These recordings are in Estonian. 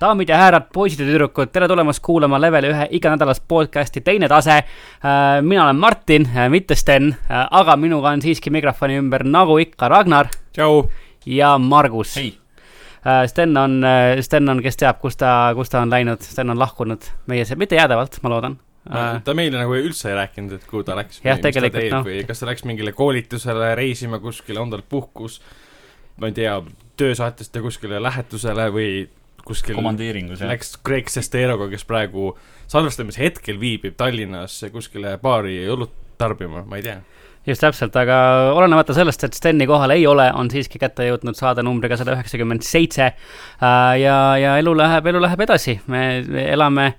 daamid ja härrad , poisid ja tüdrukud , tere tulemast kuulama Level ühe iganädalast podcasti Teine tase . mina olen Martin , mitte Sten , aga minuga on siiski mikrofoni ümber , nagu ikka , Ragnar tšau . ja Margus . Sten on , Sten on , kes teab , kus ta , kus ta on läinud , Sten on lahkunud meie , mitte jäädavalt , ma loodan . ta meile nagu üldse ei rääkinud , et kuhu ta läks . Äh, Jah, tegelikult, noh. või kas ta läks mingile koolitusele , reisima kuskile , on tal puhkus , ma ei tea , töösaatjate kuskile lähetusele või kuskil komandeeringus jah . läks Craig Sesteroga , kes praegu salvestamise hetkel viibib Tallinnas kuskile baari õlut tarbima , ma ei tea . just täpselt , aga olenemata sellest , et Steni kohal ei ole , on siiski kätte jõudnud saade numbriga sada üheksakümmend seitse . ja , ja elu läheb , elu läheb edasi , me me elame ,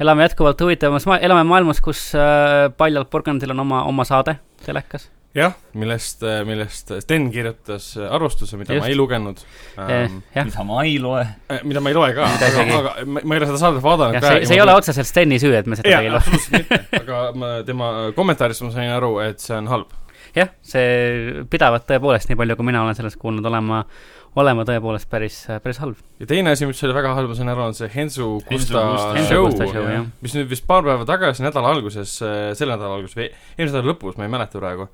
elame jätkuvalt huvitavamas , elame maailmas , kus äh, paljalt porgandil on oma , oma saade telekas . jah , millest , millest Sten kirjutas arvustuse , mida Just. ma ei lugenud ähm, , Eh, jah , mida ma ei loe . mida ma ei loe ka , Mida aga , isegi- aga ma ma ei ole seda saadet vaadanud jah , ka . see , see ei ole otseselt Steni süü , et me seda ei jaa , loe . absoluutselt mitte , aga ma tema kommentaarist ma sain aru , et see on halb . jah , see pidavat tõepoolest , nii palju kui mina olen sellest kuulnud , olema , olema tõepoolest päris , päris halb . ja teine asi , mis oli väga halb , ma sain aru , on see Hensu Kusta Kusta- Hensu show Kusta show, , jah. mis nüüd vist paar päeva tagasi , nädala alguses , selle nädala alguses või eelmise nädala lõpus , ma ei mäleta praegu ,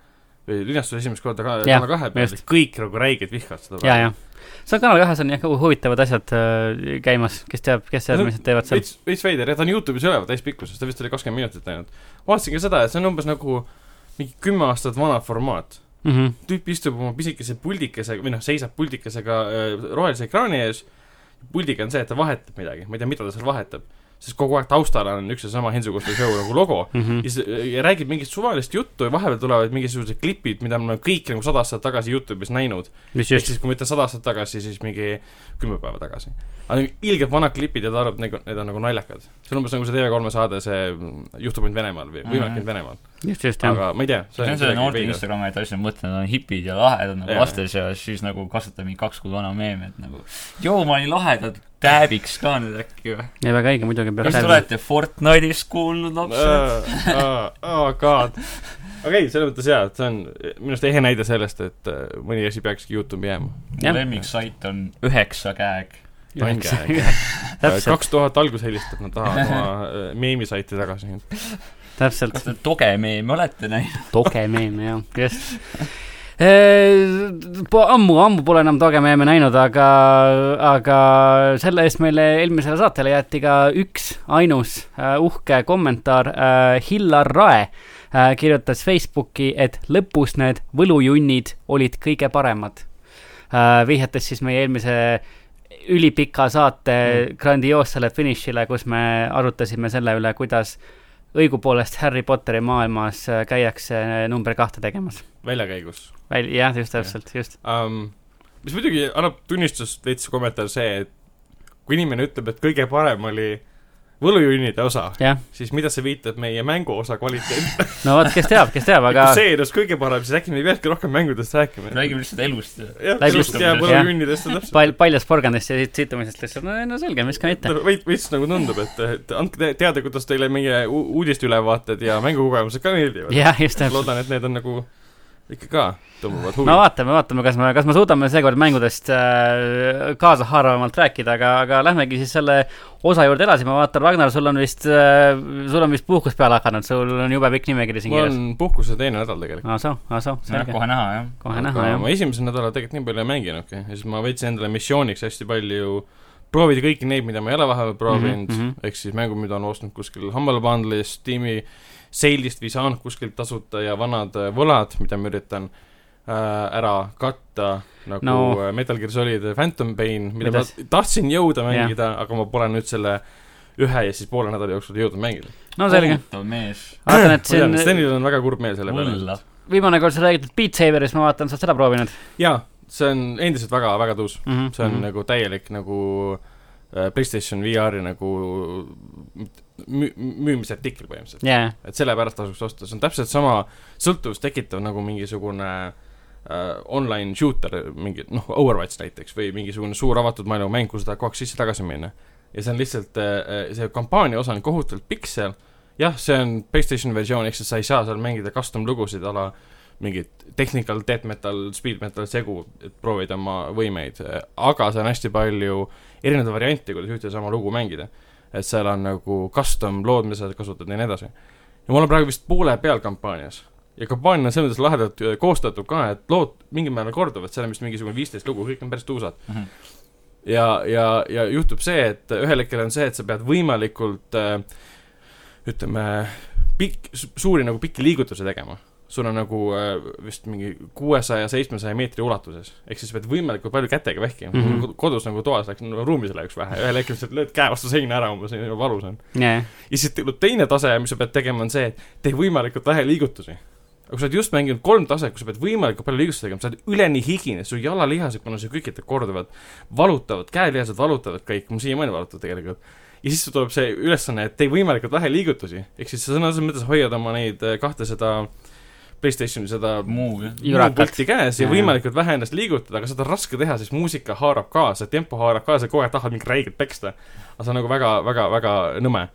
linastus esimest korda ka Jah, Kanal kahe peal just. , kõik nagu räigelt vihkavad seda ja , ja see on Kanal kahes on jah hu- huvitavad asjad äh, käimas , kes teab , kes teab , mis nad teevad seal . veits , veits veider , jah , ta on Youtube'is üleval täispikkuses , ta vist oli kakskümmend minutit ainult . vaatasin ka seda , et see on umbes nagu mingi kümme aastat vana formaat . Mm -hmm. tüüp istub oma pisikese puldikesega või noh , seisab puldikesega öö, rohelise ekraani ees . puldiga on see , et ta vahetab midagi , ma ei tea , mida ta seal vahetab , sest kogu aeg taustal on üks ja sama Hensu Kosta show nagu logo Mm -hmm. ja, see, äh, ja räägib mingit suvalist juttu ja vahepeal tulevad mingisugused klipid , mida me oleme kõik nagu sada aastat tagasi Youtube'is näinud . mis ehk just , siis , kui ma ütlen sada aastat tagasi , siis mingi kümme päeva tagasi . aga need ilgelt vanad klipid ja ta arvab , et need on nagu naljakad . see on umbes nagu see TV3 saade , see mm, Juhtub ainult Venemaal või Mhm. Võimalik ainult Venemaal , just , just jah . aga ma ei tea . see on see noorte Instagrami asja mõte , nad on hipid ja lahedad nagu Jaa. laste seas , siis nagu kasutab mingi kaks kuud vana meem , et nagu joo , ma olin lahedad , tääbiks ka nüüd äkki või ? ja väga õige muidugi kas te peab . olete Fortnite'ist kuulnud lapsed ? oh god . okei , selles mõttes jaa , et see on minu arust ehe näide sellest , et äh, mõni asi peakski Youtube'i jääma . mu jah. lemmiksait on üheksa käeg . täpselt , Äh, kaks tuhat algus helistab , nad tahavad oma äh, meemisaiti tagasi . täpselt kas . te Toge meemi olete näinud ? togemeeme jah , just . ammu , ammu pole enam togemeeme näinud , aga , aga selle eest meile eelmisele saatele jäeti ka üks ainus äh, uhke kommentaar . Hillar Rae äh, kirjutas Facebooki , et lõpus need võlujunnid olid kõige paremad . vihjates siis meie eelmise ülipika saate mm. grandioossele finišile , kus me arutasime selle üle , kuidas õigupoolest Harry Potteri maailmas äh, käiakse number kahte tegemas . väljakäigus väl- , jah , just täpselt , just . um, . mis muidugi annab tunnistust veits kommentaar see , et kui inimene ütleb , et kõige parem oli võlujunnide osa , jah , siis mida see viitab meie mänguosa kvaliteedile ? no vot , kes teab , kes teab , aga aga kui see ei olnud kõige parem , siis äkki me ei peakski rohkem mängudest rääkima . räägime lihtsalt elust . jah , räägime just , ja just- võlujunnidest on täpselt . pal- , paljast porgandist ja siit , situmisest lihtsalt , no, no selge , miks ka mitte . veits , veits nagu tundub , et , et andke te- teada , kuidas teile meie u- uudisteülevaated ja mängukogemused ka meeldivad . jah , just täpselt . loodan , et need on nagu ikka ka tõmbavad no huvi . vaatame , vaatame , kas me , kas me suudame seekord mängudest äh, kaasahaaravamalt rääkida , aga , aga lähmegi siis selle osa juurde edasi , ma vaatan , Ragnar , sul on vist äh, , sul on vist puhkus peale hakanud , sul on jube pikk nimekiri siin mul kirjas . Ah, on puhkuse teine nädal tegelikult . ahsoo , ahsoo , näeb selge , kohe näha jah . kohe aga näha jah ma . esimesel nädalal tegelikult nii palju ei mänginudki ja siis ma võtsin endale missiooniks hästi palju proovida kõiki neid , mida ma ei ole vahepeal proovinud mm Mhm, mhm. -hmm. , ehk siis mängu , mida on ostnud kuskil Humble Bundle'is , Steam'i seilist või saanud kuskilt tasuta ja vanad äh, võlad , mida ma üritan äh, ära katta , nagu No. no. Metal Gear Solid Phantom Pain , mida Mida ma s- tahtsin jõuda Jah. mängida yeah. , aga ma pole nüüd selle ühe ja siis poole nädala jooksul jõudnud mängida . no selge , kohutav mees . vaatan , et ma tean , siin Stenil on väga kurb meel selle peale . võlla . viimane kord sa räägid Beat Saberist , ma vaatan , sa oled seda proovinud jaa , see on endiselt väga , väga tõus . mm . -hmm. see on mm -hmm. nagu täielik nagu äh, PlayStation VR-i nagu äh, müü- , müümisartikkel põhimõtteliselt . jaa , et sellepärast tasuks osta , see on täpselt sama sõltuvust tekitav nagu mingisugune äh, online shooter , mingi noh , Overwatch näiteks või mingisugune suur avatud maailma mäng , kus sa tahad kogu aeg sisse-tagasi minna . ja see on lihtsalt äh, , see kampaania osa on kohutavalt pikk seal , jah , see on PlayStation versioon , ehk siis sa ei saa seal mängida custom lugusid a la mingit technical death metal , speed metal segu , et proovida oma võimeid , aga seal on hästi palju erinevaid variante , kuidas ühte ja sama lugu mängida . et seal on nagu custom lood , mida sa kasutad ja nii edasi . ja ma olen praegu vist poole peal kampaanias ja kampaania on selles mõttes lahedalt äh, koostatud ka , et lood mingil määral korduvad , seal on vist mingisugune viisteist lugu , kõik on päris tuusad . Mhm. ja , ja , ja juhtub see , et ühel hetkel on see , et sa pead võimalikult äh, ütleme , pikk , suuri nagu pikki liigutusi tegema . sul on nagu äh, vist mingi kuuesaja , seitsmesaja meetri ulatuses . ehk siis sa pead võimalikult palju kätega vehkima mm . Mhm. -hmm. kodus nagu toas läks , ruumis läheks vähe , ühel hetkel sa lööd käe vastu seina ära umbes , valus on . jah , ja siis tuleb teine tase , mis sa pead tegema , on see , et tee võimalikult vähe liigutusi . aga kui sa oled just mänginud kolm taset , kus sa pead võimalikult palju liigutusi tegema , sa oled üleni higine , su jalalihased , kuna sa kõikidel korduvad , valutavad , käelihased valutavad kõik , mul siiamaani valutavad tegelikult . ja siis sul tuleb see ülesanne , et tee võimalikult vähe liigutusi , ehk siis sa sõna otseses mõttes hoiad oma neid eh, kahte seda Playstationi seda muu jah . Jurakat. pulti käes ja Jaa. võimalikult vähe ennast liigutada , aga seda on raske teha , sest muusika haarab kaasa , tempo haarab kaasa , kogu aeg tahad mingit räiget peksta . aga see on nagu väga , väga , väga nõme .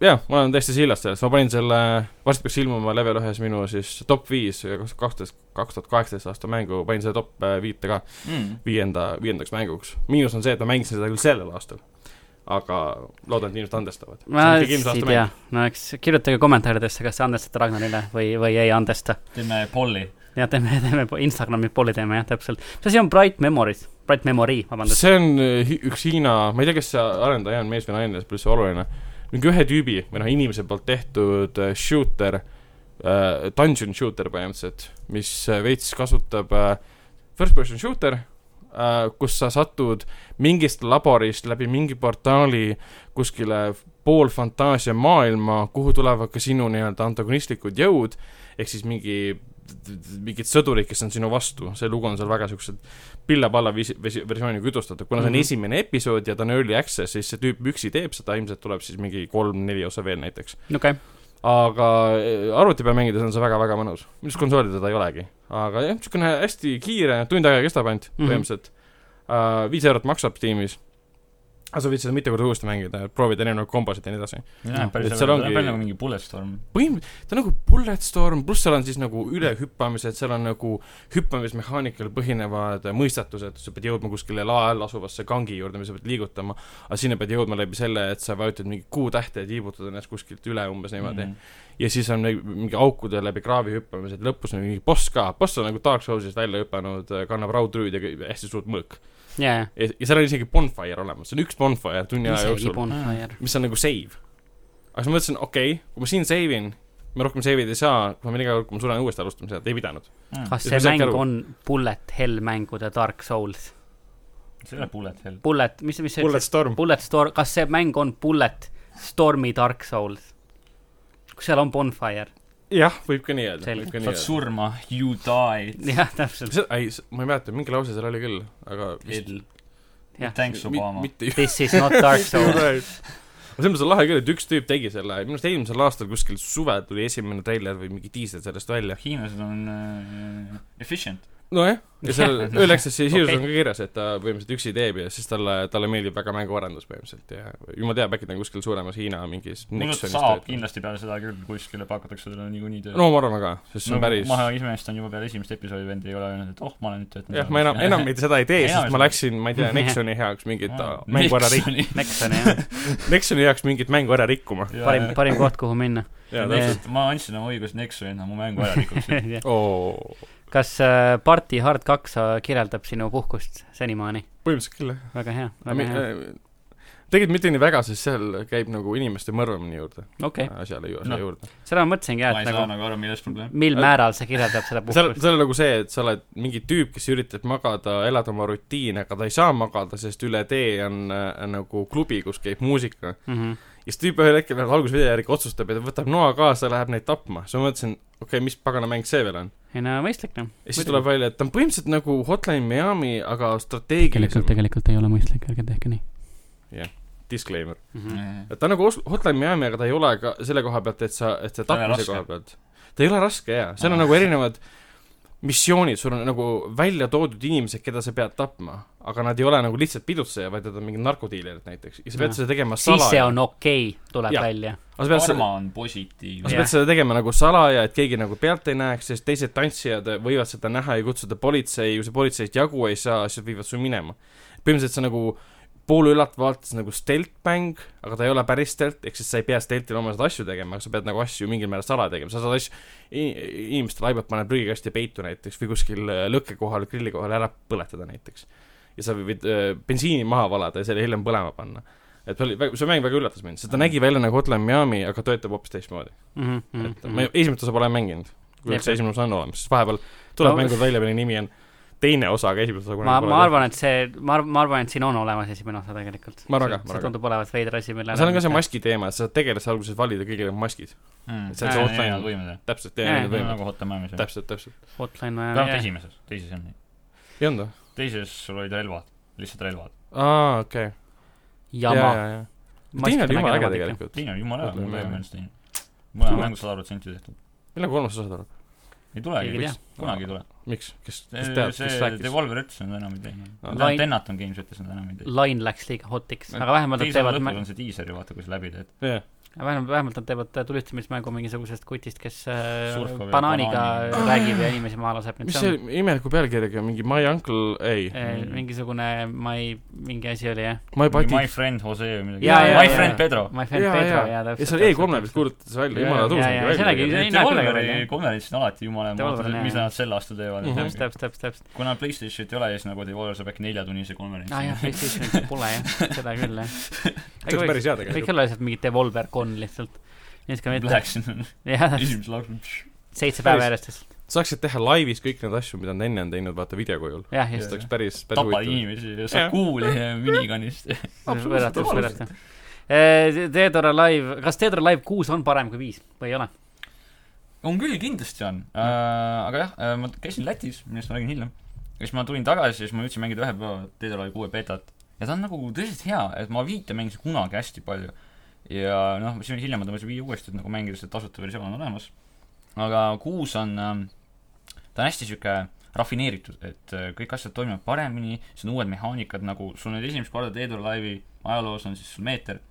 jah , ma olen täiesti sillas selles , ma panin selle , varsti peaks ilmuma level ühes minu siis top viis kaksteist , kaks tuhat kaheksateist aasta mängu , panin selle top äh, viite ka viienda , viiendaks mänguks . miinus on see , et ma mängisin seda küll sellel aastal . aga loodan , et inimesed andestavad . ma ei tea , no eks kirjutage kommentaaridesse , kas te andestate Ragnarile või , või ei andesta . teeme polli . ja teeme , teeme po- Instagrami pooli teeme jah , täpselt . mis asi on Bright Memories , Bright Memory , vabandust . see on äh, hi- üks Hiina , ma ei tea , kas see arendaja on mees või naine , see pole üldse oluline . mingi ühe tüübi või noh , inimese poolt tehtud äh, shooter , dungeon shooter põhimõtteliselt , mis äh, veits kasutab äh, first person shooter , kus sa satud mingist laborist läbi mingi portaali kuskile poolfantaasia maailma , kuhu tulevad ka sinu nii-öelda antagonistlikud jõud , ehk siis mingi , mingid sõdurid , kes on sinu vastu , see lugu on seal väga siuksed pilla-palla visi- , vesi- , versiooniga jutustatud , kuna see on Mhm. esimene episood ja ta on early access , siis see tüüp üksi teeb seda , ilmselt tuleb siis mingi kolm-neli osa veel näiteks . okei , aga eh, arvuti peal mängides on see väga-väga mõnus , minu arust konsoolil teda ei olegi . aga jah , niisugune hästi kiire , tund aega kestab ainult Mhm. põhimõtteliselt uh, , viis eurot maksab tiimis . aga sa võid seda mitu korda uuesti mängida , proovida erinevaid kombosid ja nii edasi . et päris seal seal ongi- ongi . päris nagu mingi bulletstorm . põhimõtteliselt , ta on nagu Bulletstorm , pluss seal on siis nagu ülehüppamised , seal on nagu hüppamismehaanikal põhinevad äh, mõistatused , sa pead jõudma kuskile lae all asuvasse kangi juurde , mida sa pead liigutama , aga sinna pead jõudma läbi selle , et sa vajutad mingi kuutähte ja tiibutad ennast kuskilt üle umbes niimoodi Mhm. mm . -hmm. ja siis on nagu mingi aukude läbi kraavi hüppamised , lõpus on mingi boss ka , boss on nagu Dark Soulsist välja hüpanud , kannab raudrüüd ja kõ- hästi suurt mõõk . jaa , ja ja seal on isegi bonfire olemas , see on üks bonfire tunni jaa . isegi aja jooksul Bonfire . mis on nagu save . aga siis ma mõtlesin , okei okay, , kui ma siin save in , ma rohkem save ida ei saa , kui ma mingi aeg , kui ma suren uuesti alustama seda , ei pidanud . kas Mhm. Ja see ma saangi mäng aru. on Bullet Hell mängude Dark Souls ? see ei ole bullet hell . Bullet , mis , mis see Bullet Storm , Bullet Storm , kas see mäng on Bullet Stormi Dark Souls ? kus seal on Bonfire ? jah , võib ka nii öelda , Selge. võib ka nii saad öelda . surma , you die . jah , täpselt , see , ei , ma ei mäleta , mingi lause seal oli küll , aga vist- Hell . jah . Thanks mi- Obama . mitte ju- This is not Dark Souls . aga selles mõttes on lahe küll , et üks tüüp tegi selle , minu arust eelmisel aastal kuskil suvel tuli esimene treiler või mingi diisel sellest välja . hiinlased on äh, efficient . nojah , ja seal Jah. Early Access'i sisus Okei. on ka kirjas , et ta põhimõtteliselt üksi teeb ja siis talle , talle meeldib väga mänguarendus põhimõtteliselt ja jumal teab , äkki ta on kuskil suuremas Hiina mingis minu arust Nixonis saab töötamas. kindlasti peale seda küll , kuskile pakutakse talle niikuinii tööd . no ma arvan ka , sest see on no no, päris maha iseenesest on juba peale esimest episoodi vend ei ole öelnud , et oh , ma olen nüüd töötanud . jah , ma enam , enam ei- seda ei tee , Enam ei sest ma saa. läksin , ma ei tea , Nexoni heaks mingit Ah, mängu ära rik- , Nixoni. Nexon jah , Nexoni heaks mingit mängu ära rikkuma . Jaa, parim jaa. , parim koht , kuhu minna . jaa , Nee. täpselt . täpselt , ma andsin oma õigust Nexonina mu mängu ära rikuks . oo , kas äh, Party Hard kaks äh, kirjeldab sinu puhkust senimaani ? põhimõtteliselt küll jah . väga hea , väga hea , tegelikult mitte nii väga , sest seal käib nagu inimeste mõrvamine juurde okei , asjale ju- , Noh. asja juurde . seda ma mõtlesingi jah , ma ei et saa nagu nagu aru , milles probleem . mil Äh, määral see kirjeldab seda seal , puhkust . seal on nagu see , et sa oled mingi tüüp , kes üritab magada , elada oma rutiini , aga ta ei saa magada , sest üle tee on äh, nagu klubi , kus käib muusika . Mhm. ja siis tüüp ühel hetkel läheb algusvideo järgi otsustab ja ta võtab noa kaasa , läheb neid tapma . siis ma mõtlesin , okei okay, , mis pagana mäng see veel on . ei no mõistlik noh . ja siis tuleb välja , et ta on põhimõtteliselt nagu Hotline Miami , aga strateegilisem . tegelikult ei ole mõistlik , ärge tehke nii . Disclaimer . Mhm. Mm. et ta on nagu os- Hotline Miami , aga ta ei ole ka selle koha pealt , et sa , et sa Ta ei tapmise ole raske. Ah. koha pealt . ta ei ole raske jaa , seal on nagu erinevad missioonid , sul on nagu välja toodud inimesed , keda sa pead tapma , aga nad ei ole nagu lihtsalt pidutseja , vaid nad on mingid narkodiilerid näiteks ja sa Jah. pead seda tegema siis see salaja . on okei okay, , tuleb Jah. välja . aga sa pead seda , karma on aga positiivne . sa pead seda tegema nagu salaja , et keegi nagu pealt ei näeks , sest teised tantsijad võivad seda näha ja kutsuda politsei , kui sa politseist jagu ei saa , siis nad viivad su minema . põhimõtteliselt see on nagu poolülat vaates nagu stealth-mäng , aga ta ei ole päris stealth , ehk siis sa ei pea stealth'il oma seda asju tegema , aga sa pead nagu asju mingil määral salaja tegema , sa saad asju , inimeste laibad paneb prügikasti peitu näiteks või kuskil äh, lõkke kohal , grilli kohal ära põletada näiteks . ja sa võid äh, bensiini maha valada ja selle hiljem põlema panna . et see oli , see mäng väga üllatas mind , sest ta nägi välja nagu Hotline Miami , aga töötab hoopis teistmoodi . Mhm, et ma esimest osa pole mänginud , kui Jep. üldse esimene osa on olemas , siis vahepeal tuleb No- no, mängud välja , mille nimi on teine osa , aga esimene osa ma , ma arvan , et see , ma arv- , ma arvan , et siin on olemas esimene osa tegelikult . Ma arvan ka, ma see arvan ka. tundub olevat veider asi , mille seal on ka see maski teema , et sa saad tegelase alguses valida , kõigil on maskid , Mm. see on see hotline. võimed . täpselt , Jaa, jaa , jaa, jaa , nagu Hotline Miami's . täpselt , täpselt . hotline äh, vähemalt vaja . esimeses , teises ei olnud nii . ei olnud või ? teises sul olid relvad , lihtsalt relvad . aa , okei . jama . teine oli jumala äge . tegelikult . teine oli jumala hea , Hotline mul ei Miami. ole meelest teine . mõlema Tule. mängu sada protsenti tehtud . millal kolmas osa tuleb ? ei Keegi ei tulegi tea. , kunagi ei tule . miks , kes , kes see teab ,, kes Äh, see rääkis ? Devolver ütles , et nad enam ei tee . Aa. Lain- Lion Tennant on Games ütles , et nad enam ei tee . Line läks liiga hotiks , aga vähemalt nad teise teevad osa , lõpus on see diiser ju , vaata , kui sa läbi teed . jah , vähemalt , vähemalt nad teevad äh, tulistamismängu mingisugusest kutist , kes äh, Surfab ja banaaniga banaani- räägib ja inimesi maha laseb . mis see imeliku pealkirjaga , mingi My Uncle , ei , äh, Mm. mingisugune , ma ei , mingi asi oli jah . My My Buddy . friend Jose või midagi . Jaa, jaa, My jaa. friend Pedro . My friend ja , Pedro ja , ja täpselt . ja see oli E E3-e pealt kuulutati see välja , Jaa, jumala jaa, tõus . jaa, sellega ei- ei näe välja, Devolveri jah. konverentsid on alati jumala Devolver maha , on mis hea, nad sel aastal teevad Mhm. . täpselt , täpselt , täpselt . kuna PlayStationit ei ole , siis nagu Devolver saab äkki neljatunnise konverentsi aa Ah, jah , PlayStationis pole jah , seda küll jah . see oleks päris hea võiks tegelikult . olla lihtsalt mingi Devolver Con lihtsalt . viskame ette . Läheksin jah , esimese lausega . seitse päeva Päris- järjest lihtsalt . saaksid teha laivis kõik need asju , mida nad enne on teinud , vaata videokujul . jah , see just . oleks päris , päris tapad huvitav . inimesi ja saad Jah. kuuli miniganist . võrratu , võrratu . Theodora Äh, Live , kas Theodora Live kuus on parem kui viis või ei ole ? on küll , kindlasti on . aga jah , ma käisin Lätis , millest ma räägin hiljem . ja siis ma tulin tagasi ja siis ma jõudsin mängida ühe päeva Deadline'i kuue betat . ja ta on nagu tõeliselt hea , et ma viite mängisin kunagi hästi palju . ja noh , siis hiljem ma tõmbasin viie uuesti , et nagu mängida seda tasuta versioon on olemas . aga kuus on , ta on hästi sihuke rafineeritud , et äh, kõik asjad toimivad paremini , siis on uued mehaanikad nagu , sul nüüd esimest korda Deadline Live'i ajaloos on siis sul meeter .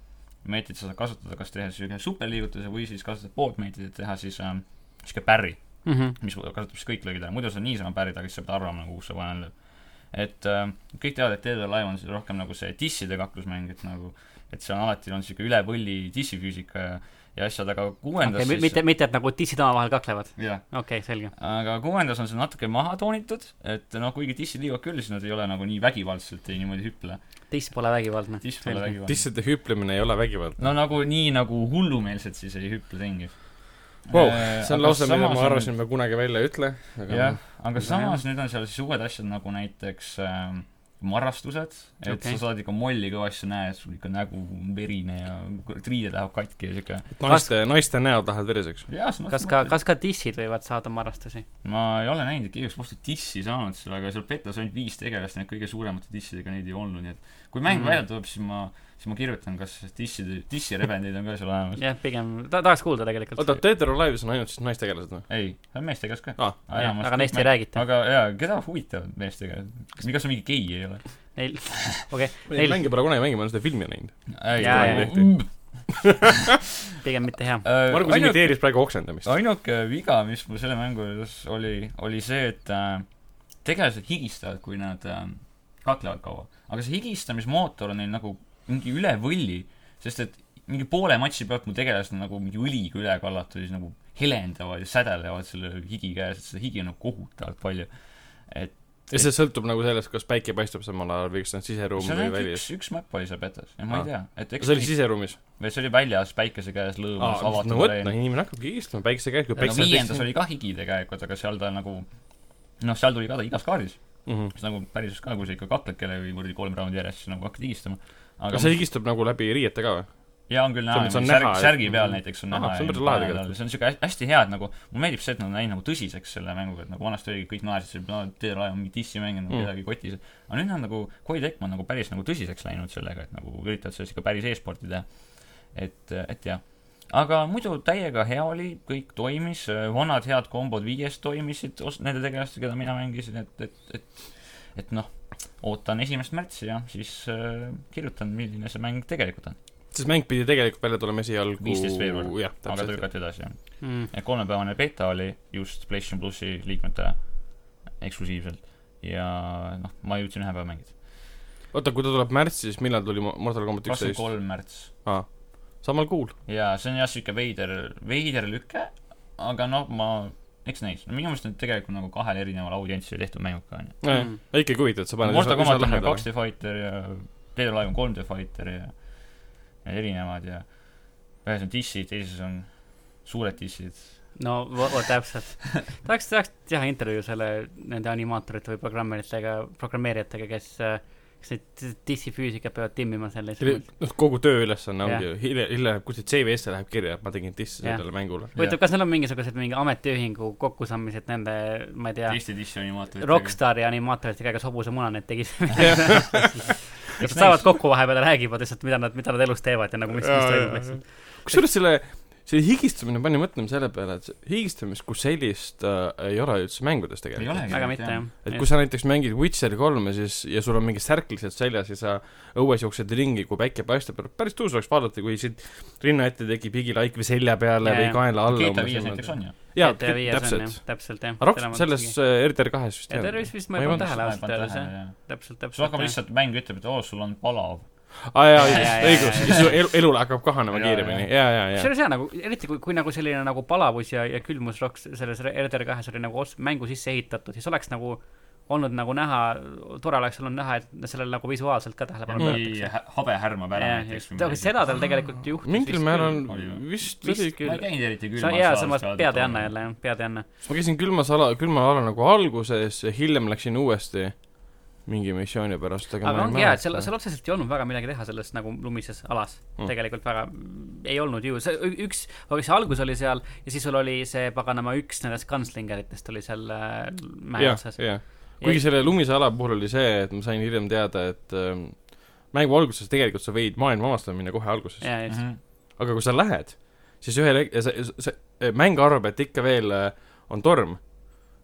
meetrit sa saad kasutada , kas teha sihuke superliigutuse või siis kasutad poolt meetrit , et teha siis ähm, sihuke pärri , Mhm. mis kasutab siis kõik lõigid ära , muidu sa niisama pärid , aga siis sa pead arvama nagu , kus see vaenlane lööb . et äh, kõik teavad , et Dead or Alive on siis rohkem nagu see disside kaklusmäng , et nagu , et see on alati , on sihuke üle põlli dissifüüsika ja , ja asjad , aga kuuendas okei , okay, siis mitte , mitte , et nagu dissid omavahel kaklevad . jah , okei , selge . aga kuuendas on see natuke maha toonitud , et noh , kuigi dissid liiguvad küll , siis nad ei ole nagu nii vägivaldselt ei niimoodi hüple . diss pole vägivaldne . diss pole vägivaldne . disside hüplemine ei ole vägivald . no nagu nii nagu hullumeelselt siis ei Äh, hüple tingi Vau , see on lause , mida ma arvasin , ma kunagi välja ei ütle , aga jah , aga Väga samas nüüd on seal siis uued asjad nagu näiteks ähm, marrastused , et okay. Okei. sa saad ikka molli kõvasti näha , et sul ikka nägu on verine ja kurat riided lähevad katki ja siuke . naiste , naiste näod lähevad veriseks . kas ka , kas ka dissid võivad saada marrastusi ? ma ei ole näinud , et keegi oleks vastu dissi saanud seal , aga seal petas ainult viis tegelast , need kõige suuremate dissidega neid ei olnud , nii et kui mäng Mhm. mm. välja tuleb , siis ma , siis ma kirjutan , kas disside , dissirebendeid on ka seal olemas . jah , pigem , ta tahaks kuulda tegelikult . oota , Dead or Alive'is on ainult siis naistegelased või ? ei , see on meeste käes ka . aa , aga neist ei . räägita . aga jaa , keda huvitavad meestega ? kas on mingi gei ei ole ? Neil , neid Neil- mänge pole kunagi mänginud , ma olen seda filmi näinud . ei Äh, Jaa, jaa. Mm. ole . pigem mitte hea . Margus imiteeris praegu oksendamist . ainuke viga , mis mul selle mängu juures oli , oli see , et äh, tegelased higistavad , kui nad äh, kaklevad kaua . aga see higistamismootor on neil nagu mingi üle võlli , sest et mingi poole matši pealt mu tegelased on nagu mingi õliga üle kallatud ja siis nagu helendavad ja sädelevad selle higi käes , et seda higi on nagu kohutavalt palju . et ja see sõltub nagu sellest , kas päike paistab samal ajal või kas on siseruum see on või ainult välis üks ., üks map oli seal petas ja ma ei tea , et eks see oli siseruumis . või see oli väljas päikese käes lõõmas aa , avatud no vot , areen. no inimene hakkabki istuma päikese käes , kui Ja no päikse viiendas oli ka higi tegelikult , aga seal ta nagu noh , seal tuli ka ta igas kaardis , oli mis nagu päriselt ka , kui sa ikka kakled kellegagi kuradi kolm raundi järjest , siis nagu hakkad higistama . aga aga see higistab nagu läbi riiete ka või ? jaa , on küll näha , mõttes on särg näha, , et- särgi peal näiteks on Ahah, näha . see on päris lahe tegelikult. see on siuke hä- hästi hea , et nagu mulle meeldib see , et nad on läinud nagu tõsiseks selle mänguga , et nagu vanasti oligi , kõik naersid , et no tee raja , mingi dissi mänginud Mm. mm. , kedagi kotis . aga nüüd on nagu , Koi Tekma on nagu päris nagu tõsiseks läinud sellega , et nagu üritavad sellest ikka päris e-sporti teha . et , et jah . aga muidu täiega hea oli , kõik toimis , vanad head kombod viies toimisid os- , nende tegelastega , keda mina mängisin , et , et , et , et noh , ootan esimest märtsi ja siis äh, kirjutan , milline see mäng tegelikult on . sest mäng pidi tegelikult välja tulema esialgu 15 veebruar. jah , aga ta täpselt . lükati edasi , jah . mm. . kolmepäevane beeta oli just PlayStation plussi liikmetele eksklusiivselt ja noh , ma jõudsin ühe päeva mängida . oota , kui ta tuleb märtsis , siis millal tuli Mo- Mortal Combat kakskümmend üksteist ? kolm märts samal kuul . jaa , see on jah , sihuke veider , veider lüke , aga noh , ma , eks näis . no minu meelest on tegelikult nagu kahel erineval audientsil tehtud mängud ka onju . Mm. ikkagi huvitav , et sa paned Mortal Combat on ju 2D Fighter ja Dead or Alive on 3D Fighter ja , ja erinevad ja ühes on dissid , teises on suured dissid . no vot , täpselt . tahaks , tahaks teha intervjuu selle , nende animaatorite või programmeeritega , programmeerijatega , kes , kes neid dissifüüsikat peavad timmima selle eest . noh , kogu tööülesanne Jah. ongi , hilja , hilja läheb kuskilt CV-sse läheb kirja , et ma tegin dissi Jah. sellele mängule . huvitav , kas neil on mingisugused mingi ametiühingu kokkusaamised nende , ma ei tea , teiste dissi animaatorid . rokkstaari animaatoritega , kes hobusemuna neid tegid ? kas Eks nad saavad kokku vahepeal ja räägivad lihtsalt , mida nad , mida nad elus teevad ja nagu mis , mis toimub lihtsalt . kusjuures selle , see higistamine pani mõtlema selle peale , et see higistamist kui sellist äh, ei ole üldse mängudes ei tegelikult . olegi väga mitte jah . et kui sa näiteks mängid Witcher kolme , siis , ja sul on mingid särklised seljas ja sa õues jooksed ringi , kui päike paistab , päris tõus oleks vaadata , kui siit rinna ette tekib higilaik või selja peale Jaa, või jaa. kaela alla . GTA viies näiteks on ju . jaa , GTA äh, viies on jah täpselt ., täpselt jah . aga rohkem selles äh, RDR kahes vist ja ei tervis olnud . vist ma ei pannud tähele ausalt öeldes jah , sul täpselt , hakkab täpselt . lihtsalt , mäng ütleb , et oo , sul on palav . aa jaa , Jaa, jaa, jaa, õigus , jaa, ja su elu , elul hakkab kahanema Jaa, kiiremini , jaa , jaa , jaa . kusjuures jaa , nagu eriti kui , kui nagu selline nagu palavus ja , ja külmus roks selles RDR kahes oli nagu os- , mängu sisse ehitatud , siis oleks nagu olnud nagu näha , tore oleks olnud näha , et sellele nagu visuaalselt ka tähelepanu mingi hä- habe härmab ära näiteks . pööratakse . seda tal tegelikult juhtus . mingil määral oli või? vist Vist oli küll. ma ei käinud eriti sa külmas . jaa , samas pead ei anna . jälle jah , pead ei anna . Sest ma käisin külmas ala , külmal alal nagu alguses ja hiljem läksin uuesti mingi missiooni pärast , aga aga ma ei ongi hea , et seal , seal mäleta . otseselt ei olnud väga midagi teha selles nagu lumises alas mm. . Mm. tegelikult väga mm, ei olnud ju , see ü- üks , aga see algus oli seal ja siis sul oli see paganama üks nendest kantslingeritest oli seal äh, mäe jah , otsas . jah . kuigi selle lumise ala puhul oli see , et ma sain hiljem teada , et ähm, mängu alguses tegelikult sa võid maailma avastama minna kohe alguses . jaa , just . Mhm. aga kui sa lähed , siis ühel hetkel , see , see mäng arvab , et ikka veel äh, on torm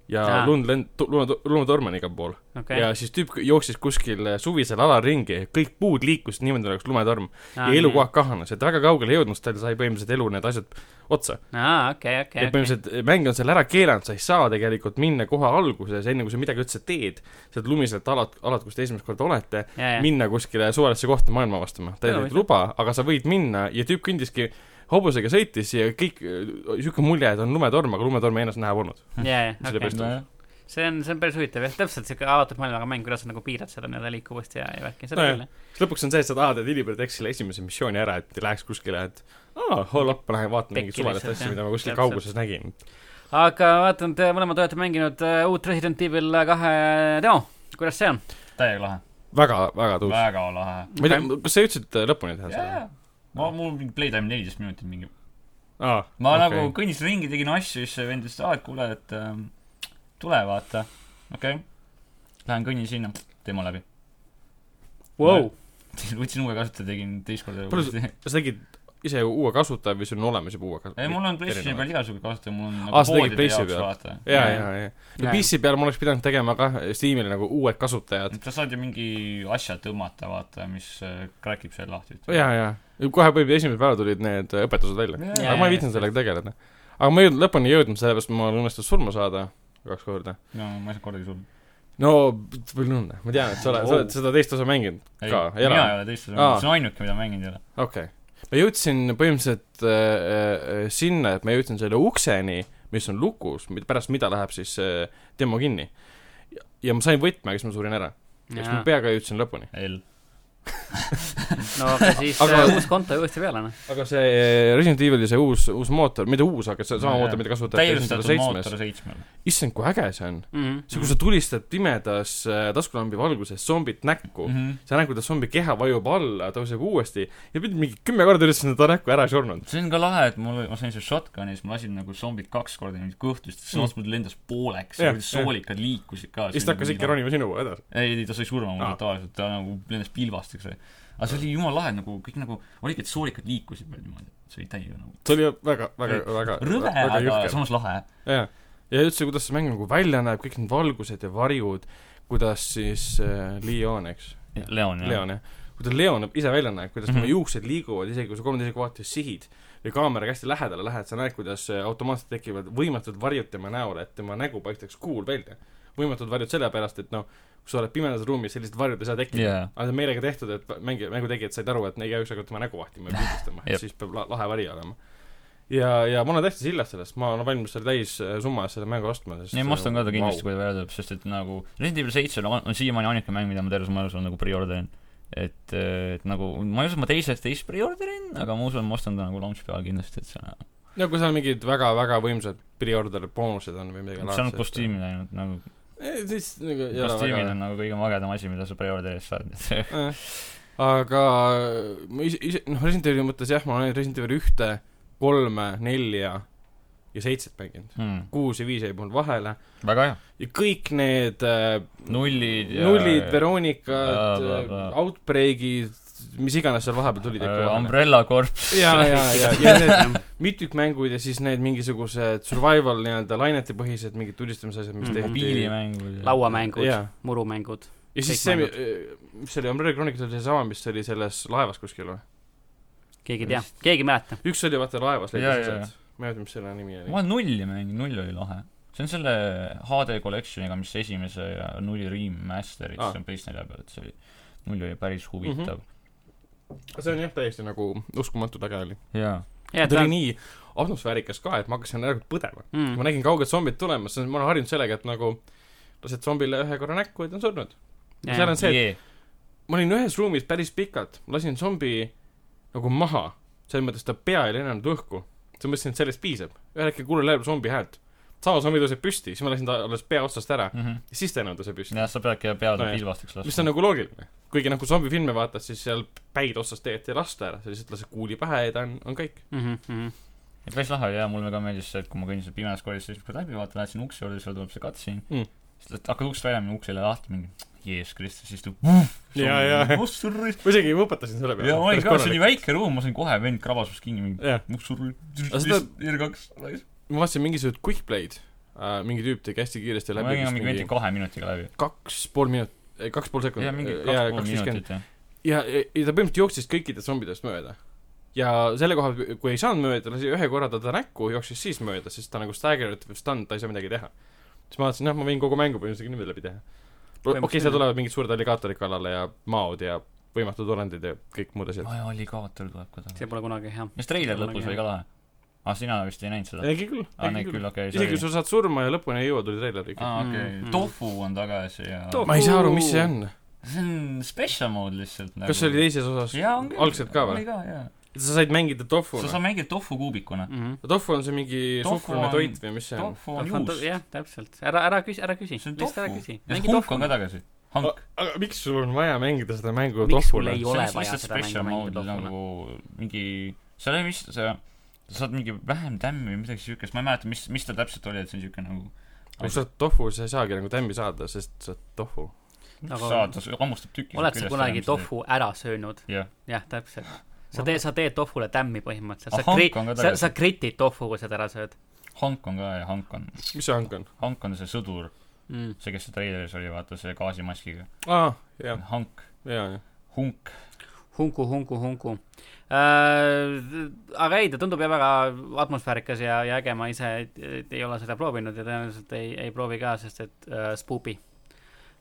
ja Jaa. lund lend- , lume , lumetorm on igal pool . okei . ja siis tüüp jooksis kuskil äh, suvisel alal ringi , kõik puud liikusid niimoodi , oleks lumetorm . ja elukohad kahanes , et väga kaugele ei jõudnud , tal sai põhimõtteliselt elu need asjad otsa . aa , okei , okei , et okei . põhimõtteliselt eh, mäng on selle ära keelanud , sa ei saa tegelikult minna kohe alguses , enne kui sa midagi üldse teed , sealt lumiselt alad , alad , kus te esimest korda olete , minna kuskile suvalisse kohta maailma avastama . ta Jaa, ei huvitav. teinud luba , aga sa võid minna ja tüüp kõndiski hobusega sõitis ja kõik , niisugune mulje , et on lumetorm , aga lumetormi ennast näha polnud . jaa , jaa , okei Sellepärast- . see on , see on päris huvitav jah , täpselt siuke avatud maailmaga mäng , kuidas sa nagu piirad seda nii-öelda liikuvust ja , ja värki , seda Nojah. küll jah . lõpuks on see , et sa tahad , et inimene teeks selle esimese missiooni ära , et ei läheks kuskile , et aa , hold up , ma lähen vaatan mingit Pekki suvalist lihtsalt, asja , jah. mida ma kuskil Täpselt. kauguses nägin . aga vaatan , te mõlemad olete mänginud äh, uut Resident Evil kahe demo , kuidas see on ? täiega lahe , väga , väga tõus . väga lahe . ma ei tea , kas sa jõudsid äh, lõpuni teha seda ? jaa , Noh. ma , mul mingi playtime neliteist minutit mingi . aa , ma okay. nagu kõndisin ringi , tegin asju , siis see vend ütles , et aa , et kuule , et ähm, tule vaata . okei okay. , lähen kõnnin sinna , teema läbi . Wow. võtsin uue kasutaja , tegin teist korda Palju uuesti . sa tegid ise ju uue kasutaja või sul on olemas juba uue ei , kasutaja ? mul on PlayStationi peal igasugune kasutaja , mul on Aa, nagu Ah, sa tegid poodide PlayStationi jaoks peal? vaata . jaa , jaa , jaa . no Jaa. PC peal ma oleks pidanud tegema ka Steamile nagu uued kasutajad . sa saad ju mingi asja tõmmata , vaata , mis äh, kräkib seal lahti . jaa , jaa . kohe võib-olla esimesel päeval tulid need õpetused välja . Jaa, aga jaa, ma ei viitsinud sellega tegeleda . aga ma ei jõudnud lõpuni ei jõudnud , sellepärast mul õnnestus surma saada kaks korda . no ma ei saa kordagi surnud . no , palju õnne , ma tean , et sa oled , sa oled seda teist osa mänginud ei , ka , ei mina ole ei ? ole teist seda Aa. mänginud , see on ainuke , mida ma mänginud ei ole . okei okay. . ma jõudsin põhimõtteliselt äh, äh, sinna , et ma jõudsin selle ukseni , mis on lukus , pärast mida läheb siis äh, demo kinni . ja ma sain võtme , aga siis ma surin ära . ja siis ma peaga jõudsin lõpuni . L . no aga siis Aga- äh, uus konto uuesti peale noh . aga see äh, Resident Evil'i see uus , uus mootor , mitte uus , aga see No sama jaa. mootor , mida kasutati Resident täiustatud Evil seitsmes mootor . seitsmel . issand , kui äge see on . see , kui see sa tulistad pimedas äh, taskulambi valguses zombit näkku mm , Mhm. -hmm. sa näed , kuidas zombi keha vajub alla , tõuseb uuesti ja pidid mingi kümme korda üritasin seda näkku ära ei surnud . see on ka lahe , et mul , ma sain selle shotgun'i , siis ma lasin nagu zombid kaks korda niimoodi kõhtust , siis otsus mul lendas pooleks Mm. Jah, ja kuidas jah. soolikad liikusid ka . siis ta hakkas ikka . ronima sinu poole edasi . ei , ei ta sai surma mul Aa. totaalselt , ta nagu lendas pilvasteks . asju . aga see oli jumala lahe , nagu kõik nagu , oligi , et soolikud liikusid veel niimoodi , see oli täiega nagu see oli väga , väga , väga , rõve , väga aga jõhker . samas lahe . jaa , ja üldse , kuidas see mäng nagu välja näeb , kõik need valgused ja varjud , kuidas siis äh, Leon , eks , Leon , jah . Leon jah , kuidas Leon ise välja näeb , kuidas tema Mhm. juuksed liiguvad , isegi kui sa kolme teisega vaates sihid või kaameraga hästi lähedale lähed , sa näed , kuidas äh, automaatselt tekivad võimatud varjud tema näole , et tema nägu paistaks kuul välja . võimatud varjud sellepärast , et noh , kui sa oled pimedas ruumis , sellised varjud ei saa tekkida yeah. . jaa . aga see on meelega tehtud , et mängi , mängutegijad said aru , et igaüks hakkab tema nägu vahtima ja pildistama , et Jep. siis peab la- lahe vari olema . ja , ja ma olen täiesti sillas sellest , ma olen valmis selle täissumma eest selle mängu ostma , sest ei , ma ostan ka ta kindlasti , kui ta välja tuleb , sest et nagu Resident Evil seitse on, on siiamaani ainuke mäng , mida ma terves maailmas olen nagu preorderin . et , et nagu ma ei usu , et ma teise , teist preorderin , aga ma usun , ma ostan ta nagu launch peal kindlasti , et see on , no kui seal mingid väga-väga võimsad pre-order boonused on või midagi nagu, see on kostiimil ainult nagu , Eh, siis nagu ei ole kostiimil väga on nagu kõige magedam asi , mida sa preorderist saad , et see Eh, aga ma ise , ise , noh , Resident Evili mõttes jah , ma olen Resident Evil ühte , kolme , nelja ja seitset mänginud . hmm. kuus ja viis jäi mul vahele väga hea . ja kõik need äh, nullid ja nullid , ja, Veronikad Jaa, jaa, jaa. , Outbreak'id , mis iganes seal vahepeal tulid ikka äh, vahele . Umbrella Corps ja , ja , ja , ja need mitmikmängud ja siis need mingisugused survival nii-öelda lainetepõhised mingid tulistamise asjad , mis Mm, tehti . Mhm. mobiilimängud ja lauamängud Jaa. , murumängud . ja siis kõik see , mis see oli , Umbrella Chronicles oli seesama , mis oli selles laevas kuskil või ? keegi ei tea , keegi ei mäleta . üks oli vaata laevas Jaa, leidis jaa, sealt , ma ei mäleta , mis selle nimi ma oli . olen nulli mänginud , null oli lahe . see on selle HD Collectioniga , mis esimese ja nulli remaster'id Aa. ah. , see on PlayStation peal , et see oli , null oli päris huvitav mm . see on jah , täiesti nagu uskumatu taga oli . -hmm. jaa . jah , ta ta oli nii atmosfäärikas ka , et ma hakkasin järelikult põdema . mm, ma nägin kaugelt zombid tulemas , ma olen harjunud sellega , et nagu lased zombile ühe korra näkku ja ta on surnud . Jaa. seal on see , et Yeah. ma olin ühes ruumis päris pikalt , lasin zombi nagu maha , selles mõttes ta pea ei lennanud õhku . siis ma mõtlesin , et sellest piisab . ühel hetkel kuulen läbi zombi häält . sama zombi tõuseb püsti , siis ma lasin ta alles pea otsast ära , Mm -hmm. siis ta enam tõuseb püsti . jah , sa peadki pead Nojah. pilvasteks mis on laskma . nagu loogiline . kuigi noh , kui zombifilme vaatad , siis seal päid otsast tegelikult ei lasta ära , sa lihtsalt lased kuuli pähe ja ta on , on kõik . mhm, mhm. et päris lahe oli jaa , mulle ka meeldis see , et kui ma kõndisin pimedas koolis , siis kui läbi vaatan , läksin ukse juurde , seal tuleb see cutscene Mm. mm. . siis lähed- hakkad uksest välja , uks ei lähe lahti , mingi Jeesus Kristus istub . Jaa, jaa. oh surr . ma isegi võpatasin selle peale . ja ma olin ka , see oli väike ruum , ma sain kohe vend krabasus kinni , mingi jah , oh surr , Aga seda- R2 ma vaatasin mingisugust quick play'd äh, , mingi tüüp tegi hästi kiiresti ma läbi nägin mingi mingi veidi kahe minutiga läbi . kaks pool minut , kaks pool sekundit . Äh, jah , mingi kaks pool minutit , jah . ja , ja ja ta põhimõtteliselt jooksis kõikidest zombidest mööda . ja selle koha , kui ei saanud mööda , lasi ühe korra ta ta näkku , jooksis siis mööda , sest ta nagu staggered või stunned , ta ei saa midagi teha . siis ma vaatasin , jah , ma võin kogu mängu põhimõtteliselt niimoodi läbi teha . okei okay, , seal tulevad mingid suured alligaatorid kallale ja maod ja võimatud olendid ja kõik muud asjad . aa jaa , alligaator tuleb ka see taha . pole kunagi hea . mis treiler see pole lõpus nii oli ka lahe ? aa , sina vist ei näinud seda ? äkki küll , aa , äkki näid küll . küll , okei , isegi kui sorry . sa saad surma ja lõpuni ei jõua , tuli treiler ikka . aa , okei Mm, mm. , Tofu on tagasi ja Tofu. ma ei saa aru , mis see on . see on special mode lihtsalt nagu kas see oli teises osas jaa , on küll . algselt ka või oli ? ka , jaa . sa said mängida sa tofuna saad mängida tofu kuubikuna . Mhm. tofu on see mingi Tofu suhkrune on- toit või mis Mm, see on ? tofu on juust . jah , täpselt , ära , ära küsi , ära küsi , see on lihtsalt ära tofu . küsi . ja see hunk on ka tagasi . hank . aga miks sul on vaja mängida seda mängu miks mul tofuna ? ei see on ole vist vaja lihtsalt seda mängu special mängida mode tofuna ? nagu mingi , seal oli vist see , sa saad mingi vähem tämmi või midagi siukest , ma ei mäleta , mis , mis ta täpselt oli , et see on siuke nagu kui sa oled tofu , sa ei saagi nagu tämmi saada , sest sa oled tofu . Aga- aga... saad , ta su- hammustab tüki oled sa kunagi ? tofu ära söönud ? jah , jah , täpselt . sa teed , sa teed tofule tämmi põhimõtteliselt , sa Ah, kri- hank on , ka sa , tagasi. sa kritid tofu , kui sa teda ära sööd Hank on ka ja Hank on , mis see hank on ? Hank on see sõdur , mm. . see , kes see treileris oli , vaata see gaasimaskiga . aa , jah , Hank , jaa , jah . Hunk , hunku , hunku , hunku äh, . aga ei , ta tundub jah väga atmosfäärikas ja , ja äge , ma ise et- et ei ole seda proovinud ja tõenäoliselt ei , ei proovi ka , sest et äh, spuubi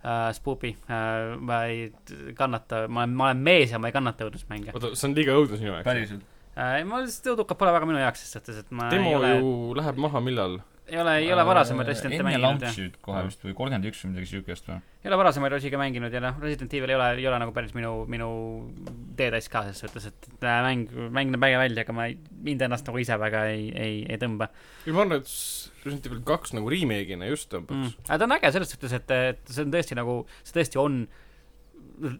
äh, , spuubi äh, , ma ei t- kannata , ma olen , ma olen mees ja ma ei kannata õudusmänge äh, . oota , see on liiga õudne sinu jaoks . päriselt . ma lihtsalt , õudukad pole väga minu jaoks , ses suhtes , et ma ei demo ole , ju läheb maha millal ? ei ole , ei Äh, ole varasemaid Resident'e enne mänginud ja launch'it kohe vist või kolmkümmend üks või midagi siukest või ? ei ole varasemaid Rosiga mänginud ja noh , Resident Evil ei ole , ei ole nagu päris minu , minu teetass ka , selles suhtes , et et, äh, mäng , mäng näeb äge välja , aga ma ei , mind ennast nagu ise väga ei , ei , ei tõmba ei , ma arvan , et s- Resident Evil kaks nagu remake'ina just mm. tõmbaks .. aga ta on äge selles suhtes , et , et see on tõesti nagu , see tõesti on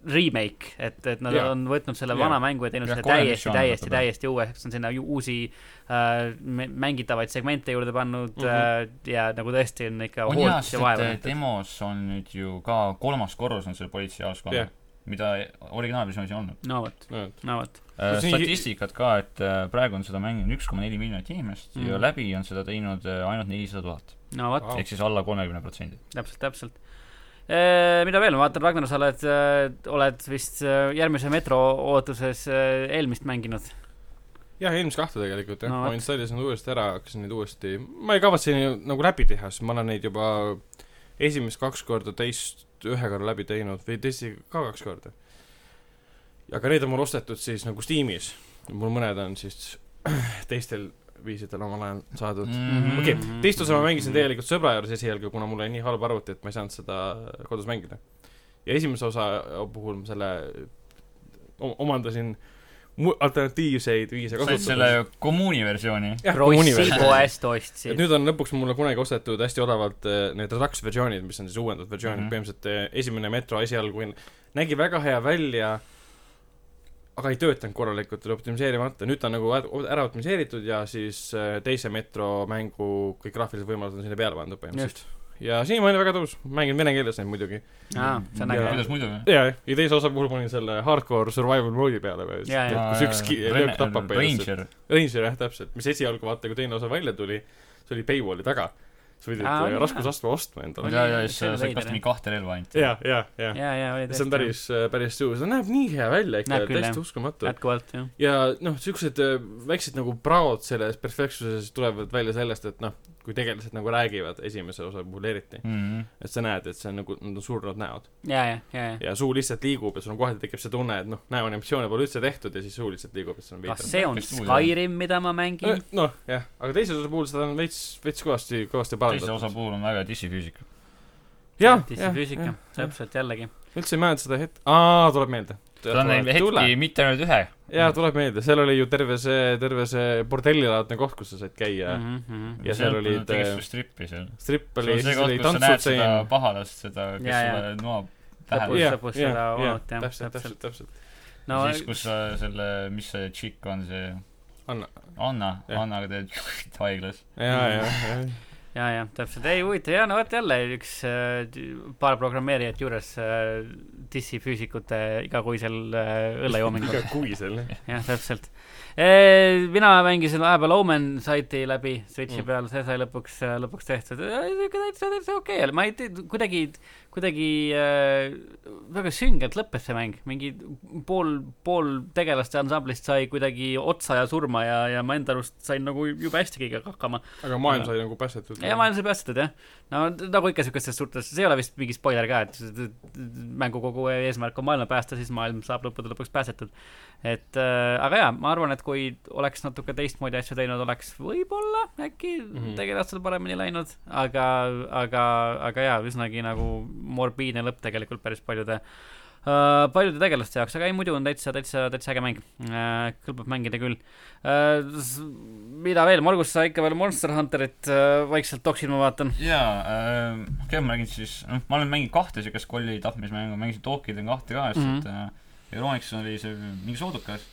remake , et , et nad Jaa. on võtnud selle Jaa. vana mängu ja teinud Jah, selle kolm täiesti , versiooni täiesti , võtab, jah. täiesti uueks , on sinna ju uusi äh, mä- mängitavaid segmente juurde pannud mm Mhm. -hmm. äh, ja nagu tõesti on ikka on hea , hoolt ja sest äh, vaeva et näinud . demos on nüüd ju ka kolmas korrus on see politseijaoskond Jah. yeah. mida originaalversioonis ei olnud . no vot , no vot . No siin- statistikat ka , et äh, praegu on seda mänginud üks koma neli miljonit inimest Mm. ja läbi on seda teinud äh, ainult nelisada tuhat . no vot , Au. ehk siis alla kolmekümne protsendi . täpselt , täpselt . mida veel , ma vaatan , Ragnar , sa oled , oled vist eh, järgmise metro ootuses eh, eelmist mänginud . jah , eelmist kahte tegelikult jah No no, , vot. ma installisin nad uuesti ära , hakkasin neid uuesti , ma ei kavatse neid nagu läbi teha , sest ma olen neid juba esimest kaks korda , teist ühe korra läbi teinud või teisi ka kaks korda . aga need on mul ostetud siis nagu Steamis , mul mõned on siis teistel viisidel omal ajal saadud mm. . Mhm. okei Mhm. okay, , teist osa ma mängisin tegelikult sõbra juures esialgu , kuna mul oli nii halb arvuti , et ma ei saanud seda kodus mängida . ja esimese osa puhul ma selle o- omandasin mu- alternatiivseid viise said selle kasutada . kommuuni versiooni . jah , rossi universum . poest ostsid et . nüüd on lõpuks mulle kunagi ostetud hästi odavalt eh, need redux versioonid , mis on siis uuendatud versioonid mm Mhm. -hmm. , põhimõtteliselt eh, esimene metro esialgu nägi väga hea välja , aga ei töötanud korralikult , oli optimiseerimata , nüüd ta on nagu ä- ära optimiseeritud ja siis eh, teise metro mängu kõik graafilised võimalused on sinna peale pandud põhimõtteliselt . ja siiamaani väga tõus , mängin vene keeles neid muidugi . aa , see on äge . kuidas muidu ? ja , ja teise osa puhul panin selle hardcore survival mode'i peale või Jaa, jaa. kus üks ki- löök tapab põhimõtteliselt . Ranger . Ranger jah , täpselt , mis esialgu vaata , kui teine osa välja tuli , see oli paywall'i taga . sa pidid Aa, on eh, jah. raskusastme ostma endale . ja , ja siis see sa oli said veider, kas mingi kahte relva ainult . ja , ja , ja, ja. . ja , ja oli see on . päris , päris suur , see näeb nii hea välja ikka Näeb , küll, jah. täiesti uskumatu . jätkuvalt , jah . ja noh , siuksed äh, väiksed nagu praod selles perfektsuses tulevad välja sellest , et noh , kui tegelased nagu räägivad esimese osa puhul eriti , Mhm. et sa näed , et see on nagu , nad on surnud näod ja , ja , ja , Ah, ja . ja suu lihtsalt liigub ja sul on kohati tekib see tunne , et noh , näoanimatsioone pole üldse tehtud ja siis suu lihtsalt liigub , et see on kas veits . see on Päris tuul, Skyrim , mida ma mängin ? noh , jah , aga teise osa puhul seda on veits , veits kõvasti , kõvasti teise osa parandatud . puhul on väga dissifüüsika . jah , füüsika , täpselt jällegi . üldse ei mäleta seda het- , aa , tuleb meelde . ta on neil hetki mitte ainult ühe . jaa , tuleb meelde , seal oli ju terve see , terve see bordellilaadne koht , kus sa said käia mm . Mhm, -hmm. Ja seal olid, äh, igasugust strippi seal . stripp see oli , on see siis koht , oli kus sa näed seda tantsutseen . pahalast , seda , Jaa, kes jaa. sulle noab Lõpus- tähele . Jah. lõpus seda olnud, jah, täpselt , täpselt. täpselt , täpselt . no siis , kus sa selle , mis see tšikk on , see Anna , Anna , Jah. Annaga teed haiglas . jaa , jaa , ja , ja täpselt , ei huvitav ja no vot jälle üks äh, paar programmeerijat juures äh, dissifüüsikute igakuisel äh, õllejoomingul , igakuisel . jah , täpselt e, . mina mängisin vahepeal Omen saiti läbi Switchi Mm. mm. peal , see sai lõpuks , lõpuks tehtud , täitsa , täitsa okei oli , ma ei tea , kuidagi , kuidagi äh, väga süngelt lõppes see mäng , mingi pool , pool tegelaste ansamblist sai kuidagi otsa ja surma ja , ja ma enda arust sain nagu jube hästi kõigega hakkama . aga maailm sai nagu päästetud . ja ma olen selle päästetud jah , no t- nagu ikka siukestes suurtes , see ei ole vist mingi spoiler ka , et s- t- mängu kogu eesmärk on maailma päästa , siis maailm saab lõppude lõpuks päästetud . et äh, aga jaa , ma arvan , et kui oleks natuke teistmoodi asju teinud , oleks võib-olla äkki mm Mhm. -hmm. tegelastel paremini läinud , aga , aga , aga jaa , üsnagi nagu morbiidne lõpp tegelikult päris paljude Uh, paljude tegelaste jaoks , aga ei , muidu on täitsa , täitsa , täitsa äge mäng uh, . kõlbab mängida küll uh, . mida veel , Margus , sa ikka veel Monster Hunterit uh, vaikselt toksid , ma vaatan . jaa , okei , ma räägin siis , noh , ma olen mänginud kahte siukest kolli tapmismängu , mängisin Tokiden kahte ka , Mhm. sest et Euronics oli see mingi soodukas .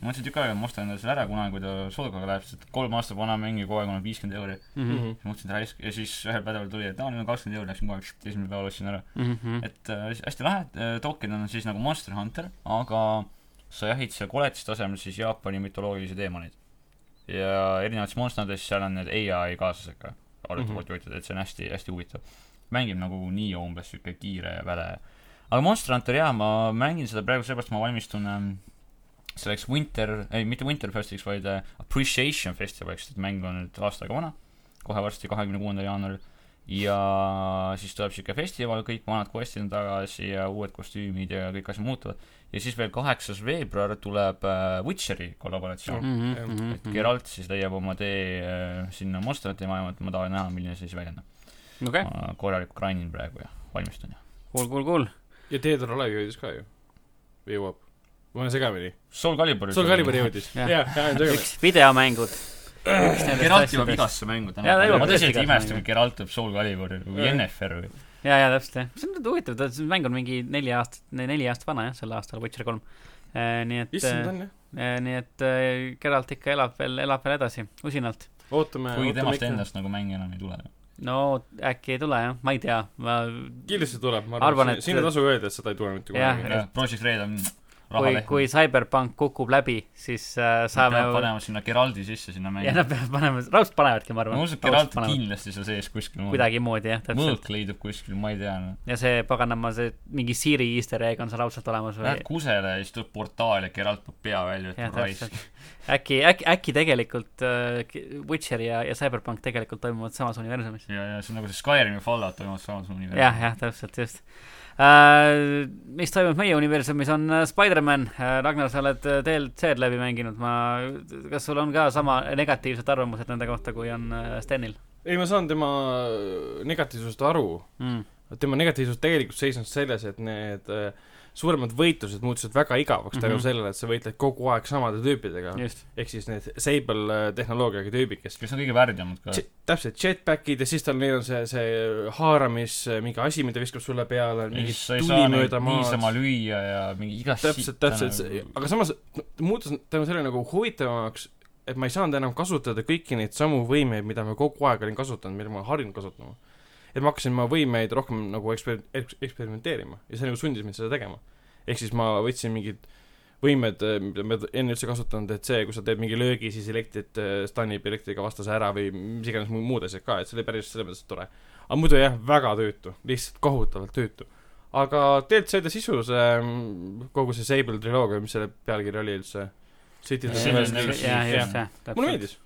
ma mõtlesin tükk aega , et ma ostan endale selle ära kunagi , kui ta soodukaga läheb , sest et kolm aastat vana mäng ja kogu aeg on viiskümmend euri . Mhm. Mhm. siis mõtlesin , et raisk- ja siis ühel päeval tuli , et aa , nüüd on kakskümmend euri , läksin kohe pšt, esimene päev ostsin ära . Mhm. et äh, hästi lahe , Tokiden on siis nagu Monster Hunter , aga sa jahid seal koletistasemel siis Jaapani mütoloogilisi teemaneid . ja erinevates monstritest seal on need ai kaaslased ka , arvatavalt juhitud , et see on hästi , hästi huvitav . mängib nagu Nio umbes , sihuke kiire ja väle . aga Monster Hunter jaa , ma mängin seda praegu sellepärast , ma valmistun ähm, selleks Winter , ei mitte Winterfestiks , vaid äh, Appreciation Festivaliks , et mäng on nüüd aasta aega vana , kohe varsti , kahekümne kuuendal jaanuaril . ja siis tuleb sihuke festival , kõik vanad quest'id on tagasi ja uued kostüümid ja kõik asjad muutuvad . ja siis veel kaheksas veebruar tuleb äh, Witcheri Mhm, kollaboratsioon mm . -hmm. Mhm. et Geralt siis leiab oma tee äh, sinna Monsterite maailma , et ma tahan näha , milline see siis välja näeb okei , ma korralikult grindin praegu ja valmistun ja . cool , cool , cool . ja Theodor Olev jõudis ka ju . või jõuab ? ma olen segamini . Soul Calibur . Soul Calibur . jõudis . Jah. jaa , jaa , segamini . üks videomängud . Geralt jõuab . igasse mängu Jaa, ta täna . jõuab ma tõesti tõsiselt igasse imestan , mängu. kui Geralt jõuab Soul Caliburi või Jah. Yennefer või . ja , ja täpselt jah , see on nüüd huvitav , ta , see mäng on mingi neli aastat , neli aastat vana jah , sel aastal , Witcher kolm . nii et , issand on jah . nii et äh, Geralt ikka elab veel , elab veel edasi , usinalt . ootame . kuigi temast . endast nagu mänge enam ei tule . no äkki ei tule jah , ma ei tea , ma kindlasti tuleb , ma Arvan, arvan , et- et siin ei tasu öelda , et seda ei tule mitte Jah, kunagi . jah , Project Red on raha kui , kui lehm . Cyberpunk kukub läbi , siis äh, saame peab panema sinna Geraldi sisse sinna ja mängu . nad peavad panema , raudselt panevadki , ma ma arvan . usun , et Geralt on kindlasti seal sees kuskil mujal . kuidagimoodi jah , täpselt . mõõk leidub kuskil , ma ei tea . noh. ja see paganama , see mingi Siri easter egg on seal raudselt olemas või Lähed ? kusele ja siis tuleb portaal ja Geralt peab pea välja jah , ütlema raisk täpselt .. äkki , äkki , äkki tegelikult äh, K- Witcher ja , ja Cyberpunk tegelikult toimuvad samas universumis . ja , ja see on nagu see Skyrim ja Fallout toimuvad samas universumis . jah , jah , täpselt , just äh, . mis toimub meie universumis , on äh, Spider-man äh, . Ragnar , sa oled äh, DLC-d läbi mänginud , ma , kas sul on ka sama negatiivsed arvamused nende kohta , kui on äh, Stenil ei , ma saan tema negatiivsusest aru , mm. ? tema negatiivsus tegelikult seisnes selles , et need äh, suuremad võitlused muutusid väga igavaks tänu Mhm. sellele , et sa võitled kogu aeg samade tüüpidega . just , ehk siis need Sable äh, tehnoloogiaga tüübid , kes kes on kõige värdjamad ka . Ch- täpselt , jetpackid ja siis tal neil on see , see haaramis , mingi asi , mida viskab sulle peale , mingi sa ei tuli saa neid mööda niisama maad . lüüa ja mingi igast täpselt , nagu täpselt , aga samas no, ta muutus tänu sellele nagu huvitavamaks , et ma ei saanud enam kasutada kõiki neid samu võimeid , mida ma kogu aeg olin kasutanud , mida ma olen harjunud kasutama . et ma hakkasin oma võimeid rohkem nagu eksper- , eks- , eksperimenteerima ja see nagu sundis mind seda tegema . ehk siis ma võtsin mingid võimed , mida ma enne üldse ei kasutanud , et see , kui sa teed mingi löögi , siis elektrit äh, stunnib elektriga vastase ära või mis iganes mu- muud asjad ka , et see oli päris selles mõttes tore . aga muidu jah , väga tüütu , lihtsalt kohutavalt tüütu . aga DLC-de sisu , see mm, kogu see Sable triloogia , mis selle pealkiri oli üldse ? City of the See on Universe nagu- Keys. jah , Jah. just , jah . mulle . meeldis ,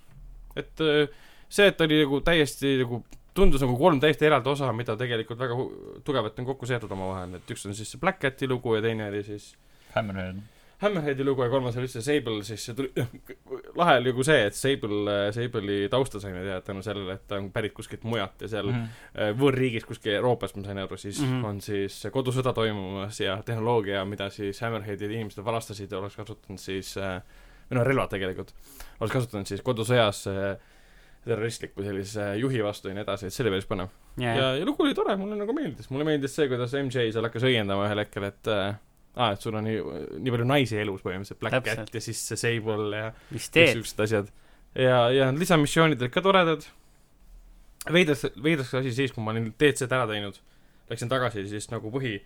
et äh, see , et oli nagu täiesti nagu tundus nagu kolm täiesti eraldi osa , mida tegelikult väga hu- tugevalt on kokku seotud omavahel , et üks on siis see Black Cati lugu ja teine oli siis Hammerhead . Hammerheadi lugu ja kolmas oli üldse Sable , siis see tuli , lahe oli nagu see , et Sable , Sable'i tausta saime teada tänu sellele , et ta on pärit kuskilt mujalt ja seal Mhm. mm -hmm. võõrriigis kuskil Euroopas , ma sain aru , siis mm Mhm. -hmm. on siis kodusõda toimumas ja tehnoloogia , mida siis Hammerheadid inimesed varastasid ja oleks kasutanud siis , või noh , relvad tegelikult , oleks kasutanud siis kodusõjas äh, terroristliku sellise juhi vastu ja nii edasi , et see oli päris põnev . jah , ja , ja lugu oli tore , mulle nagu meeldis , mulle meeldis see , kuidas MJ seal hakkas õiendama ühel hetkel , et äh, aa , et sul on nii , nii palju naisi elus põhimõtteliselt , Black Täpselt. Täpselt. Cat ja siis see Sable ja mis kõik teed ? siuksed asjad . ja , ja lisamissioonid olid ka toredad . veidras , veidras asi siis , kui ma olin DC-d ära teinud , läksin tagasi siis nagu põhi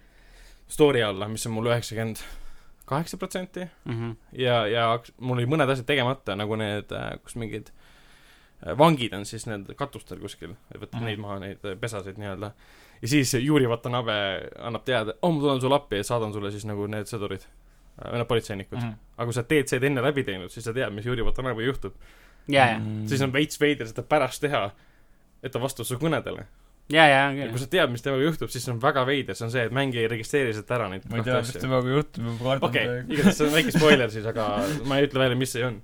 story alla , mis on mul üheksakümmend kaheksa protsenti ja , ja haks- mul oli mõned asjad tegemata , nagu need , kus mingid äh, vangid on siis need katustel kuskil , võtad Mhm. neid maha , neid äh, pesasid nii-öelda . ja siis Juri Watanabe annab teada , oh , ma tulen sulle appi ja saadan sulle siis nagu need sõdurid , või noh , politseinikud . Mhm. aga kui sa teed see enne läbi teinud , siis sa tead , mis Juri Watanabe juhtub . ja , ja , Mhm. Mm. siis on veits veider seda pärast teha , et ta vastab su kõnedele . ja , ja , ja kui ja , sa tead , mis temaga juhtub , siis on väga veider , see on see , et mängija ei registreeri seda ära neid ma ei tea , mis temaga juhtub , ma kardan okei okay, , igatahes see on väike spoiler siis , aga ma ei ütle välja , mis see on .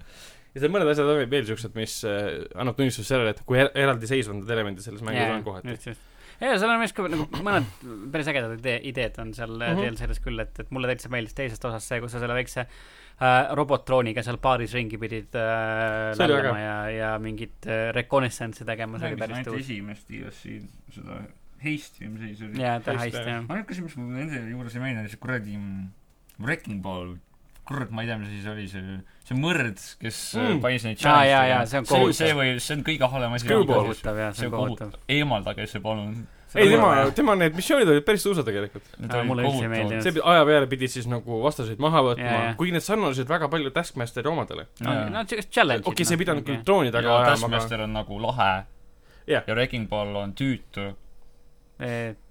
ja seal mõned asjad on veel siuksed , mis äh, annab tunnistust sellele , et kui er eraldiseisvanud elemendid selles mängus on kohati . ja seal on vist ka nagu mõned päris ägedad idee , ideed on seal mm Mhm. -hmm. DLC-des küll , et , et mulle täitsa meeldis teisest osast see , kus sa selle väikse äh, robottrooniga seal baaris ringi pidid äh, See oli lällama äge. ja , ja mingit äh, reconnaissance'i tegema , see oli päris ainult tõus . esimest DLC-d , seda Heisti või mis asi see oli . jaa , ta Just, hästi jah. jah . ainuke asi , mis mulle nende juures ei meeldinud , see kuradi mm, Wrecking Ball , kurat , ma ei tea , mis asi see oli , see , see mõrd , kes Mm. mm. pani sinna aa , jaa , jaa , see on see , kohutav . see või , see on kõige halvem see asi . on Screwball. kohutav jah , see on kohutav . eemaldage see palun . ei , tema , tema need missioonid olid päris tõusvad tegelikult . mulle üldse ei meeldinud. see pidi- aja peale pidid siis nagu vastaseid maha võtma Jaa, jaa. , kuigi need sarnanesid väga palju Taskmasteri omadele . no Jaa. no siukest challenge'it . okei , sa ei pidanud nagu küll drooni taga ja ajama , aga Taskmaster on nagu lahe Jah. ja Wrecking Ball on tüütu . küll .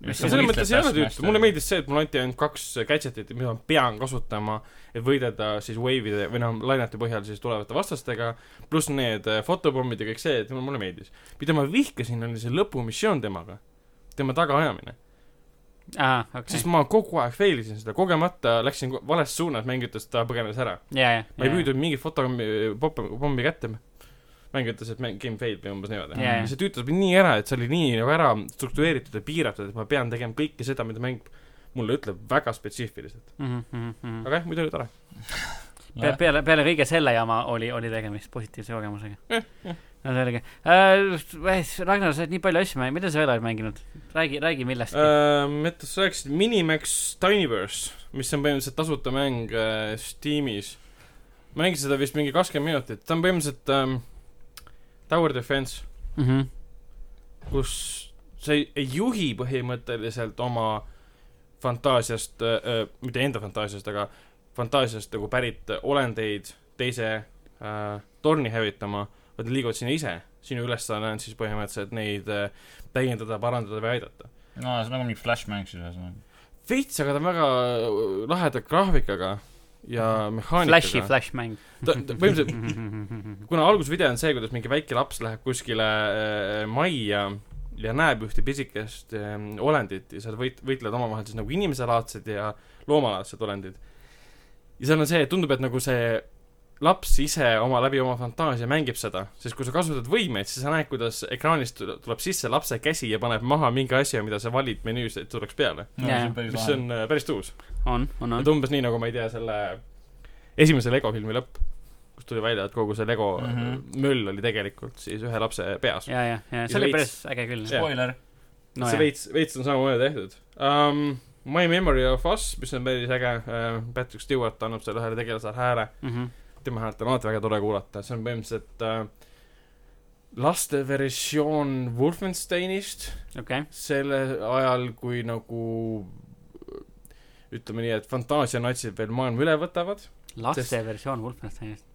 ja Sa selles võitled mõttes ei ole tüütu , Taskmasteri. mulle meeldis see , et mulle anti ainult kaks gadget'it , mida ma pean kasutama , et võidelda siis wave'ide või noh , lainete põhjal siis tulevate vastastega , pluss need äh, fotopommid ja kõik see , et mulle meeldis . mida ma vihkasin , oli see lõpumissioon temaga , tema tagaajamine . aa , okei siis . ma kogu aeg fail isin seda , kogemata läksin ko- vales suunas , mäng ütles , et ta põgenes ära . jaa , jaa . ma ei püüdnud mingit fotopommi , pommi kätte . mäng ütles , et mäng , game failed või umbes niimoodi Jaa, jaa. ja see tüütas mind nii ära , et see oli nii nagu ära struktureeritud ja piiratud , et ma pean tegema kõike seda , mida mäng mulle ütleb väga spetsiifiliselt . Mhm, püüda aga jah , muidu oli tore . Pe- peale , peale kõige selle jama oli , oli tegemist positiivse kogemusega . Jah, no selge äh, . Ragnar , sa oled nii palju asju mänginud , mida sa veel oled mänginud ? räägi , räägi millestki äh, . Ehm, et sa rääkisid Minimax Tinyverse , mis on põhimõtteliselt tasuta mäng äh, Steamis . ma nägin seda vist ehm, mingi kakskümmend minutit , ta on põhimõtteliselt ähm, Tower Defense Mm -hmm. kus sa ei, ei juhi põhimõtteliselt oma fantaasiast äh, , mitte enda fantaasiast , aga fantaasiast nagu pärit olendeid teise äh, torni hävitama , vaid nad liiguvad sinna ise . sinu ülesanne on siis põhimõtteliselt neid äh, täiendada , parandada või aidata . no see on nagu mingi flashmäng siis ühesõnaga . veits , aga ta on väga äh, laheda graafikaga ja Flashi mehaanikaga . flashmäng . ta , ta põhimõtteliselt Mhm. kuna algusvideo on see , kuidas mingi väike laps läheb kuskile äh, majja ja näeb ühte pisikest äh, olendit ja seal võit- , võitlevad omavahel siis nagu inimeselaadsed ja loomalaadsed olendid . ja seal on see , tundub , et nagu see laps ise oma , läbi oma fantaasia mängib seda , sest kui sa kasutad võimeid , siis sa näed , kuidas ekraanist tule- tuleb sisse lapse käsi ja paneb maha mingi asja , mida sa valid menüüs , et tuleks peale . no see on päris mis lahe . on äh, päris uus . on , on , on et . umbes nii , nagu ma ei tea , selle esimese Lego filmi lõpp , kus tuli välja , et kogu see Lego mm Mhm. -hmm. möll oli tegelikult siis ühe lapse peas . ja , ja , ja see see oli veits- päris äge küll . jah. Spoiler . no see veits , veits on samamoodi tehtud um, . My Memory of Us , mis on päris äge uh, , Patrick Stewart annab seal ühele tegelasele hääle , Mhm. tema häält on alati väga tore kuulata , see on põhimõtteliselt uh, laste versioon Wolfensteinist , okei , selle ajal , kui nagu ütleme nii , et fantaasianatsid veel maailma üle võtavad . laste versioon Wolfensteinist .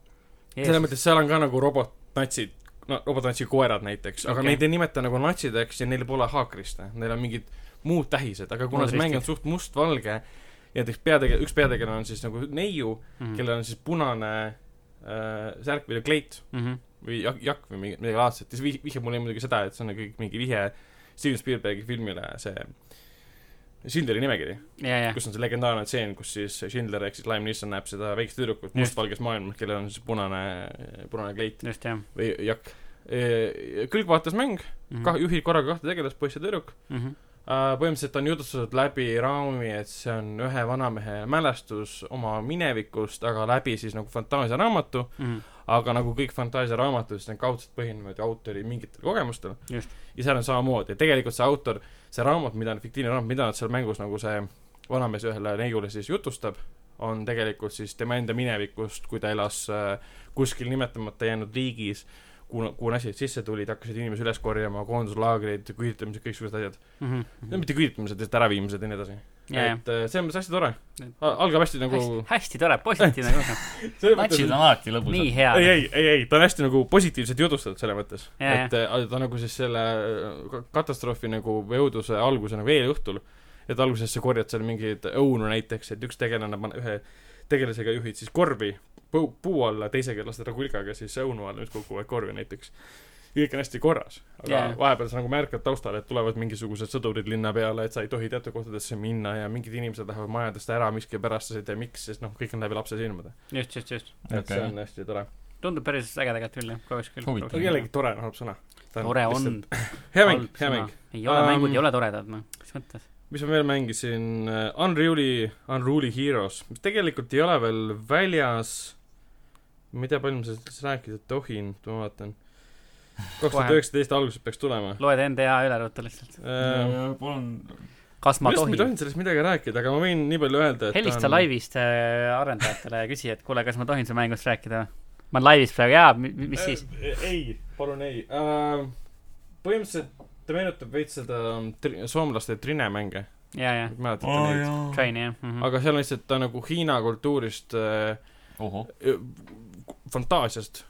selles mõttes seal on ka nagu robotnatsid , no robotnatsi koerad näiteks , aga Okei. okay. neid ei nimeta nagu natsideks ja neil pole haakriste , neil on mingid muud tähised , aga kuna see mäng on suht mustvalge ja näiteks peatege- , üks peategelane on siis nagu neiu , Mhm. kellel on siis punane äh, särk või kleit Mhm. või jak- , jakk või mingi , midagi laadset , siis vih- , vihjab mulle muidugi seda , et see on nagu kõik mingi vihje Steven Spielbergi filmile see Schindleri nimekiri , ja , ja , kus on see legendaarne tseen , kus siis Schindler ehk siis Lime Neeson näeb seda väikest tüdrukut Just. mustvalges maailmas , kellel on siis punane , punane kleit . just jah . või jakk . külgvaates mäng , Mhm. Mm. kah- ,. juhid korraga kahte tegelast , poiss ja tüdruk . põhimõtteliselt on jutustatud läbi raami , et see on ühe vanamehe mälestus oma minevikust , aga läbi siis nagu fantaasiaraamatu , Mhm. aga nagu kõik fantaasiaraamatud , siis need kaudselt põhinevad ju autori mingitel kogemustel . Just. ja seal on samamoodi , et tegelikult see autor , see raamat , mida , fiktiivne raamat , mida nad seal mängus nagu see vanamees ühele neiule siis jutustab , on tegelikult siis tema enda minevikust , kui ta elas äh, kuskil nimetamata jäänud riigis , kuhu , kuhu asjad sisse tulid , hakkasid inimesi üles korjama , koonduslaagrid , küüditamised , kõiksugused asjad . no mitte küüditamised , lihtsalt äraviimised ja nii edasi . Mhm. ja , et äh, see on hästi tore Et- . algab hästi ja nagu . hästi tore , positiivne kogemus , selles mõttes- natsid on alati nii lõbusad . hea . ei , ei , ei , ei , ta on hästi nagu positiivselt jutustatud selle mõttes . Jaa, et äh, ta nagu siis selle ka- katastroofi nagu või õuduse alguse nagu eelõhtul , et alguses sa korjad seal mingeid õunu näiteks , et üks tegelane paneb ühe tegelasega juhid siis korvi puu, puu alla , teisega lased nagu ilgaga siis õunu alla , mis kukuvad korvi näiteks . kõik on hästi korras , aga yeah. Jaa. vahepeal sa nagu märkad taustal , et tulevad mingisugused sõdurid linna peale , et sa ei tohi teatud kohtadesse minna ja mingid inimesed lähevad majadest ära miskipärast , sa ei tea miks , sest noh , kõik on läbi lapse silmade . just , just , just . et okay. see Okei. on hästi tore . tundub päris äge tegelikult küll jah , kogemus küll Huvitav. . aga jällegi tore on , halb sõna . tore on . hea mäng , hea mäng .. ei ole , mängud Um, ei ole toredad , noh , mis mõttes . mis ma veel mängisin , Unruly , Unruly Heroes , mis tegelikult ei ole veel väljas . ma ei tea , palju ma sellest rääkida tohin , ma vaatan . kaks tuhat üheksateist alguses peaks tulema . Äh, loed NDA üle ruttu lihtsalt . ma Äh, palun . kas ma just , ma ei tohin ? tohinud sellest midagi rääkida , aga ma võin nii palju öelda , et helista laivist äh, arendajatele ja küsi , et kuule , kas ma tohin su mängust rääkida või ? ma olen laivis praegu , jaa , mis siis ?? Äh, ei , palun ei . põhimõtteliselt ta meenutab veits seda ähm, tri- soomlaste Trine mänge , jaa , jaa . mäletate neid ? Train , jah . mhm. aga seal on lihtsalt ta nagu Hiina kultuurist äh, ohoh , fantaasiast ,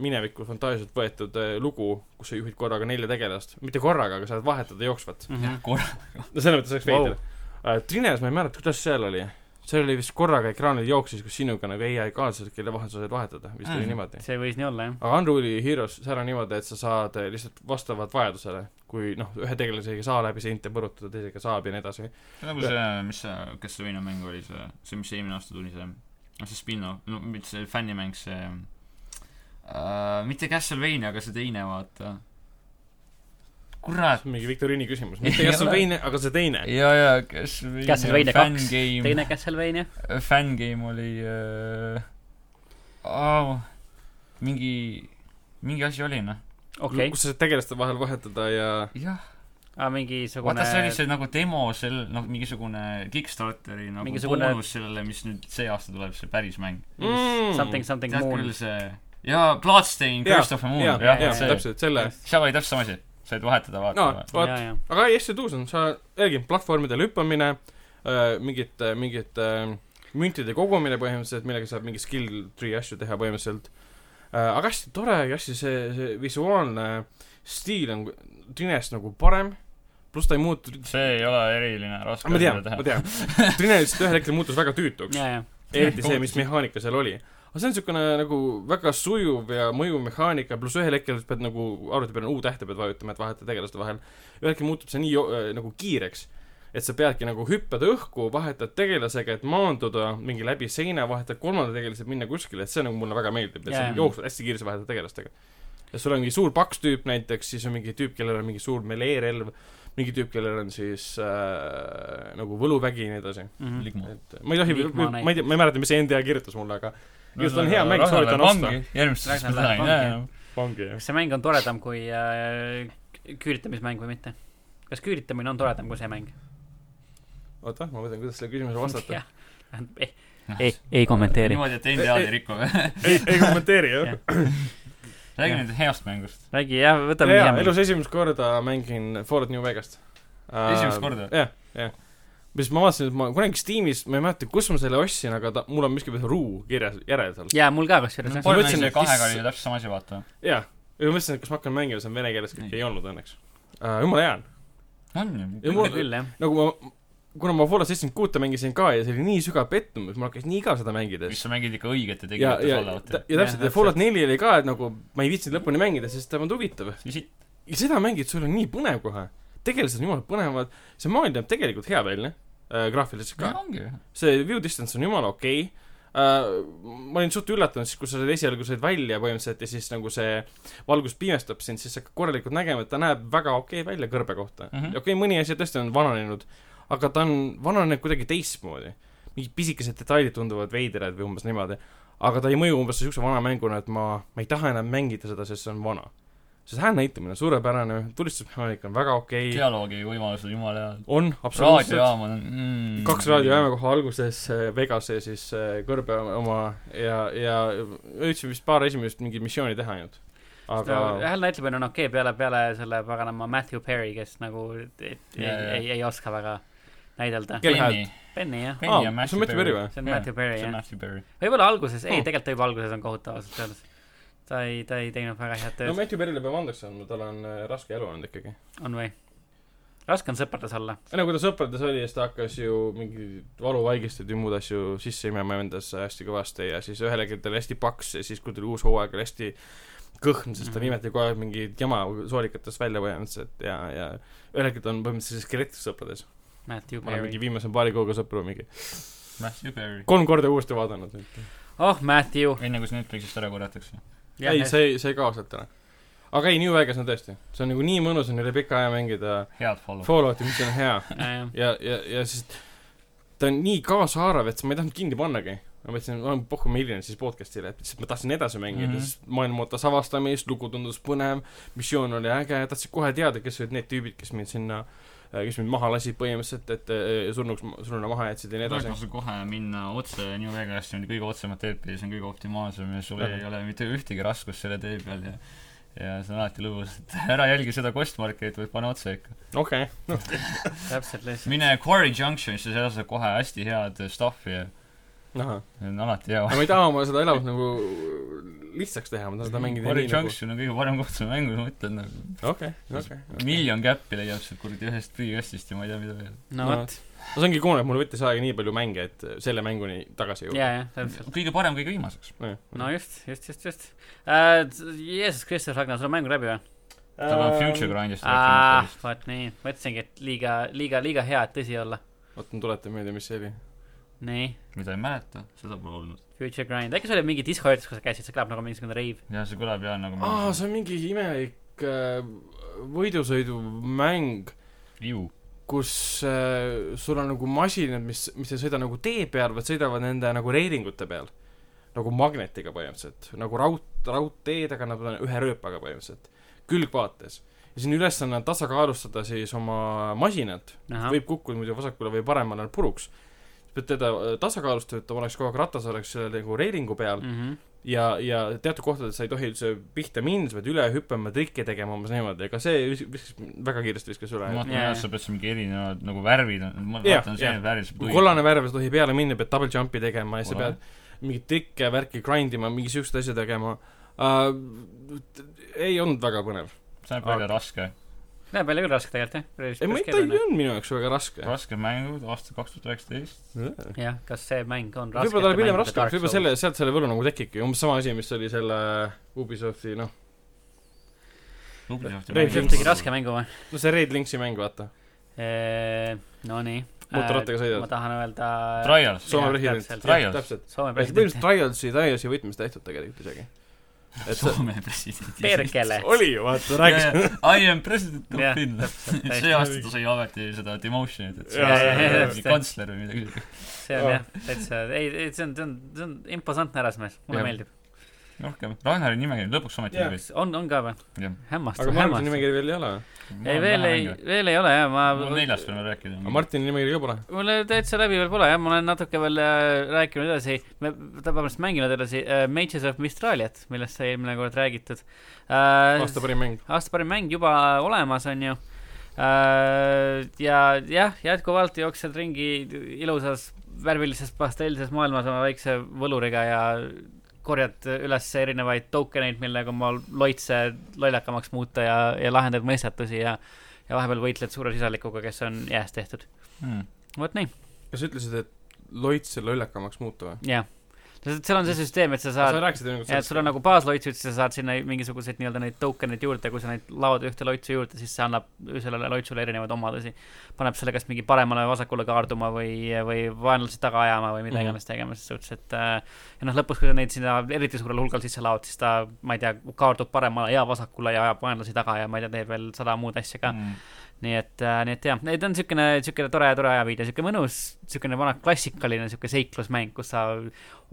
mineviku fantaasiast võetud äh, lugu , kus sa juhid korraga nelja tegelast , mitte korraga , aga saad vahetada jooksvat . aga korra- . no selles mõttes oleks Vau. veider wow. . Trines ma ei mäleta , kuidas seal oli , seal oli vist korraga ekraanil jooksis , kus sinuga nagu ei jäi kaaslased , kelle vahel sa said vahetada , vist oli Mhm. niimoodi . see võis nii olla , jah . aga Unruly Heroes , seal on niimoodi , et sa saad äh, lihtsalt vastavalt vajadusele , kui noh , ühe tegelasega ei saa läbi seinte põrutada , teisega saab ja nii edasi . see on nagu see , mis see , kas see Veino mäng oli see , see , mis eelmine aasta tuli , see , noh see spin-off , no mitte see fännimäng , see äh, mitte Castlevania , aga see teine , vaata . kurat . see on mingi Viktoriini küsimus , Ah. Ei mitte Castlevania , aga see teine . ja , ja Castlevania . Castlevania kaks , fängame teine Castlevania . fängame oli äh, oh, mingi , mingi asi oli noh , okei , kus sa saad tegelaste vahel vahetada ja jah , aga mingisugune vaata see oli see nagu demo sel- , noh mingisugune Kickstarteri nagu Mingisugune- mingisugune... boonus sellele , mis nüüd see aasta tuleb , see päris mäng . Mm. something something tead moon küll see , jaa , Bloodstain , Jaa, Curse of a Moon , jaa , jah jaa , see , täpselt selle , seal oli täpselt sama asi . said vahetada , vaatama No. no. . Vaat- ja , ja , aga ei , hästi tuus on , sa , jällegi platvormidel hüppamine , mingid , mingid äh, müntide kogumine põhimõtteliselt , millega saab mingi skill tree asju teha põhimõtteliselt . aga hästi tore , hästi see , see visuaalne stiil on Trinest nagu parem , pluss ta ei muutu , see ei ole eriline raske Ah, ma tean , ma . tean , Trine lihtsalt ühel hetkel muutus väga tüütuks . ja , ja , eriti see , mis mehaanika seal oli . aga see on niisugune nagu väga sujuv ja mõjuv mehaanika , pluss ühel hetkel sa pead nagu arvuti peal U-tähte pead vajutama , et vahetada tegelaste vahel . ühel hetkel muutub see nii jo- äh, nagu kiireks , et sa peadki nagu hüppad õhku , vahetad tegelasega , et maanduda mingi läbi seina , vahetad kolmanda tegelasega , minna kuskile , et see nagu mulle väga meeldib , et sa Jaa. jooksvad hästi kiiresti , vahetad tegelastega . ja sul on mingi suur paks tüüp näiteks , siis on mingi tüüp , kellel on mingi suur meleerelv , mingi tüüp , kellel on siis äh, nagu võluvägi ja nii edasi . mhm. Ligmo . et ma ei tohi , Ligma ma ei tea , ma ei mäleta , mis see NDA kirjutas mulle , aga just on hea mäng, soovitan osta. järgmist Rasel asja läheb ei vangi. näe enam . pange jah . kas see mäng on toredam kui äh, kü- küüritamismäng või mitte ? kas küüritamine on toredam kui see mäng ? oota , ma mõtlen , kuidas selle küsimusele vastata . ei , ei , ei kommenteeri . niimoodi , et NDA-d ei riku . ei , ei kommenteeri Jah. jah . räägi nüüd heast mängust . räägi jah , võtame jaa , hiljem . elus esimest korda mängin Ford New Vegast . Esimest korda? jah , jah . mis ma vaatasin , et ma kunagi Steamis , ma ei mäleta , kus ma selle ostsin , aga ta , mul on miskipärast ruu kirjas , järel seal . jaa , mul ka kusjuures jah . pole- kolm mõtlesin, mängu et kahega mis- oli ju täpselt sama asi , vaata . jah , ja ma mõtlesin , et kas ma hakkan mängima , see on vene keeles , kõik Ei. ei olnud õnneks . jumala hea on . on Ja ju mul- . küll jah . nagu ma , kuna ma Fallout seitsekümmend kuute mängisin ka ja see oli nii sügav pettumus , mul hakkas nii igav seda mängides mis . sa mängid ikka õigete ja , tegijate ja , sollavate . ja täpselt , Jah, ja Fallout neli oli ka , et nagu ma ei viitsinud lõpuni mängida , sest ta ei olnud huvitav . siit , ja seda mängid , sul on nii põnev kohe . tegelased on jumala põnevad , see maailm näeb tegelikult hea välja äh, , graafiliselt ka . ongi . see view distance on jumala okei okay. äh, . ma olin suht üllatunud siis , kui sa selle esialgu said välja põhimõtteliselt ja siis nagu see valgus pimestab sind , siis sa hakkad korralikult nägema , et ta näeb väga okei okay välja kõrbe kohta mm Mhm. -hmm. . okei okay, , mõni asi tõesti on vananenud , aga ta on vananenud kuidagi teistmoodi . mingid pisikesed detailid tunduvad veiderad või umbes niimoodi . aga ta ei mõju umbes niisuguse vana mänguna , et ma , ma ei taha enam mängida seda , sest see on vana . see hääl näitamine on suurepärane , tulistusmehaanika on väga okei okay, , dialoogi võimalused , jumala hea . on absoluutselt raadiojaam on mm, kaks raadiojaama . kohe alguses äh, Vegas ja siis äh, kõrbe oma ja , ja üldse vist paar esimest mingi missiooni teha ainult . aga hääl näitlemine on okei okay, peale , peale selle paganama Matthew Perry , kes nagu et- et- ei Jaa, , jaa. ei , ei oska väga näidelda . Kelle Penny , Penny jah , Penny Aa, ja see on Matthew Perry või? see on Matthew Perry see on jah . Matthew Perry . võib-olla alguses , ei Oh. tegelikult ta juba alguses on kohutav ausalt öeldes . ta ei , ta ei teinud väga head no tööd , Matthew Perry'le peab andeks andma , tal on äh, raske elu olnud ikkagi . on või ? raske on sõprades olla . enne kui ta sõprades oli , siis ta hakkas ju mingi valuvaigisteid ja muud asju sisse imema endasse hästi kõvasti ja siis ühel hetkel ta oli hästi paks ja siis , kui tuli uus hooaeg , oli hästi kõhn , sest ta Mhm. nimetati kogu aeg mingit jama soolikatest välja põhimõtteliselt ja , ja ühel hetkel ta on põhimõtteliselt skelett sõprades . Matthew ma olen mingi Perry . viimase paari kuuga sõpru mingi Matthew Perry . kolm korda uuesti vaadanud . oh , Matthew . enne kui see Netflixist ära korjatakse . ei , see ei , see ei kao sealt ära . aga ei , New Vegas on tõesti , see on nagu nii mõnus on üle pika aja mängida head follow . Fallouti , mis on hea jah , ja , ja , ja siis ta on nii kaasahaarav , et ma ei tahtnud kinni pannagi . ma mõtlesin , ma olen pohhu miljon siis podcast'ile , et lihtsalt ma tahtsin edasi mängida mm , Mhm. -hmm. sest maailm ootas avastamist , lugu tundus põnev , missioon oli äge , tahtsin kohe teada , kes olid need tüübid , kes mind sinna , kes mind maha lasid põhimõtteliselt , et eh, surnuks , surnuna maha jätsid ja nii edasi . tahetakse kohe minna otse New Vegas'i , on kõige otsemat teed pidi , see on kõige optimaalsem ja sul ei Mhm. ole mitte ühtegi raskust selle tee peal ja ja see on alati lõbus , et ära jälgi seda kostmarkerit , vaid pane otse ikka . okei , täpselt lihtsalt . mine Quarry Junctionisse , seal saad kohe hästi head stuff'i ja ahah . see on alati hea . aga ma ei taha oma seda elavust nagu lihtsaks teha , ma tahan seda mängida Quarry nii nagu Junction on kõige parem koht seda mängu , ma ütlen nagu . okei , okei . miljon käppi leiab sealt kuradi ühest prügikastist ja ma ei tea , mida veel . no No vot , no see ongi kuulnud , et mul võttis aega nii palju mänge , et selle mänguni tagasi jõuda ja , ja täpselt . kõige parem kõige viimaseks . yeah. . no just , just , just , just uh, . Jeesus Kristus , Ragnar , sul on mäng läbi või ? Äh, tal on Future . Grindist aa rääkinud , vot nii , mõtlesingi , et liiga , liiga , liiga hea , et tõsi olla . oota , ma tuletan meelde , mis see oli . nii , mida ei mäleta , seda pole olnud . Future Grind , äkki see oli mingi Discordis , kus sa käisid , see kõlab nagu mingisugune reiv . ja see kõlab jah nagu aa , see on mingi imelik äh, võidusõidumäng , ju . kus äh, sul on nagu masinad , mis , mis ei sõida nagu tee peal , vaid sõidavad nende nagu reeringute peal . nagu magnetiga põhimõtteliselt , nagu raud , raudteed , aga nad on ühe rööpaga põhimõtteliselt , külgvaates . ja sinu ülesanne on tasakaalustada siis oma masinat võib kukkuda muidu vasakule või paremale Mhm. puruks . sa pead teda äh, tasakaalustama , et ta oleks kogu aeg ratas oleks selle nagu reilingu peal mm. , ja , ja teatud kohtades sa ei tohi üldse pihta minna , sa pead üle hüppama , trikke tegema umbes niimoodi , aga see vis- viskas , väga kiiresti viskas üle ma . vaatan Jaa. jah , sa pead siin mingi erinevad nagu värvid on , ma Jah, vaatan see jah. värvid . kui kollane värv , sa tohi peale minna , pead double jump'i tegema ja sa Kollane. pead mingeid trikke , värki grind ima , mingi siukseid asju tegema uh, . ei olnud väga põnev . see on väga raske , näeb välja küll raske tegelikult ei , ma ei , ta ei jah . olnud minu jaoks väga raske . raske mängud aastal kaks tuhat üheksateist . jah , kas see mäng on raske ? võib-olla ta läheb hiljem raskemaks , võib-olla selle , sealt selle võlu nagu tekibki , umbes sama asi , mis oli selle äh, Ubisofti , noh , Ubisofti Rail Rail Rail mängud. Soft Softiga Softiga raske mängu või ? no see Raid Linksi mäng , vaata . Nonii . Mootorrattaga sõidad. Äh, ma tahan öelda . Trials , Soome Jah, president täpselt. , Trials. täpselt . Soome põhimõtteliselt president . Trialsi , Trialsi võtmes tehtud tegelikult isegi . et see Soome president . Perkele . oli ju , vaata , rääkis . I am president of Jah, Finland . see aasta ta sai ometi seda demotion'it , et Jaa, jaa, jaa, see on just, jah. kantsler või midagi . see on jah , täitsa , ei , ei , see on , see on , see on imposantne härrasmees , mulle Jah. meeldib . rohkem , Ragnari nimekiri lõpuks ometi Jah. tuli . on , on ka või ? jah . hämmastav , aga Martini hämmastav . nimekiri veel ei ole . ei , veel ei , veel ei ole jah , ma mul on neljast veel rääkida . aga Martini nimekiri ka pole . mul täitsa läbi veel pole jah , ma olen natuke veel äh, rääkinud edasi , me tavaliselt mänginud edasi äh, Mages of Mistraliat , millest sai eelmine kord räägitud äh, . aasta parim mäng . aasta parim mäng juba olemas , on ju . ja jah , jätkuvalt jooksed ringi ilusas värvilises pastellises maailmas oma väikse võluriga ja korjad üles erinevaid tokeneid , millega oma loitse lollakamaks muuta ja , ja lahendad mõistatusi ja , ja vahepeal võitled suure sisalikuga , kes on jääst tehtud . vot nii , kas sa ütlesid , et loits selle üllakamaks muutu või ? jah . seal on see süsteem , et sa sa saad rääkisid nagu ja et sul on . nagu baasloitsuid , siis sa saad sinna mingisuguseid nii-öelda neid token'eid juurde , kui sa neid laod ühte loitsu juurde , siis see annab sellele loitsule erinevaid omadusi . paneb selle kas mingi paremale või vasakule kaarduma või , või vaenlase taga ajama või mida Mhm. iganes tegema , ses suhtes , et äh, ja noh , lõpus , kui sa neid sinna eriti suurel hulgal sisse laod , siis ta , ma ei tea , kaardub paremale ja vasakule ja ajab vaenlasi taga ja ma ei tea , teeb veel sada muud asja ka . nii et , nii et jah , ei ta on niisugune , niisugune tore , tore ajaviide , niisugune mõnus , niisugune vana klassikaline niisugune seiklusmäng , kus sa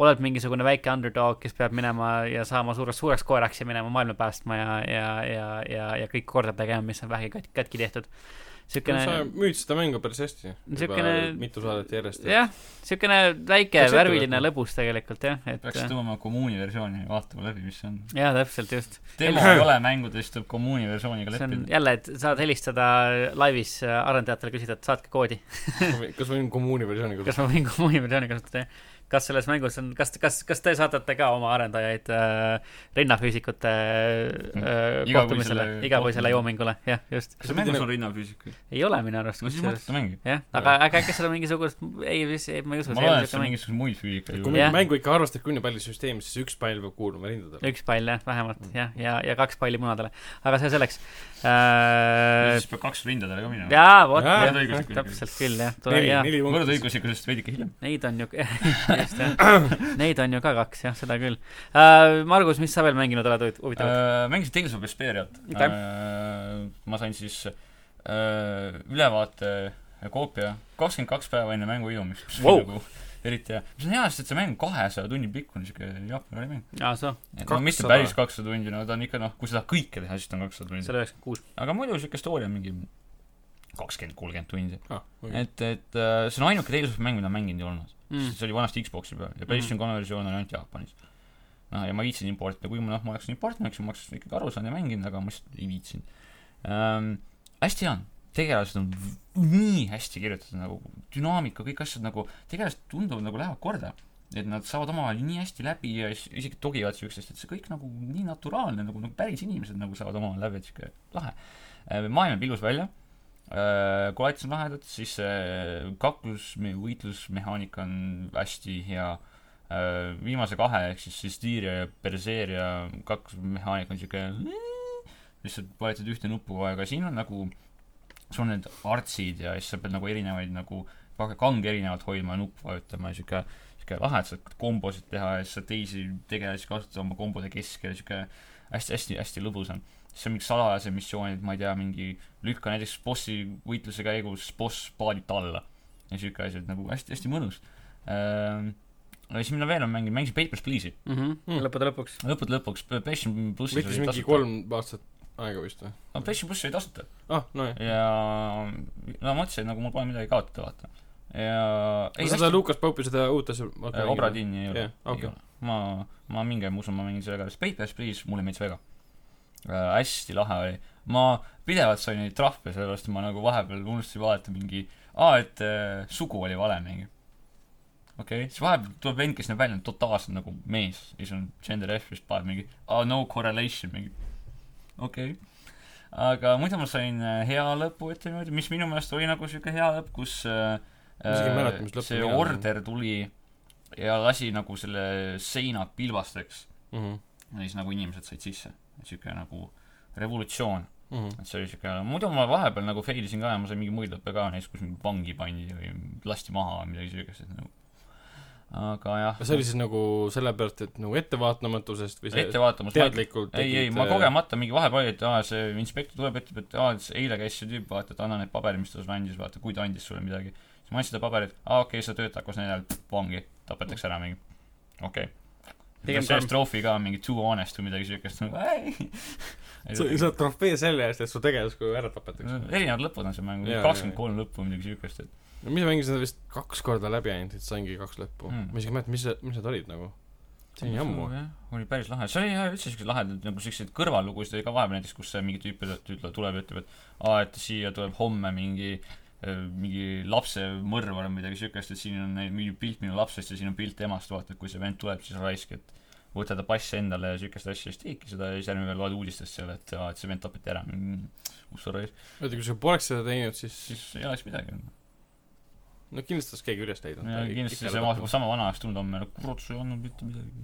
oled mingisugune väike underdog , kes peab minema ja saama suureks , suureks koeraks ja minema maailma päästma ja , ja , ja , ja , ja kõik korda tegema , mis on vähegi kat- katki tehtud . sa niisugune , müüd seda mängu päris hästi . Siukene- mitu saadet järjest . jah , niisugune väike Peaks ette värviline võtma. lõbus tegelikult jah , et peaks tõmbama kommuuni versiooni ja vaatama läbi , mis see on . jaa , täpselt just . demo ei ole mängudes , tuleb kommuuni versiooniga see on leppida . jälle , et saad helistada laivis äh, arendajatele , küsida , et saatke koodi . kas ma võin kommuuni versiooni kas kasutada ? ma võin kommuuni versiooni kasutada , jah ? kas selles mängus on , kas , kas , kas te saatate ka oma arendajaid äh, rinnafüüsikute äh, Igakuisele kohtumisele , kohtumisele. igakuisele joomingule , jah , just . Mhm. kas see mängus on rinnafüüsika ? ei ole minu arust no siis kusjuures , mõtleta mängi . jah , aga , aga äkki seal on mingisugust , ei , ei , ma ei usu , see ma ei ole loen , et see on niisugune mäng . mingisugune muid füüsikaid . Jah. kui mingit mängu ikka arvestad kümne palli süsteemis , siis üks pall peab kuuluma rindadele . üks pall jah , vähemalt Mm. jah , ja , ja kaks palli munadele , aga see selleks Ja äh, . siis peab kaks rindadele ka minema . jaa , vot , Jaa, jah , võrdõiguslikkus. täpselt küll jah , tore neli , jaa , neli punkti . võrdõiguslikkusest veidike hiljem . neid on ju , just jah , neid on ju ka kaks jah , seda küll äh, . Margus , mis sa veel mänginud oled huvit- huvitavat ? mängisin Tales of Vesperiat Okei. . ma sain siis äh, ülevaate koopia kakskümmend kaks päeva enne mängu ilumist , mis Wow. oli nagu eriti hea . see on hea , sest et see mäng on kahesaja tunni pikkune , siuke jaapani mäng . Äh, aa , soo , no mitte 200. päris kakssada tundi , no ta on ikka noh , kui sa tahad kõike teha , siis ta on kakssada tundi . seal üheksakümmend kuus . aga muidu siuke story on mingi kakskümmend , kolmkümmend tundi . aa , et , et äh, see on ainuke Tales of mäng , mida ma mänginud ei olnud mm. . see oli vanasti Xbox'i peal ja PlayStation kolme versioon oli ainult Jaapanis . noh , ja ma viitsin importida , kui ma noh , ma oleks importinud , eks ju , ma oleks ikkagi aru saanud ja mänginud , aga ma lihtsalt ei viitsinud ähm, . hästi hea on , tegelased on v- nii hästi kirjutatud nagu , dünaamika , kõik asjad nagu , tegelased tunduvad nagu lähevad korda et nad saavad omavahel nii hästi läbi ja is- isegi togivad siuksest , et see kõik nagu nii naturaalne nagu , nagu päris inimesed nagu saavad omavahel läbi , et siuke lahe . maailm jääb ilus välja , koletid on lahedad , siis see kaklus , võitlusmehaanika on hästi hea . Äh, viimase kahe ehk siis , siis Tiiria ja Berseeria kaklusmehaanika on siuke , lihtsalt vajutad ühte nuppu kogu aeg , aga siin on nagu , sul on need artsid ja siis sa pead nagu erinevaid nagu , kange erinevalt hoidma ja nuppu vajutama ja siuke , siuke lahe , et saad kombosid teha ja siis saad teisi tegelasi kasutada oma kombode keskel , siuke hästi-hästi-hästi lõbus on . siis on mingid salajased missioonid , ma ei tea , mingi lükka näiteks bossi võitluse käigus boss paadib ta alla . ja siuke asi , et nagu hästi-hästi mõnus . Äh, ja siis mida veel on mänginud , mängisin Papers , Please'i . mm. Mm. lõppude lõpuks . lõppude lõpuks PlayStation plussis võttis mingi . kolm aastat aega vist või ? no PlayStation pluss oli tasuta ah , nojah . ja no ma mõtlesin , et nagu mul pole midagi kaotada , vaata . ja sa seda Lukas Paupi seda uut asja Äh, Obradini ei ole Jah, okei. . ma , ma mingi aeg , ma usun , ma mängin selle ära , Space Pass Please , mulle meeldis väga äh, . hästi lahe oli , ma pidevalt sain neid trahve , sellepärast et ma nagu vahepeal unustasin vaadata mingi , aa , et äh, sugu oli vale mingi . okei okay. , siis vahepeal tuleb vend , kes näeb välja totaalselt nagu mees ja siis on gender F ja siis paneb mingi , aa , no correlation mingi , okei okay. aga muidu ma sain äh, hea lõpu , ütleme niimoodi , mis minu meelest oli nagu siuke hea lõpp , kus äh, Ma isegi ei mäleta, mis lõpp see mina olen. order tuli ja lasi nagu selle seina pilvasteks mm . ja siis nagu inimesed said sisse . siuke nagu revolutsioon , -hmm. et see oli siuke , muidu ma vahepeal nagu fail isin ka ja ma sain mingi muid lõppe ka näiteks , kus mind vangi pandi või lasti maha või midagi siukest , et nagu aga jah . see oli siis nagu sellepärast , et nagu ettevaatamatusest või see ettevaatamus . teadlikult äh, ei , ei , ma kogemata mingi vahepeal , et aa , see inspektor tuleb , ütleb , et aa , et eile käis see tüüp , vaata , et anna need paberid , mis ta sulle andis , vaata , kui ta andis sulle midagi . siis ma andsin talle paberid , aa , okei okay, , sa töötad koos neljal , vangi , tapetakse ära mingi , okei okay. . Pigem see karm. stroofi ka mingi too honest või midagi siukest , nagu, sa ei . saad trofee selle eest , et su tegevuskuju ära tapetakse . erinevad lõpud on seal mängus Jaa, , kakskümmend kolm lõppu või midagi siukest , et no mina mängisin seda vist kaks korda läbi ainult , et saingi kaks lõppu Mm. mm. . ma isegi ei mäleta , mis , mis need olid nagu . see oli nii ammu . oli päris lahe , see oli jah üldse siukseid lahedaid nagu siukseid kõrvallugusid oli ka vahepeal näiteks , kus see mingi tüüp ütleb , ütleb , tuleb ja ütleb , et aa , et siia tuleb homme mingi äh, mingi lapsemõrvar või midagi siukest , et siin on neil mingi pilt minu lapsest ja siin on pilt emast , vaata , et kui see vend tuleb , siis raisk , et võta ta pass endale ja siukest asja , siis teedki seda ja siis järgmine päev loed uudistest seal , et aa , et see vend tapeti ära mm, . kus sa raisk , oota , kui sa poleks seda teinud , siis siis ei oleks midagi . no kindlasti oleks keegi üles leidnud . ja kindlasti see sama , sama vana oleks tulnud homme , kurat , sa ei andnud mitte midagi .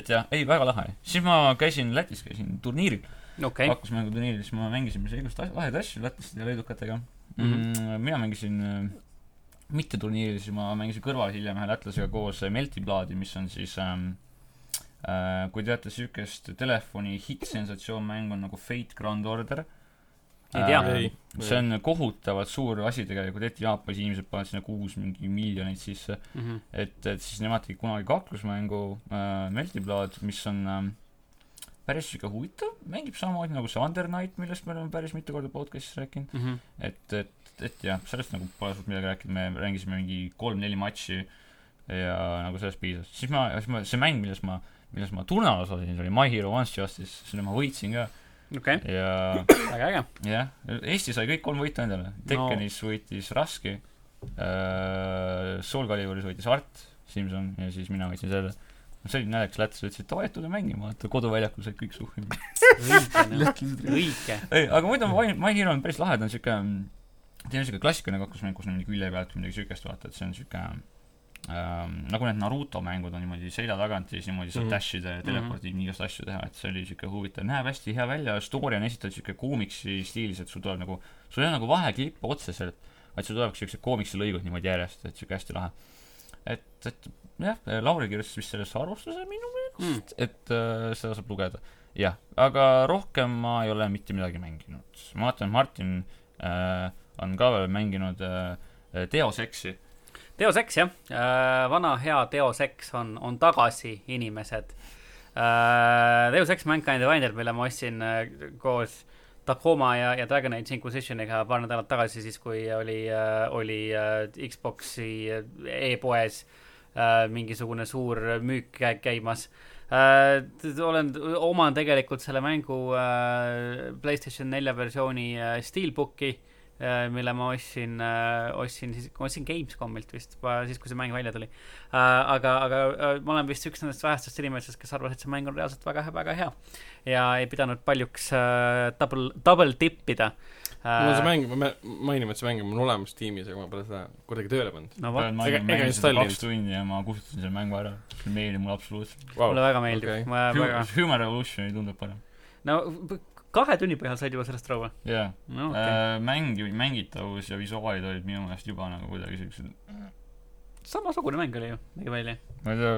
et jah , ei , väga lahe . siis ma käisin Lätis , käisin turniiril okei okay. ,, hakkusmänguturniiril , siis ma mängisin mis igast as- lahedaid asju lätlaste ja leedukatega mm . Mhm. -hmm. mina mängisin äh, mitte turniiril , siis ma mängisin kõrval hiljem ühe lätlasega koos äh, Meltiblaadi , mis on siis ähm, äh, kui teate siukest telefoni hitt-sensatsioonmängu nagu Fate Grand Order . Ei tea. Ei. see on kohutavalt suur asi tegelikult , et Jaapanis inimesed panevad sinna kuus mingi miljoneid sisse . et , et siis nemad tegid kunagi kaklusmängu äh, Meltiblaad , mis on äh, päris sihuke huvitav , mängib samamoodi nagu see Undernight , millest me oleme päris mitu korda podcast'is rääkinud , et , et , et jah , sellest nagu pole suurt midagi rääkida , me mängisime mingi kolm-neli matši ja nagu sellest piisas , siis ma , siis ma , see mäng , milles ma , milles ma turnal osalesin , see oli My Hero Once Justice , selle ma võitsin ka okei , ja väga äge . jah , Eesti sai kõik kolm võitu endale , Tekkenis no. võitis Raski äh, , Soul Caliburis võitis Art Simson ja siis mina võitsin selle . no see oli naljakas , lätlased ütlesid , et davai , tulge mängima , et koduväljakul said kõik suhtlema . õige . ei , aga muidu My , My Hero on päris lahe , ta on siuke , teil on siuke klassikaline kaklusmäng , kus on mingi külje pealt või midagi siukest , vaata , et see on siuke ähm, nagu need Naruto mängud on niimoodi selja tagant ja siis niimoodi saad Mhm. mm -hmm. dash ida ja teleportida mm -hmm. igast asju teha , et see oli siuke huvitav , näeb hästi hea välja , story on esitatud siuke koomiksi stiilis , et sul tuleb nagu , sul ei ole nagu vaheklippe otseselt , vaid sul tulevad siuksed koomiksi lõigud niimoodi järjest , et siuke hästi lahe . et , et jah , Lauri kirjutas vist sellesse arvustuse minu meelest mm. , et äh, seda saab lugeda . jah , aga rohkem ma ei ole mitte midagi mänginud . ma vaatan , Martin äh, on ka veel mänginud äh, Deus Exi . Deus Ex jah , vana hea Deus Ex on , on tagasi , inimesed . Deus Ex Mankind Divinal , mille ma ostsin äh, koos Tacoma ja , ja Dragon Age Inquisitioniga paar nädalat tagasi , siis kui oli , oli äh, Xbox'i e-poes äh, mingisugune suur müük kä- käimas . olen , oman tegelikult selle mängu äh, Playstation nelja versiooni äh, Steelbooki äh, mille ma ostsin , ostsin siis , ostsin Gamescomilt vist , siis kui see mäng välja tuli . aga , aga äh, ma olen vist üks nendest vähestest inimestest , kes arvas , et see mäng on reaalselt väga , väga hea . ja ei pidanud paljuks äh, double , double tippida . Äh, mul on see mäng , ma mä- mainime , et see mäng on mul olemas tiimis , aga ma pole seda kuidagi tööle pannud . no vot , ma ega- olin ega mänginud seda installist. kaks tundi ja ma kustutasin selle mängu ära . see meeldib mulle absoluutselt . Vau , mulle väga meeldib okei. okay. , ma Äh, väga , Human Revolutioni tundub parem . no p- kahe tunni põhjal said juba sellest raua . jaa . no okei okay. , Äh, mäng , mängitavus ja visuaalid olid minu meelest juba nagu kuidagi siuksed , samasugune mäng oli ju , nägi välja . ma ei tea ,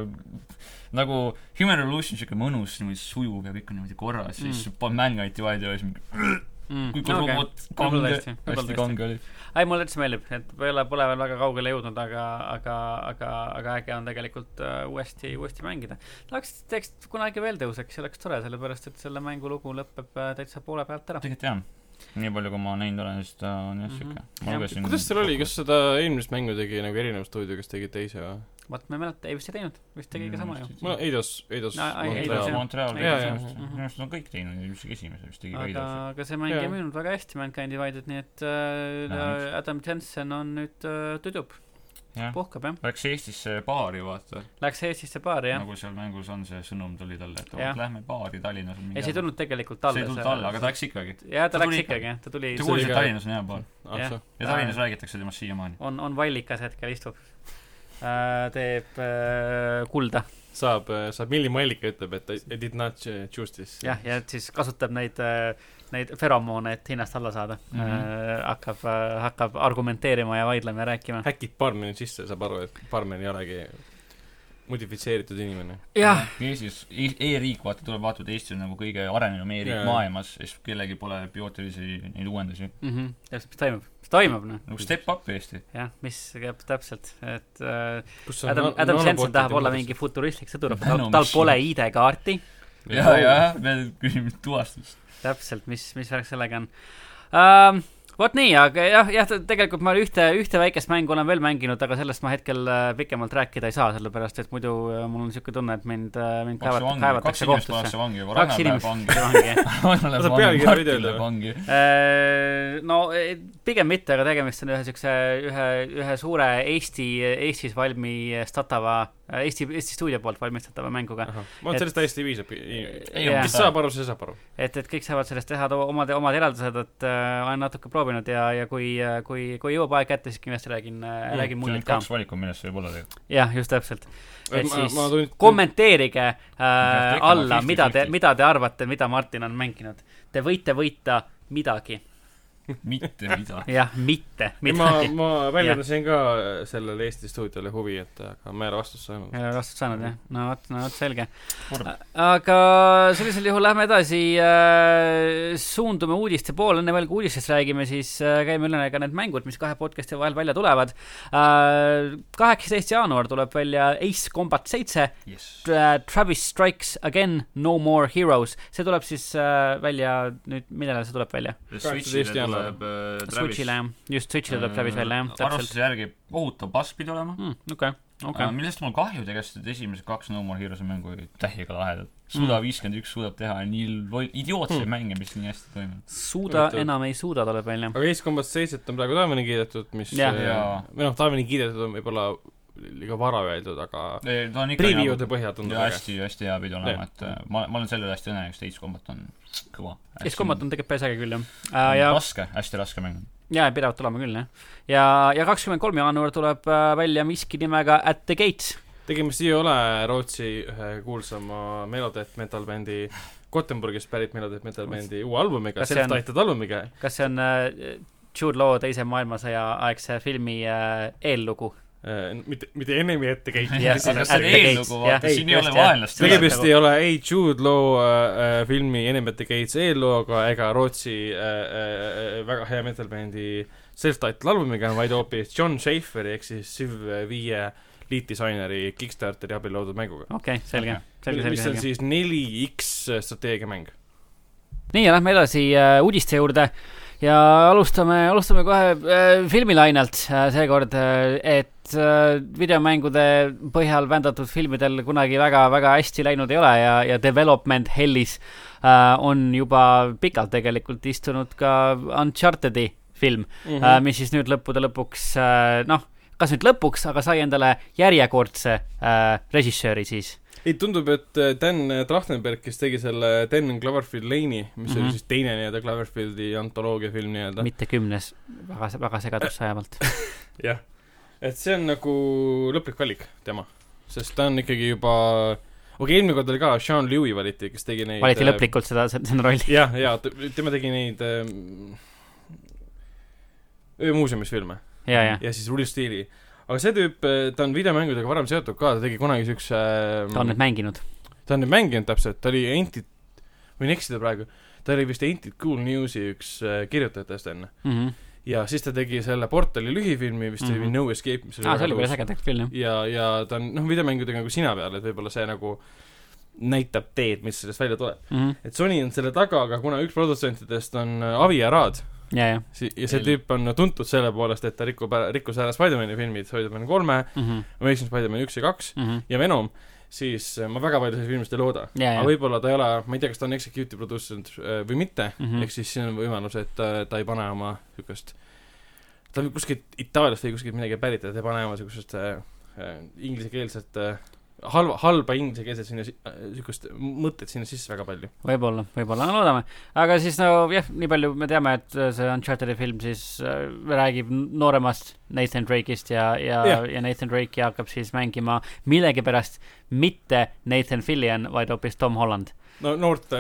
nagu Human Revolution siuke mõnus , niimoodi sujuv ja kõik on niimoodi korras mm. , siis pan- Mankind Divided ja siis mingi Mm. kui okay. robot kange , hästi kange oli . ei , Mm. mulle üldse meeldib , et ei ole , pole veel väga kaugele jõudnud , aga , aga , aga , aga äge on tegelikult äh, uuesti , uuesti mängida . tahaks , teeks kunagi veel tõuseks , see oleks tore , sellepärast et selle mängu lugu lõpeb äh, täitsa poole pealt ära . tegelikult jah , nii palju , kui ma näinud olen , siis ta on jah Mhm. siuke . Jah. ma lugesin . kuidas teil oli , kas seda eelmist mängu tegi nagu erinev stuudio , kes tegi teise või ? vot ma ei mäleta , ei vist ei teinud , vist tegi Mm, ikka sama ju . mul on Eidos , Eidos No, ei- Eidos, Eidos jah. Montreal Jaa, tegi jaa. sellest , Mhm. minu arust nad on kõik teinud , ükskõik esimese vist tegi ka aga Eidos . , aga see mäng ei Jaa. müünud väga hästi , Mankind Divided , nii et äh, Näe, Adam Jensen on nüüd äh, tüdruk , jah , puhkab jah . läks Eestisse baari vaata , Läks Eestisse baari jah . nagu seal mängus on see sõnum tuli talle , et Jah. oot, lähme baari Tallinnas on ei , see ei tulnud tegelikult talle . talle . see ei tulnud talle , aga ta läks ikkagi . jah , ta ta tuli läks ikka. ikkagi jah , ta tuli ta . kuulsid, oli kuulis , et ka- Tallinnas on hea baar . Jah. ah, . ja Tallinnas räägitakse temast siiamaani . on , on vallikas hetkel istub äh, . teeb äh, kulda saab , saab Milli Mallika ütleb , et I- I did not choose this . jah , ja siis kasutab neid , neid feromoone , et hinnast alla saada mm . Mhm. -hmm. hakkab , hakkab argumenteerima ja vaidlema ja rääkima . häkib baarmeni sisse , saab aru , et baarmen ei olegi modifitseeritud inimene . jah , Eestis e , e-riik , vaata , tuleb vaata , et Eesti on nagu kõige arenenum e-riik Jaa. yeah. maailmas , siis kellelgi pole biootilisi neid uuendusi . Mhm. täpselt , mis toimub , mis toimub noh , nagu step up Eesti . jah , mis käib täpselt , et äh, Adam , Adam Jensen tahab olla mingi futuristlik sõdur , tal Nanomasin. tal pole ID-kaarti , ja , ja , me küsime tuvastust . täpselt , mis , mis värk sellega on um, . vot nii , aga jah , jah , tegelikult ma ühte , ühte väikest mängu olen veel mänginud , aga sellest ma hetkel äh, pikemalt rääkida ei saa , sellepärast et muidu äh, mul on niisugune tunne , et mind , mind kaks kaevat- , vangi , kaks kaevatakse inimest kohtusse pannakse . vangi juba . kaks inimest vangi . vangi , jah . Ragnar Sa läheb pealkirja ei vangi , Martin tea, läheb vangi . no eh, pigem mitte , aga tegemist on ühe siukse , ühe , ühe suure Eesti , Eestis valmistatava , Eesti , Eesti stuudio poolt valmistatava mänguga . ma arvan , et et- sellest täiesti piisab . Ei, jaa. kes saab aru , see saab aru . et , et kõik saavad sellest teha to- omad , omad eraldused , et äh, olen natuke proovinud ja , ja kui , kui , kui jõuab aeg kätte , siis kindlasti räägin äh, , Mm, räägin siin on muljet ka . kaks valikut , millest võib olla tegelikult . jah , just täpselt . et siis komment . kommenteerige äh, tegema alla , 50-50. mida te , mida te arvate , mida Martin on mänginud . Te võite võita midagi . mitte midagi . jah , mitte ma midagi ., ma väljendasin ka sellele Eesti stuudiole huvi , et aga ma ei ole vastust saanud . ei ole vastust saanud jah , no vot , no vot selge . Kurb. aga sellisel juhul lähme edasi äh, , suundume uudiste poole , enne veel kui uudistest räägime , siis äh, käime üle ka need mängud , mis kahe podcast'i vahel välja tulevad äh, . kaheksateist jaanuar tuleb välja Ace Combat seitse , jess . Travis Strikes Again , No More Heroes , see tuleb siis äh, välja nüüd , millal see tuleb välja ? Switch'ile jaanuar. tuleb äh, Travis . Äh, Switch'ile jah , just , Switch'ile tuleb Travis välja jah , täpselt . arvestuse järgi kohutav bass pidi olema . okei , okei Aga . millest mul kahju tegelikult , et esimesed kaks No More Heroes'e mängu olid täiega lahedad . Mm. suda viiskümmend üks suudab teha nii loll , idiootseid Hmm. mm. mänge , mis nii hästi toimivad . suuda Huvitav. enam ei suuda , tuleb välja . aga Ace Combat seitset on praegu taevani kiidetud , mis Jah. äh, Jaa. või noh , taevani kiidetud on võib-olla liiga vara öeldud , aga ta on ikka nagu preview'de põhjal tundub ja väga . hästi , hästi hea pidi olema , et äh, ma , ma olen selle üle hästi õnnelik , sest Ace Combat on kõva . Ace Combat on tegelikult päris äge küll jah äh, äh, . ja , raske , hästi raske mäng . ja pidevalt tulema küll jah . ja , ja kakskümmend kolm jaanuar tuleb äh, välja miski nimega At the Gates . tegemist ei ole Rootsi ühe kuulsama Melodeath metal bändi , Gothenburgist pärit Melodeath metal bändi uue albumiga , Kas see on- self-titled albumiga . kas see on äh, Jude Law teise maailmasõja aegse filmi äh, eellugu ? Äh, mitte , mitte enemi ette käik Jah, aga At see on the Gates, eellugu , jah. vaata , siin Ei, ei ole just, jah. vaenlast . tegemist ei ole ei Jude Law äh, äh, filmi Enemy at the Gates eellooga ega Rootsi äh, äh, väga hea metal-bändi self-titled albumiga , vaid hoopis John Schaeferi ehk siis Civ viie liitdisaineri Kickstarteri abil loodud mänguga . okei okay, , selge , selge , selge , mis on selge . siis neli X strateegiamäng . nii , ja lähme edasi äh, uudiste juurde ja alustame , alustame kohe äh, filmilainelt äh, seekord äh, , et äh, videomängude põhjal vändatud filmidel kunagi väga-väga hästi läinud ei ole ja , ja development hell'is äh, on juba pikalt tegelikult istunud ka Uncharted'i film mm , -hmm. Mhm. äh, mis siis nüüd lõppude lõpuks äh, noh , kas nüüd lõpuks , aga sai endale järjekordse äh, režissööri siis . ei , tundub , et äh, Dan Trachtenberg , kes tegi selle Dan and Cloverfield Lane'i , mis mm -hmm. Mhm. oli siis teine nii-öelda Cloverfieldi antoloogiafilm nii-öelda . mitte kümnes , väga , väga segadusse ajavalt . jah , et see on nagu lõplik valik tema , sest ta on ikkagi juba , okei , eelmine kord oli ka Sean Lewy valiti , kes tegi neid äh, valiti . lõplikult seda , seda rolli . jah , ja t- tema tegi neid äh, öömuuseumis filme ja , ja ja siis Rule Steel'i , aga see tüüp , ta on videomängudega varem seotud ka , ta tegi kunagi siukse äh, ta on nüüd mänginud . ta on nüüd mänginud täpselt , ta oli Anti , võin eksida praegu , ta oli vist Anti Cool News'i üks äh, kirjutajatest enne ja siis ta tegi selle portali lühifilmi , vist oli Mhm. No Escape , mis aa , see oli väga päris tõus. äge tegelikult küll , jah . ja , ja ta on noh , videomängudega nagu sina peal , et võib-olla see nagu näitab teed , mis sellest välja tuleb . mm . et Sony on selle taga , aga kuna üks produtsentidest on äh, Avi Arad -hmm. ja , ja si- ja see Ei. tüüp on tuntud selle poolest , et ta rikub , rikkus ära Spider-man'i filmid , Spider-man kolme , mm . -hmm. Amazing Spider-man üks ja kaks Mm -hmm. ja Venom , siis äh, ma väga palju sellest filmist ei looda . Jaa, jaa. aga võib-olla ta ei ole , ma ei tea , kas ta on executive producent äh, või mitte mm Mhm. -hmm. , ehk siis siin on võimalus , et äh, ta ei pane oma niisugust , ta on kuskilt Itaaliast või kuskilt midagi pärit ja ta ei pane oma niisugust äh, äh, inglisekeelset äh, halva , halba inglisekeelset sinna , niisugust mõtet sinna sisse väga palju . võib-olla , võib-olla , no loodame . aga siis no jah , nii palju me teame , et äh, see Uncharted'i film siis äh, räägib n- nooremast Nathan Drake'ist ja , ja Jah. , ja Nathan Drake'i hakkab siis mängima millegipärast mitte Nathan Fillion , vaid hoopis Tom Holland . no noort ,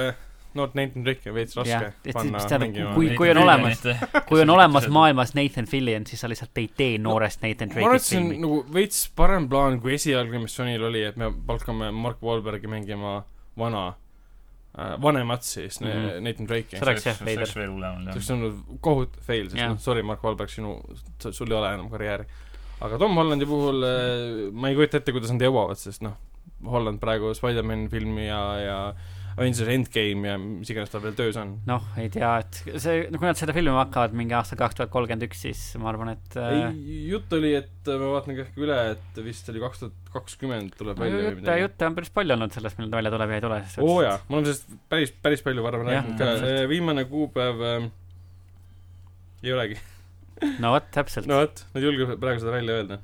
noort Nathan Drake'i on veits Jah, raske et siis- panna mis tähendab, mängima kui- kui on olemas- kui on olemas maailmas Nathan Fillion , siis sa lihtsalt ei tee noorest Nathan ma arvan , et Drake'ist see on filmi . nagu veits parem plaan kui esialgne , mis Sonyl oli , et me palkame Mark Wahlbergi mängima vana äh, , vanemat siis mm , Mhm. -hmm. Nathan Drake'i See . oleks jah see veider. oleks veel hullem olnud see on kohut fail , sest Jah. noh , sorry , Mark Wahlberg , sinu , sul ei ole enam karjääri . aga Tom Hollandi puhul äh, ma ei kujuta ette , kuidas nad jõuavad , sest noh , Holland praegu Spider-man filmi ja , ja Avengers Endgame ja mis iganes tal veel töös on . noh , ei tea , et see , no kui nad seda filmima hakkavad mingi aastal kaks tuhat kolmkümmend üks , siis ma arvan , et äh, ei , jutt oli , et äh, ma vaatan kõik üle , et vist oli kaks tuhat kakskümmend tuleb no välja või jutte , midagi . jutte on päris palju olnud sellest , millal ta välja tuleb ja ei tule . oo oh, jaa , me oleme sellest päris , päris palju varem Jah, rääkinud ka Äh, täpselt. , viimane kuupäev ähm, ei olegi . no vot , täpselt . no vot , nad ei julge praegu seda välja öelda .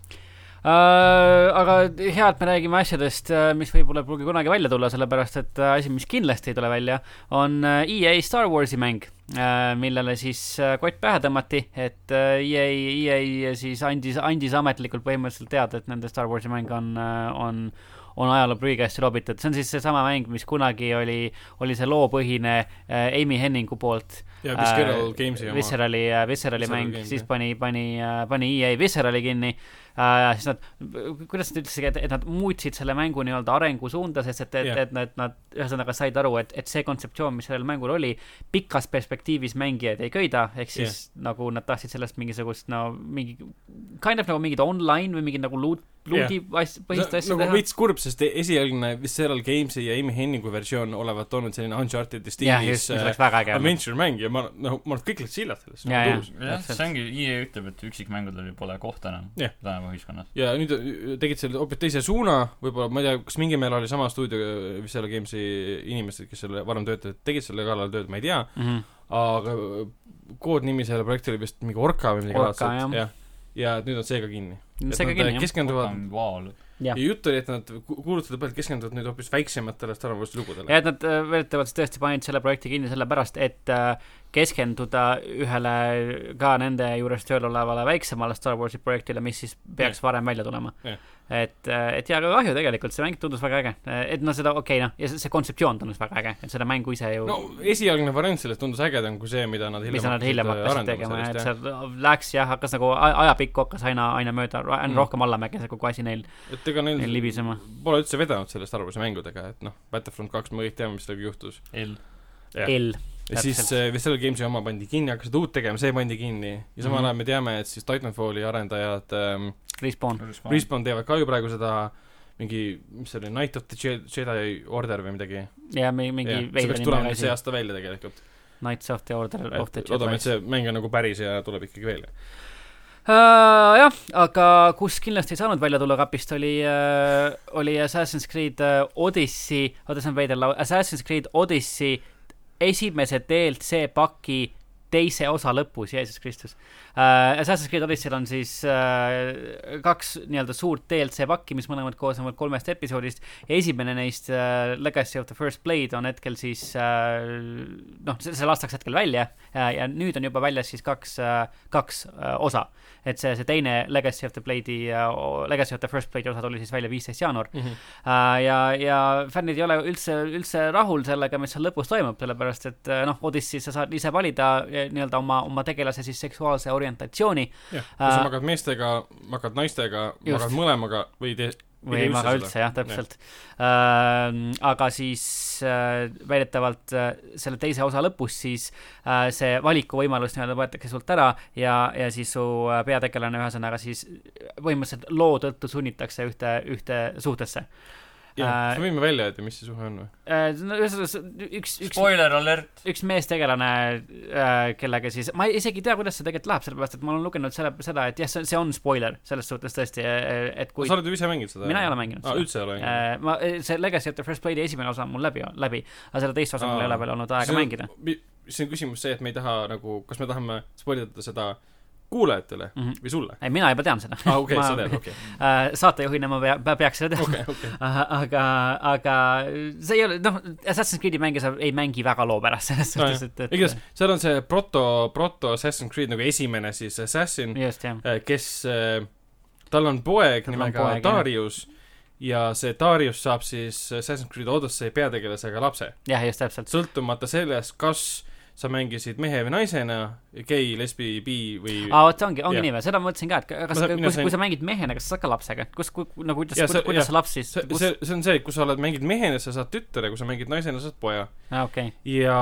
Äh, aga hea , et me räägime asjadest , mis võib-olla ei pruugi kunagi välja tulla , sellepärast et äh, asi , mis kindlasti ei tule välja , on äh, EA Star Warsi mäng , millele siis äh, kott pähe tõmmati , et äh, EA , EA siis andis , andis ametlikult põhimõtteliselt teada , et nende Star Warsi mäng on , on , on ajaloo prügikasti lobitud , see on siis seesama mäng , mis kunagi oli , oli see loopõhine äh, Amy Henningu poolt ja Visceral Games'i oma . Äh, Viscerali , Viscerali Visceral mäng Games, , siis jah. pani , pani , pani EA Viscerali kinni äh, . siis nad , kuidas nad ütlesidki , et , et nad muutsid selle mängu nii-öelda arengusuunda , sest et , et Jah. yeah. , et nad , nad ühesõnaga said aru , et , et see kontseptsioon , mis sellel mängul oli , pikas perspektiivis mängijaid ei köida , ehk siis yeah. nagu nad tahtsid sellest mingisugust , no mingi , kind of nagu mingid online või mingid nagu loot , loot'i yeah. põhist asja nagu teha . veits kurb , sest esialgne Visceral Games'i ja Amy Henningu versioon olevat olnud selline Uncharted'i jah , just , stiilis mis äh, oleks väga äge . adventure mäng ja ma , noh , ma arvan , et kõik läksid sillad sellest . nagu Jaa, jaa. jah , see ongi , EA ütleb , et üksikmängudel pole kohta enam Jah. tänapäeva ühiskonnas . ja nüüd äh, tegid selle hoopis teise suuna , võib-olla ma ei tea , kas mingil määral oli sama stuudio , Visceral Games'i inimesed , kes selle varem töötasid , tegid selle kallal tööd , ma ei tea , Mhm. aga äh, koodnimi sellele projektile oli vist mingi Orca või midagi Orca, laadset, jah. jah . ja et nüüd on see ka kinni . et seega nad äh, kinni , jah . keskenduvad , vaal . ja jutt oli , et nad ku- kuulutuse pealt keskenduvad nüüd hoopis väiksematele Star Warsi ja lugudele . et nad äh, väidetavalt siis tõesti panid selle projekti kinni sellepärast , et äh, keskenduda ühele ka nende juures tööl olevale väiksemale Star Warsi projektile , mis siis peaks varem välja tulema Jah. . et , et jaa , aga kahju tegelikult , see mäng tundus väga äge , et no seda , okei okay, noh , ja see, see kontseptsioon tundus väga äge , et seda mängu ise ju no esialgne variant sellest tundus ägedam kui see , mida nad hiljem mis nad hiljem äh, hakkasid arendama tegema , et sellest, seal läks jah , hakkas nagu a- ajapikku hakkas aina , aina mööda , aina Mm. mm. rohkem allamäge see kogu asi neil , jah. et ega neil neil libisema . pole üldse vedanud selle Star Warsi mängudega , et noh , Battlefront kaks , me kõik teame , mis sellega juhtus . L . Jah. L , ja Täpselt. siis äh, Visceral Games'i oma pandi kinni , hakkasid uut tegema , see pandi kinni ja samal Mhm. ajal me teame , et siis Titanfalli arendajad ähm, Respawn , Respawn teevad ka ju praegu seda mingi , mis see oli , Night of the Je- Jedi Order või midagi . ja mi- mingi see veider peaks tulema nimega nüüd see asi , aasta välja tegelikult . Knights of the Order of the loodame , et see mäng on nagu päris ja tuleb ikkagi välja . Uh, jah , aga kus kindlasti ei saanud välja tulla kapist , oli uh, , oli Assassin's Creed uh, Odyssey , oota , see on veider laul , Assassin's Creed Odyssey esimese DLC paki teise osa lõpus , Jeesus Kristus uh, . Assassin's Creed Odyssey'l on siis uh, kaks nii-öelda suurt DLC pakki , mis mõlemad koosnevad kolmest episoodist . esimene neist uh, , Legacy of the First Blade on hetkel siis uh, , noh , see see lastakse hetkel välja uh, ja nüüd on juba väljas siis kaks uh, , kaks uh, osa et see , see teine Legacy of the Blade'i , Legacy of the First Blade'i osa tuli siis välja viisteist jaanuar äh, ja , ja fännid ei ole üldse , üldse rahul sellega , mis seal lõpus toimub , sellepärast et äh, noh , Odyssey's sa saad ise valida eh, nii-öelda oma , oma tegelase siis seksuaalse orientatsiooni jah , kas Äh, sa magad meestega , magad naistega , just. magad mõlemaga või tee , või ei maga üldse jah , täpselt . aga siis äh, väidetavalt äh, selle teise osa lõpus siis äh, see valikuvõimalus nii-öelda võetakse sult ära ja , ja siis su äh, peategelane ühesõnaga siis põhimõtteliselt loo tõttu sunnitakse ühte , ühte suhtesse . jaa , Äh, kas me võime välja öelda , mis see suhe on või ? no ühesõnaga , see- üks , üks , spoiler alert . üks meestegelane äh, , kellega siis , ma isegi ei tea , kuidas see tegelikult läheb , sellepärast et ma olen lugenud selle , seda , et jah , see , see on spoiler selles suhtes tõesti , et kui sa oled ju ise mänginud seda ? mina ei ole mänginud aa , seda . üldse ei ole mänginud ? Äh, ma , see Legacy of the First Blade'i esimene osa on mul läbi , läbi , aga selle teist osa mul ei ole veel olnud aega mängida . see on küsimus see , et me ei taha nagu , kas me tahame spoilida seda kuulajatele Mhm. või sulle ? ei , mina juba tean seda . aa , Ah, okei , sa tead , okei . äh, saatejuhina ma pea , peaks seda teadma okei , okei . Aha, aga , aga see ei ole , noh , Assassin's Creed'i mänge sa ei mängi väga loo pärast selles No suhtes , et , et igatahes , seal on see proto , proto Assassin's Creed nagu esimene siis Assassin , just , jah . Äh, kes , tal on poeg Tal on nimega poeg, jah. Darius ja see Darius saab siis Assassin's Creed Odyssey peategelasega lapse . jah , just täpselt . sõltumata sellest , kas sa mängisid mehe või naisena , gei , lesbi , bi või aa , vot see ongi , ongi Jah. yeah. nii või , seda ma mõtlesin ka , et kas , Ma saan- mina kui, sain- kui sa mängid mehena , kas sa saad ka lapsega , kus , nagu kuidas Jaa, , see- kuidas jah. see laps siis , see , kus see ,, see on see , kui sa oled , mängid mehena , sa saad tütre , kui sa mängid naisena , sa saad poja . aa , okei . ja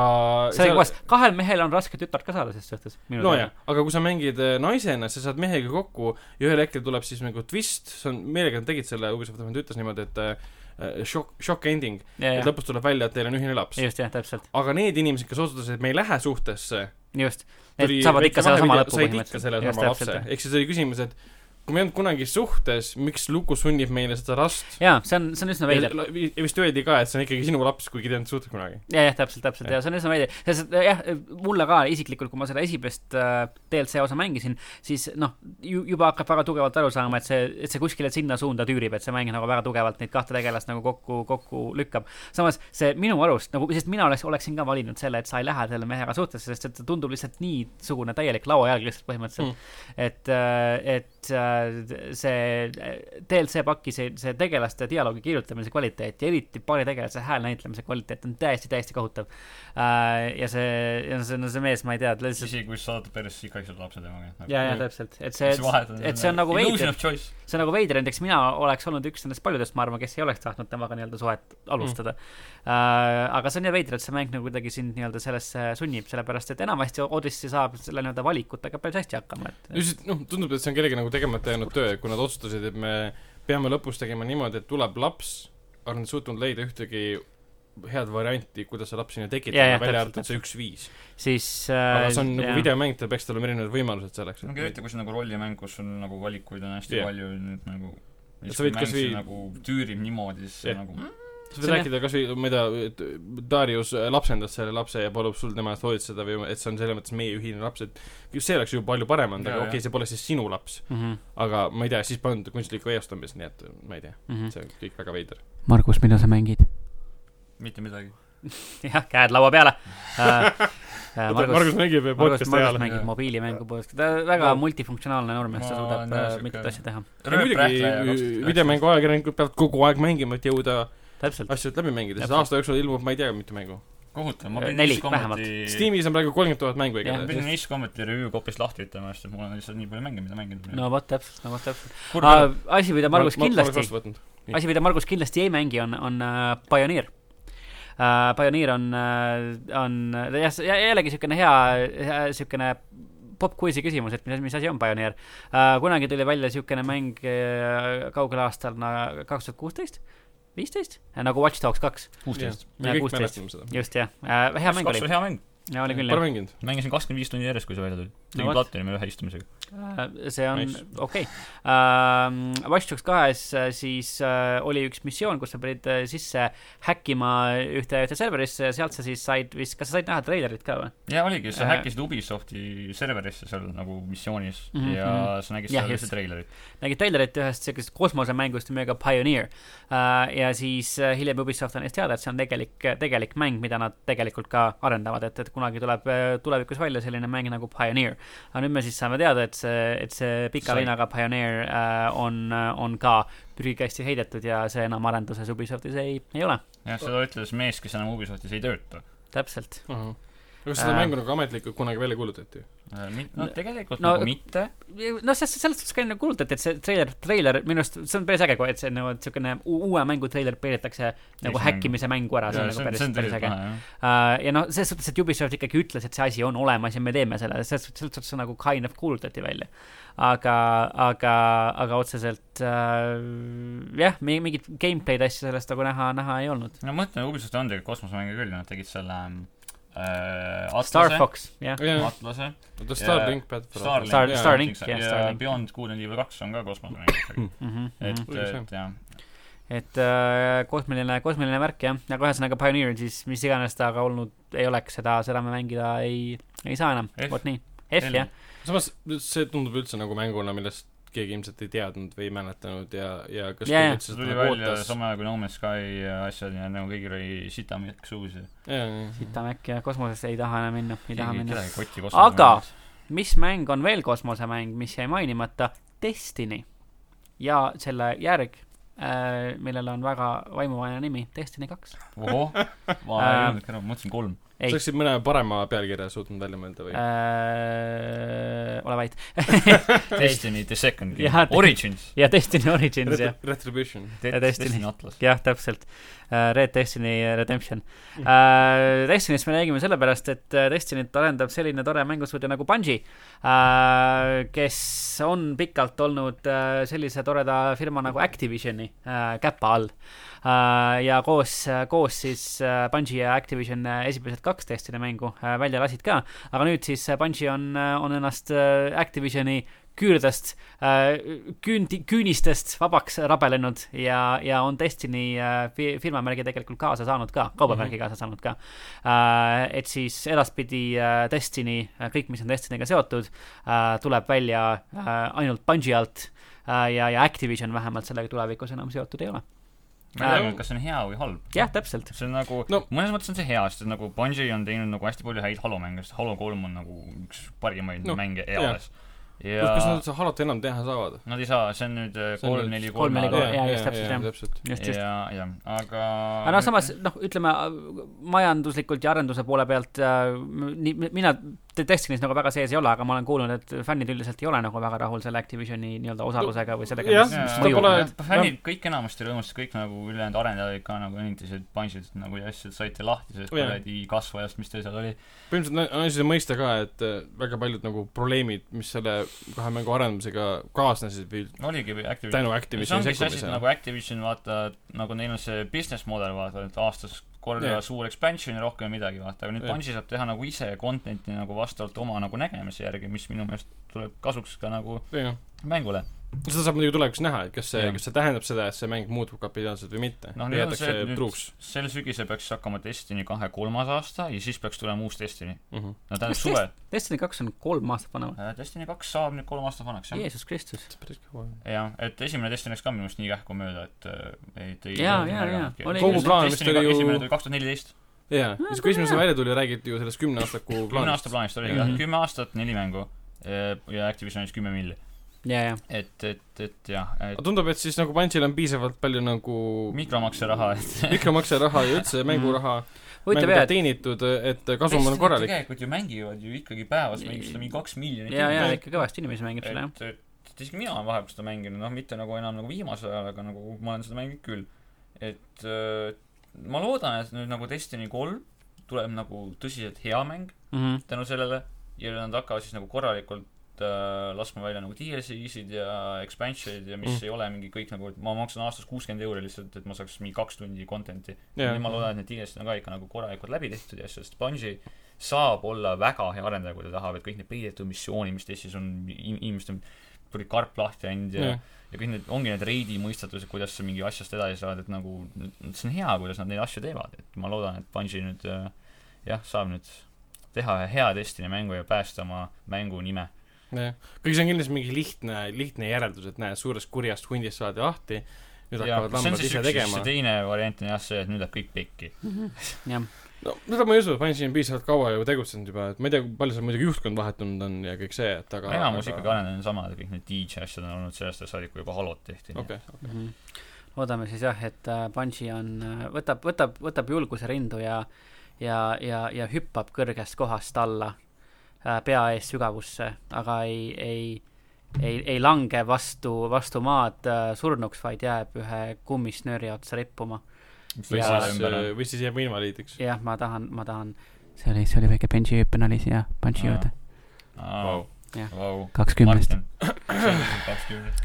see oli koos , kahel mehel on raske tütart ka saada ses suhtes . nojah , aga kui sa mängid äh, naisena , sa saad mehega kokku ja ühel hetkel tuleb siis nagu twist , see on , meelega nad tegid selle , Ubisoft vähemalt ütles niimoodi , et äh, shock , shock ending , et jah , lõpus tuleb välja , et teil on ühine laps . just jah , täpselt , aga need inimesed , kes otsustasid , et me ei lähe suhtesse , just . et tuli saavad väike ikka selle sama vahepeal- lõpu said ikka selle sama lapse , täpselt . ehk siis oli küsimus , et kui me ei olnud kunagi suhtes , miks lugu sunnib meile seda last ? jaa , see on , see on üsna veider . ja ja vist öeldi ka , et see on ikkagi sinu laps , kuigi te ei olnud suhtes kunagi . jah , jah , täpselt , täpselt ja see on üsna veidi , sest äh, jah , mulle ka isiklikult , kui ma seda esimest äh, DLC osa mängisin , siis noh , ju- , juba hakkab väga tugevalt aru saama , et see , et see kuskile sinna suunda tüürib , et see mäng nagu väga tugevalt neid kahte tegelast nagu kokku , kokku lükkab . samas see minu arust nagu , sest mina oleks , oleksin ka valinud selle , et sa ei lähe selle mehega suhtesse , sest et see tundub lihtsalt niisugune täielik lauajalg lihtsalt põhimõtteliselt mm. . et , et äh, see DLC pakki , see , see tegelaste dialoogi kirjutamise kvaliteet ja eriti paari tegelase hääl näitlemise kvaliteet on täiesti , täiesti kohutav . ja see , ja see , no see mees , ma ei tea , ta lihtsalt isegi kui sa saadad peresse , ikka ei saa lapse teha nagu. ja , ja täpselt , et see , et see on nagu veider Illusion , of choice . see on nagu veider , näiteks mina oleks olnud üks nendest paljudest , ma arvan , kes ei oleks tahtnud temaga nii-öelda suhet alustada mm. . Uh, aga see on jah veider , et see mäng nagu kuidagi sind nii-öelda sellesse sunnib , sellepärast et enamasti Odyssey saab selle nii-öelda valikutega päris hästi hakkama , et . lihtsalt noh , tundub , et see on kellegi nagu tegemata jäänud töö , kui nad otsustasid , et me peame lõpus tegema niimoodi , et tuleb laps , aga nad ei suutnud leida ühtegi head varianti , kuidas see laps sinna Jaa, jaa, tekitada , välja täpselt, arvatud see üks viis . siis aga uh, see on nagu . videomäng , tal peaks tal olema erinevad võimalused selleks . no eriti , kui see on nagu rollimäng , kus on nagu valikuid on hästi Jah. yeah. palju , nüüd nagu Et siis sa kui võid mäng kasvõi- see nagu tüürib niimoodi , siis see Jah. nagu see sa võid on rääkida kasvõi , ma ei tea , et Darius lapsendas selle lapse ja palub sul tema eest hoolitseda või et see on selles mõttes meie ühine laps , et see oleks ju palju parem olnud , Jaa, aga jaa. okei okay, , see pole siis sinu laps . Mhm, aga ma ei tea , siis pannud kunstlikku eostamist , nii et ma ei tea , see on kõik väga veider . mhm. Margus , mida sa mängid ? mitte midagi . jah , käed laua peale uh, . Margus mängib Margus , podcast'i Margus ajal . mängib Jaa. mobiilimängu poest , ta väga Ma- multifunktsionaalne noormees , ta Ma suudab olen jah, äh, sihuke- mitut asja teha . ja äh, muidugi videomängu ajakirjanikud peavad kogu aeg mängima , et jõuda täpselt , asjad läbi mängida , sest Täpselt. aasta jooksul ilmub ma ei tea mitu mängu . kohutav , ma Äh, Neli, pidin Ace vähemalt. Combati , Steamis on praegu kolmkümmend tuhat mängu Jah, ma igatahes . pidin Ace Combati review kopist lahti ütlema , sest et mul on lihtsalt nii palju mänge , mida mängida . no vot , täpselt , no vot , täpselt . kurb Ah, ah, . asi , mida Margus kindlasti Nii. asi , mida Margus kindlasti ei mängi , on , on äh, Pioneer . Uh, Pioneer on , on äh, jah , jällegi niisugune hea , niisugune popkuisi küsimus , et mis , mis asi on Pioneer uh, . kunagi tuli välja niisugune mäng uh, kaugel aastal kaks tuhat kuusteist , viisteist , nagu Watch Dogs kaks , kuusteist . me Ja kõik 16. mäletame seda . just jah uh, , hea mäng kaks oli , oli hea mäng , oli küll Pole jah mänginud . mängisin kakskümmend viis tundi järjest , kui see välja tuli . No tegin vot. no, platvormi ühe istumisega . Äh, see on Nice. okei okay. uh, . Watch Dogs kahes äh, siis uh, oli üks missioon , kus sa pidid uh, sisse häkkima ühte , ühte serverisse ja sealt sa siis said vist , kas sa said näha treilerit ka või ? ja oligi , sa Äh. häkkisid Ubisofti serverisse seal nagu missioonis mm Mhm, -hmm. ja mhm. sa nägid Jah, seal just. ühte treilerit . nägid treilerit ühest siukest kosmosemängust nimega Pioneer uh, . ja siis uh, hiljem Ubisoft andis teada , et see on tegelik , tegelik mäng , mida nad tegelikult ka arendavad , et , et kunagi tuleb äh, tulevikus välja selline mäng nagu Pioneer . aga nüüd me siis saame teada , et see , et see pika Sai. linnaga Pioneer uh, on , on ka prügikasti heidetud ja see enam arenduses Ubisoftis ei , ei ole . jah , seda ütles mees , kes enam Ubisoftis ei tööta . täpselt . kas seda Äh. mängu nagu ametlikult kunagi välja kuulutati ? no Äh, tegelikult No- no, nagu mitte . noh , selles , selles suhtes ka nagu kuulutati , et see treiler , treiler minu arust , see on päris äge , kui , et see nagu , et siukene u- uue mängu treiler peedetakse nagu mängu. häkkimise mängu Äh, ära , see on nagu päris , päris äge . jah . Äh, ja noh , selles suhtes , et Ubisoft ikkagi ütles , et see asi on olemas ja me teeme selle , selles suhtes , selles suhtes see nagu kind of kuulutati välja . aga , aga , aga otseselt äh, jah , mi- mingit gameplay'd asja sellest nagu näha , näha ei olnud . no ma mõtlen , Ubisoft on tegelikult kosmosemänge küll , nad tegid selle ähm, äh, Star Atlase , Fox , jah . jah , Atlase , oota , Starlink Bad Starlink Star- jaa, Starlink, näiteks, jah, ja Starlink. Mhm. Beyond Good&Evil kaks on ka kosmosemäng ikkagi . et , Õige et jah . et äh, kosmiline , kosmiline värk jah , aga ühesõnaga Pioneer siis mis iganes ta ka olnud ei oleks , seda , seda me mängida ei , ei saa enam F. , vot nii . F jah , samas see tundub üldse nagu mänguna , millest keegi ilmselt ei teadnud või ei mäletanud ja , ja kas Jaa, jaa. keegi see üldse tuli seda nagu välja ootas . samal ajal kui No Man's Sky asjad ja nagu kõigil oli sitamjõkk suus ja jaa , sitame äkki ja kosmosesse ei taha enam minna , ei taha keegi minna . kedagi kotti Aga- . mis mäng on veel kosmosemäng , mis jäi mainimata ? Destiny ja selle järg äh, , millel on väga vaimuvaene nimi , Destiny kaks . ohoh , ma ei Äh, öelnudki ära , ma mõtlesin kolm . Ei. sa oleksid mõne parema pealkirja suutnud välja mõelda või ? Äh, ole vait . Destiny The Second Game Jaa, , te- Origins . ja Destiny Origins jah , Retribution . Ja Destiny. Destiny Atlas . jah , täpselt äh, . Red Destiny Redemption äh, . Destinist me räägime sellepärast , et äh, Destinit arendab selline tore mängustuudio nagu Bungi äh, , kes on pikalt olnud äh, sellise toreda firma nagu Activisioni äh, käpa all äh, . ja koos , koos siis äh, Bungi ja Activision äh, esimesed kaks Destiny mängu äh, välja lasid ka , aga nüüd siis äh, Bungi on , on ennast äh, Activisioni küürdest äh, küündi , küünistest vabaks rabelenud ja , ja on Destiny äh, fi- firmamärgi tegelikult kaasa saanud ka , kaubamärgi kaasa saanud ka äh, . et siis edaspidi äh, Destiny , kõik , mis on Destiniga seotud äh, , tuleb välja äh, ainult Bungi alt äh, ja , ja Activision vähemalt sellega tulevikus enam seotud ei ole . ma ei teadnud , kas see on hea või halb . jah , täpselt . see on nagu no. No- , mõnes mõttes on see hea , sest nagu Bungi on teinud nagu hästi palju häid Halo mänge , sest Halo kolm on nagu üks parimaid no, No, mänge jah. eales . ja kas nad seda halot enam teha saavad ? nad ei saa , see on nüüd eh, See on kolm , nüüd neli , kolm, neli, kolm, kolm , jaa, just täpselt, jah. täpselt . just , just . ja , ja , aga aga noh , samas noh , ütleme äh, majanduslikult ja arenduse poole pealt äh, m- nii , mina Te- Destiny's nagu väga sees ei ole , aga ma olen kuulnud , et fännid üldiselt ei ole nagu väga rahul selle Activisioni nii-öelda osalusega või sellega , Jah, mis , seda mis pole- mõjub . fännid kõik enamasti rõõmustasid , kõik nagu ülejäänud arendajad ka nagu õnnitlesid Bungi't nagu ja asjad saite lahti sellest Jah. kuradi kasvajast , mis teil seal oli . põhimõtteliselt na- on asjade mõista ka , et äh, väga paljud nagu probleemid , mis selle kahe mängu arendamisega kaasnesid või oligi või Activision tänu see Activisioni ongi see asi , et sekkumisele nagu Activision vaata , nagu neil on see business mudel vaata , et aastas korra yeah. Jah. suur expansion ja rohkem midagi vaata , aga nüüd Jah. yeah. Bungie saab teha nagu ise content'i nagu vastavalt oma nagu nägemise järgi , mis minu meelest tuleb kasuks ka nagu Jah. mängule . seda saab muidugi tulevikus näha , et kas see Jah. , kas see tähendab seda , et see mäng muutub kapitaalselt või mitte noh , või nüüd on jätakse see , et nüüd truuks sel sügisel peaks hakkama Destiny kahe kolmas aasta ja siis peaks tulema uus Destiny . mm . -hmm. no tähendab Mis suve . Destiny kaks on kolm aastat vanem . Destiny kaks saab nüüd kolm aastat vanaks , jah . Jeesus Kristus . see on päris kaua . jah , et esimene Destiny läks ka minu meelest nii kähku mööda , et äh, ei , ei Jaa, jaa, jaa. Oli Kogu küll. plaan vist Destiny oli ju- esimene tuli kaks tuhat neliteist . jaa , ja siis kui esimesena välja tuli , räägiti ju sellest kümneaastaku kümne plaanist aasta . plaanist oligi jah Mhm. mm -hmm. , kümme aastat , neli mängu eh, ja Activisionis kümme milli , ja , ja . et , et , et jah , et aga tundub , et siis nagu Bungiel on piisavalt palju nagu mikromakse raha , et Mm. mikromakseraha ja üldse mänguraha , huvitav mängud jah , on teenitud , et kasum on korralik . tegelikult ju mängivad ju ikkagi päevas mingi seda mingi kaks et miljonit ja , ja inimest. ikka kõvasti inimesi mängib seda jah . et , et, et isegi mina olen vahepeal seda mänginud , noh mitte nagu enam nagu viimasel ajal , aga nagu ma olen seda mänginud küll , et eh, ma loodan , et nüüd nagu Destiny kolm tuleb nagu tõsiselt hea mäng Mhm, tänu sellele ja nad hakkavad siis nagu korralikult äh, laskma välja nagu DLC-sid ja expansion'id ja mis Mm. mm. ei ole mingi kõik nagu , et ma maksan aastas kuuskümmend euri lihtsalt , et ma saaks mingi kaks tundi content'i . ja ma loodan , et need DLC-d on ka ikka nagu korralikult läbi tehtud ja asjad , sest Bungi saab olla väga hea arendaja , kui ta tahab , et kõik need peidetud missioonid , mis Eestis on , inimesed on tuli karp lahti läinud ja yeah. ja kõik need , ongi need reidi mõistatused , kuidas sa mingi asjast edasi saad , et nagu , see on hea , kuidas nad neid asju teevad , et ma loodan , et Bungi nüüd äh, jah , saab nüüd teha ühe hea Destiny mängu ja päästa oma mängu nime . jah , kuigi see on kindlasti mingi lihtne , lihtne järeldus , et näe , suurest kurjast hundist saadi lahti , nüüd see hakkavad on lambad siis ise üks , siis tegema see . teine variant on jah see , et nüüd läheb kõik pekki . jah , no seda ma ei usu , Bungie on piisavalt kaua ju tegutsenud juba , et ma ei tea , kui palju seal muidugi juhtkond vahetunud on ja kõik see , et aga enamus ikkagi arendajad on samad , kõik need DJ asjad on olnud sellest ajast saadik , kui juba Halot tehti . okei , Mhm. äh, loodame siis jah , et äh, Bungi on , võtab , võtab , võtab julguse rindu ja ja , ja , ja hüppab kõrgest kohast alla äh, pea ees sügavusse , aga ei , ei , ei , ei lange vastu , vastu maad äh, surnuks , vaid jääb ühe kummisnööri otsa rippuma . või Jaa. siis , või siis jääb invaliidiks . jah , ma tahan , ma tahan , see oli , see oli väike benchi hüpe nali siia punchi Aa. juurde , Vau. Jah. Vau . kaks kümnest ,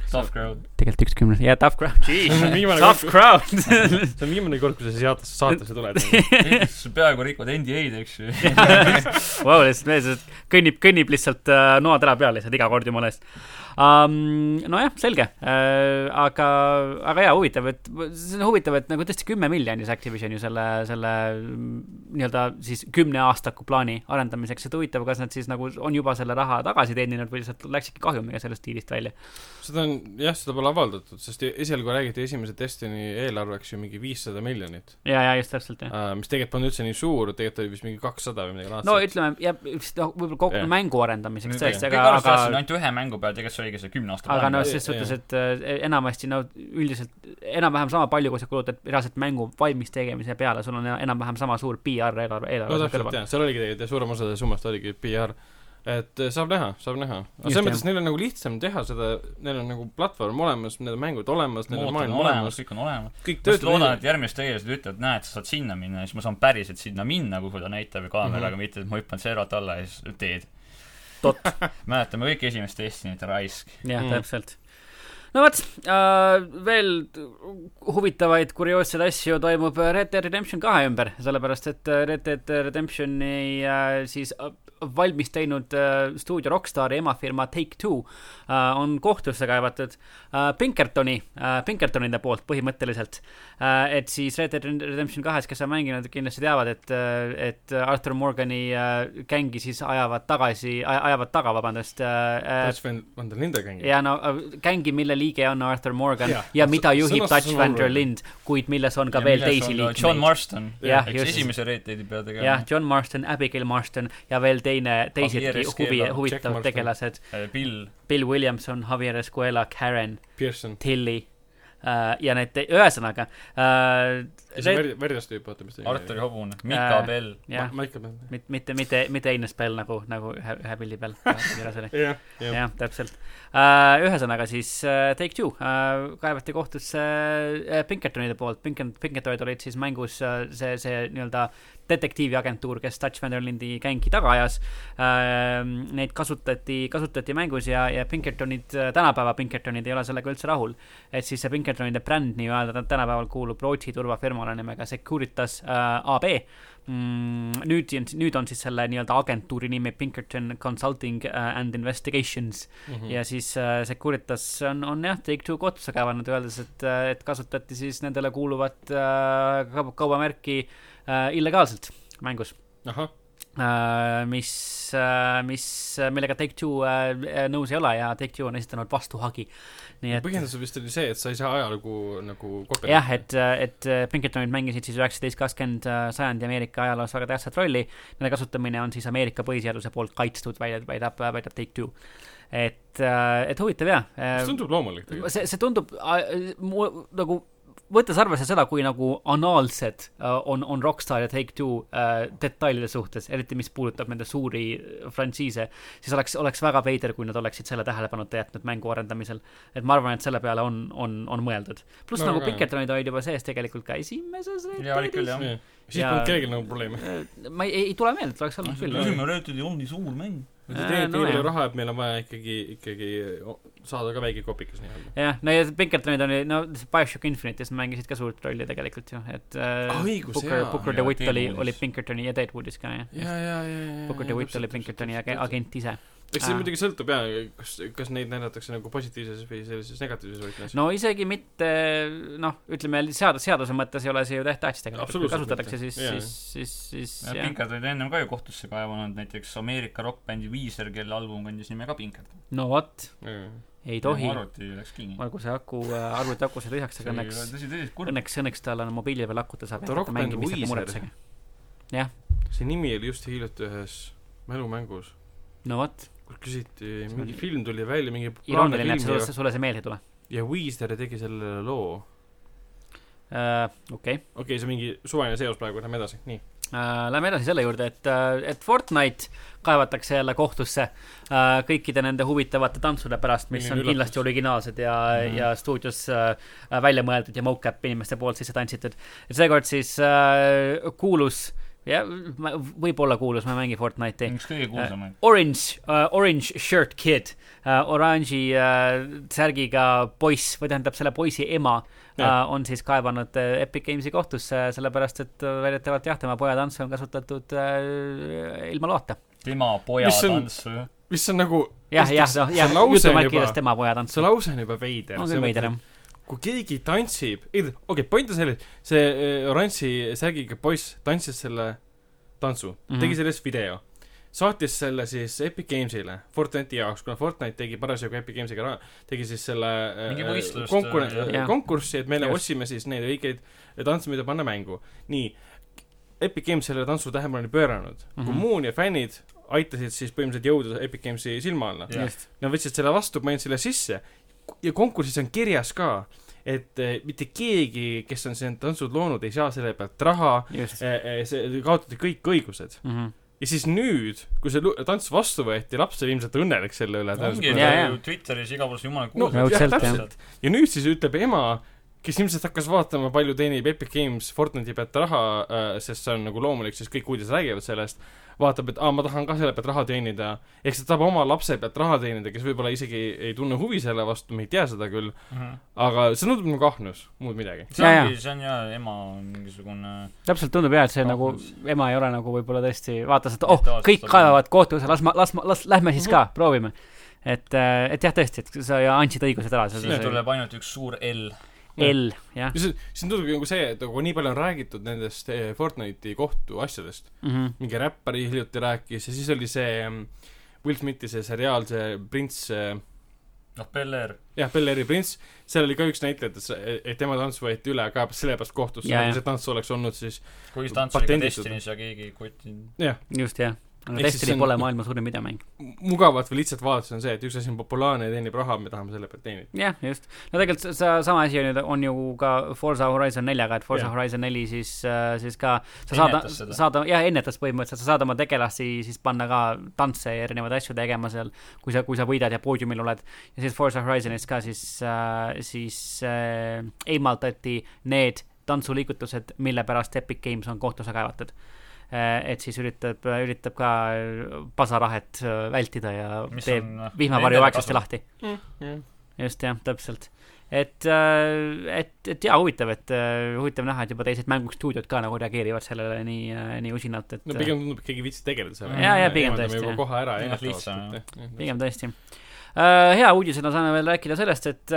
Soft crowd . tegelikult üks kümnes , jaa , tough crowd , Viimane tough kord- crowd . see on viimane kord , kui sa siia saatesse- saatesse tuled . nagu. peaaegu rikud NDA-d , eks ju . Vau , lihtsalt mees lihtsalt kõnnib , kõnnib lihtsalt äh, noad ära peal lihtsalt iga kord jumala eest um, . nojah , selge uh, , aga , aga jaa , huvitav , et see on huvitav , et nagu tõesti kümme miljonis Activision ju selle , selle mm, nii-öelda siis kümne aastaku plaani arendamiseks , et huvitav , kas nad siis nagu on juba selle raha tagasi teeninud või lihtsalt läksidki kahjumiga sellest diilist välja . seda on , jah , seda pole avaldatud , sest esialgu räägiti esimese Destiny eelarveks ju mingi viissada miljonit . ja , ja just täpselt jah . mis tegelikult polnud üldse nii suur , tegelikult oli vist mingi kakssada või midagi no laadset . ütleme , jah , võib-olla kogu Ah, Jah. yeah. mängu arendamiseks tõesti , kõik aga , alustasid aga ainult ühe mängu peal , tegelikult see oligi see kümne aasta aga plaan no Jah, selles jah. suhtes , et äh, enamasti no üldiselt enam-vähem sama palju , kui sa kulutad reaalselt mängu valmis tegemise peale , sul on ena- enam-vähem sama suur PR eelarve , no eelarve täpselt , jah , seal oligi tegelikult ja suurem osa summast oligi PR . et eh, saab näha , saab näha . aga Just, selles mõttes jah. neil on nagu lihtsam teha seda , neil on nagu platvorm olemas , need mängud olemas , neil on mootor on maailm olemas , olemas , kõik on olemas . kõik ma just töötab loodan , et järgmises tegelased ütlevad , näed , sa saad sinna minna ja siis ma saan päriselt sinna minna , kuhu ta näitab ju kaameraga mm , -hmm. mitte et ma hüppan servalt alla ja siis teed . Mhm. Tot. mäletame kõik esimest Destiny't , raisk . jah Mm. mm. , täpselt . no vot äh, , veel huvitavaid kurioosseid asju toimub äh, Red Dead Redemption kahe ümber , sellepärast et äh, Red Dead Redemptioni äh, siis äh, valmis teinud äh, stuudio Rockstari emafirma Take-Two äh, on kohtusse kaevatud äh, Pinkertoni äh, , Pinkertonide poolt põhimõtteliselt äh, . et siis Red Dead Redemption kahes , kes on mänginud , kindlasti teavad , et äh, , et Arthur Morgani äh, gängi siis ajavad tagasi , ajavad taga , vabandust äh, , Touch Van Van der Linde gängi . ja no äh, gängi , mille liige on Arthur Morgan ja, Jah. ja mida juhib Sõnastus Dutch on van der oluline. Lind , kuid milles on ka ja veel teisi äh, John liikmeid . Marston , Jah, eks just. esimese Red Deadi pea jah tegema ,. John Marston , Abigail Marston ja veel teine , teisedki Javier huvi Escuela, , Jack Marston. huvitavad tegelased . eh, Bill , Bill Williamson , Javier Escuela , Karen , Pearson . Tilly äh, ja need , ühesõnaga äh, . ja see Ver- , Verdast tüüp , oota , mis ta nimi oli? Arturi hobune , Mika Äh, Bell . jah , Ma- Michael Mann . mitte , mitte , mitte , mitte Einus Bell nagu , nagu ühe , ühe pildi peal kirjas oli . jah , jah . jah , täpselt uh, . ühesõnaga siis uh, Take Two uh, kaevati kohtusse uh, Pinkertonide poolt , Pinkert- , Pinkertonid olid siis mängus uh, see , see nii-öelda detektiiviagentuur , kes Dutch Vanderlindi gängi taga ajas uh, . Neid kasutati , kasutati mängus ja , ja Pinkertonid , tänapäeva Pinkertonid ei ole sellega üldse rahul . et siis see Pinkertonide bränd nii-öelda tä- tänapäeval kuulub Rootsi turvafirmale nimega Securitas uh, AB mm, . nüüd , nüüd on siis selle nii-öelda agentuuri nimi Pinkerton Consulting uh, and Investigations Mm. ja siis äh, Securitas on , on jah , Take-Two kohtusse kaevanud , öeldes , et , et kasutati siis nendele kuuluvat äh, kaub- kaubamärki äh, illegaalselt mängus . ahah , Äh, mis äh, , mis , millega Take-Two äh, nõus ei ole ja Take-Two on esitanud vastuhagi . nii et põhjendus vist oli see , et sa ei saa ajalugu nagu kopeerida . jah ,. et , et äh, Pinkertonid mängisid siis üheksateist , kakskümmend sajandi Ameerika ajaloos väga tähtsat rolli . Nende kasutamine on siis Ameerika põhiseaduse poolt kaitstud , väidab , väidab , väidab Take-Two . et , et huvitav jah . äh, see tundub loomulik tegelikult . see , see tundub äh, mu- nagu , võttes arvesse seda , kui nagu anaalsed äh, on , on Rockstar ja Take-Two äh, detailide suhtes , eriti mis puudutab nende suuri äh, frantsiise , siis oleks , oleks väga veider , kui nad oleksid selle tähelepanuta jätnud mängu arendamisel . et ma arvan , et selle peale on , on , on mõeldud . pluss Ma nagu arvan ka, jah. Pinkertonid olid juba sees tegelikult ka esimeses Red Jaa, olid küll, jah. Jah. siis Ja- polnud kellelgi nagu probleeme . Deadis. ma ei , ei tule meelde , et oleks olnud küll . esimene Red Deadi on nii suur mäng . see Äh, teenib no nii palju jah. raha , et meil on vaja ikkagi , ikkagi o- saada ka väike kopikas nii-öelda . jah , no ja Pinkertonid oli , no BioShock Infinite'is mängisid ka suurt rolli tegelikult ju , et äh, Ah, õigus, Booker , jaa. Booker Ja DeWitt oli , Deadwoodis. oli Pinkertoni ja Deadwoodis ka jah . ja , ja , ja , ja . Booker DeWitt oli Pinkertoni age- . agent ise . eks see Aa. muidugi sõltub jaa , kas , kas neid näidatakse nagu positiivses või sellises negatiivses võtmes . no isegi mitte noh , ütleme seadus , seaduse mõttes ei ole see ju täht- tähtis tegelikult , kui Absoluutselt kasutatakse , mitte. siis , Jaa, siis , siis , siis jah . Pinkard olid ennem ka ju kohtusse kaevanud , näiteks Ameerika rokkbändi Weezer , kelle album kandis nime ka Pinkard . no vot , ei tohi . arvuti läks kinni . olgu see aku , arvuti akusse lisaks , aga õnneks , tõsi , tõsi , kurb . õnneks , õnneks tal on mobiili peal akut , ta saab Ta jätkata rokkbänd mängimist ja Weezer. muretsege . see nimi oli just hiljuti ühes mälumängus , no vot , kus küsiti , See mingi oli- film tuli välja , mingi populaarne irooniline , et film sulle , ja, sulle see meelde ei tule ja Weezer tegi sellele loo . uh, . okei okay. , okei okay, , see on mingi suvaline seos praegu , lähme edasi , nii . Äh, Lähme edasi selle juurde , et , et Fortnite kaevatakse jälle kohtusse äh, kõikide nende huvitavate tantsude pärast , mis on Milline üllatus. kindlasti originaalsed ja Mhm. mm. , ja stuudios äh, välja mõeldud ja mocap inimeste poolt sisse tantsitud . ja seekord siis äh, kuulus , jah , võib-olla kuulus , ma ei mängi Fortnite'i , üks kõige kuulsamaid . Orange uh, , Orange Shirt Kid uh, , oranži uh, särgiga poiss või tähendab selle poisi ema uh, Jah. on siis kaevanud uh, Epic Games'i kohtusse , sellepärast et uh, väidetavalt jah , tema pojatantsu on kasutatud uh, ilma loota . tema poja Mis on- tants . mis on nagu , jah , jah , see jah , lause on jutumärkides juba- tema pojatants see lause on juba veider . on küll veider jah . kui keegi tantsib , ei okei okay, , point on selles , see eh, oranži särgiga poiss tantsis selle tantsu mm , Mhm. -hmm. tegi sellest video , saatis selle siis Epic Games'ile , Fortnite'i jaoks , kuna Fortnite tegi parasjagu Epic Games'iga raha , tegi siis selle eh, Mingi võistlust, konkure- äh, jah. , konkurssi , et meile Just. otsime siis neid õigeid tantse , mida panna mängu . nii , Epic Games selle tantsu tähelepanu oli pööranud mm -hmm. , Mhm. kommuun ja fännid aitasid siis põhimõtteliselt jõuda Epic Games'i silma alla . Jah. just , Nad võtsid selle vastu , panid selle sisse ja konkursis on kirjas ka , et eh, mitte keegi , kes on siin tantsud loonud , ei saa selle pealt raha , just . Mhm. see , kaotati kõik õigused . ja siis nüüd , kui see lu- tants vastu võeti , laps oli ilmselt õnnelik selle üle . ongi Jaa, jaa. ju Twitteris iga pool jumala no kuulsam . Raudselt, jah , jah. täpselt . ja nüüd siis ütleb ema , kes ilmselt hakkas vaatama , palju teenib Epic Games Fortnite'i pealt raha , sest see on nagu loomulik , sest kõik uudised räägivad sellest , vaatab , et aa , ma tahan ka selle pealt raha teenida , ehk siis ta tahab oma lapse pealt raha teenida , kes võib-olla isegi ei tunne huvi selle vastu , me ei tea seda küll , aga see tundub nagu ahnus , muud midagi . Mhm. see Jaa, ongi , jaa. see on jaa , ema on mingisugune täpselt tundub jah , et see nagu Kahtlus. ema ei ole nagu võib-olla tõesti vaatas , et oh , Mentaalselt kõik on- kaevavad kohtusse , las ma , las ma , las lähme siis Mhm. ka , proovime . et , et jah , tõesti , et sa andsid õigused ära . siis tuleb ainult üks suur L . L , jah . ja see , see tundubki nagu see , et nagu nii palju on räägitud nendest eh, Fortnite'i kohtuasjadest , Mhm. mingi räppar hiljuti rääkis ja siis oli see mm, Will Smithi see seriaal , see prints , eh, noh , Bel Air . jah , Bel Airi prints , seal oli ka üks näitleja , et , et tema tants võeti üle ka sellepärast kohtusse , Jaa, jah. et see tants oleks olnud siis , kuigi tants oli ka Patenditud. Destiny's ja keegi kutin- . jah , just , jah . aga Ehk siis see Destiny on- pole maailma suurim videomäng . mugavalt või lihtsalt vaadates on see , et üks asi on populaarne ja teenib raha , me tahame selle pealt teenida . jah , just . no tegelikult sa , sama asi on ju , on ju ka Forza Horizon neljaga , et Forza Jah. yeah. Horizon neli siis , siis ka sa saad Ennetas seda. , saad , jah , ennetas põhimõtteliselt , sa saad oma tegelasi siis panna ka tantse ja erinevaid asju tegema seal , kui sa , kui sa võidad ja poodiumil oled . ja siis Forza Horizonis ka siis , siis äh, eemaldati need tantsuliigutused , mille pärast Epic Games on kohtusse kaevatud . et siis üritab , üritab ka pasarahet äh, vältida ja mis teeb on . noh, vihmavarju aegsasti . lahti . jah , just jah , täpselt . et , et , et jaa , huvitav , et äh, huvitav näha , et juba teised mängustuudiod ka nagu reageerivad sellele nii , nii usinalt , et no pigem tundub , et keegi ei viitsi tegeleda sellega . Jaa, jaa, pigem tõesti, juba jah. kohe ära Jah, ja lihtsam, jah. ennetavalt . pigem tõesti . hea uudisena saame veel rääkida sellest , et ,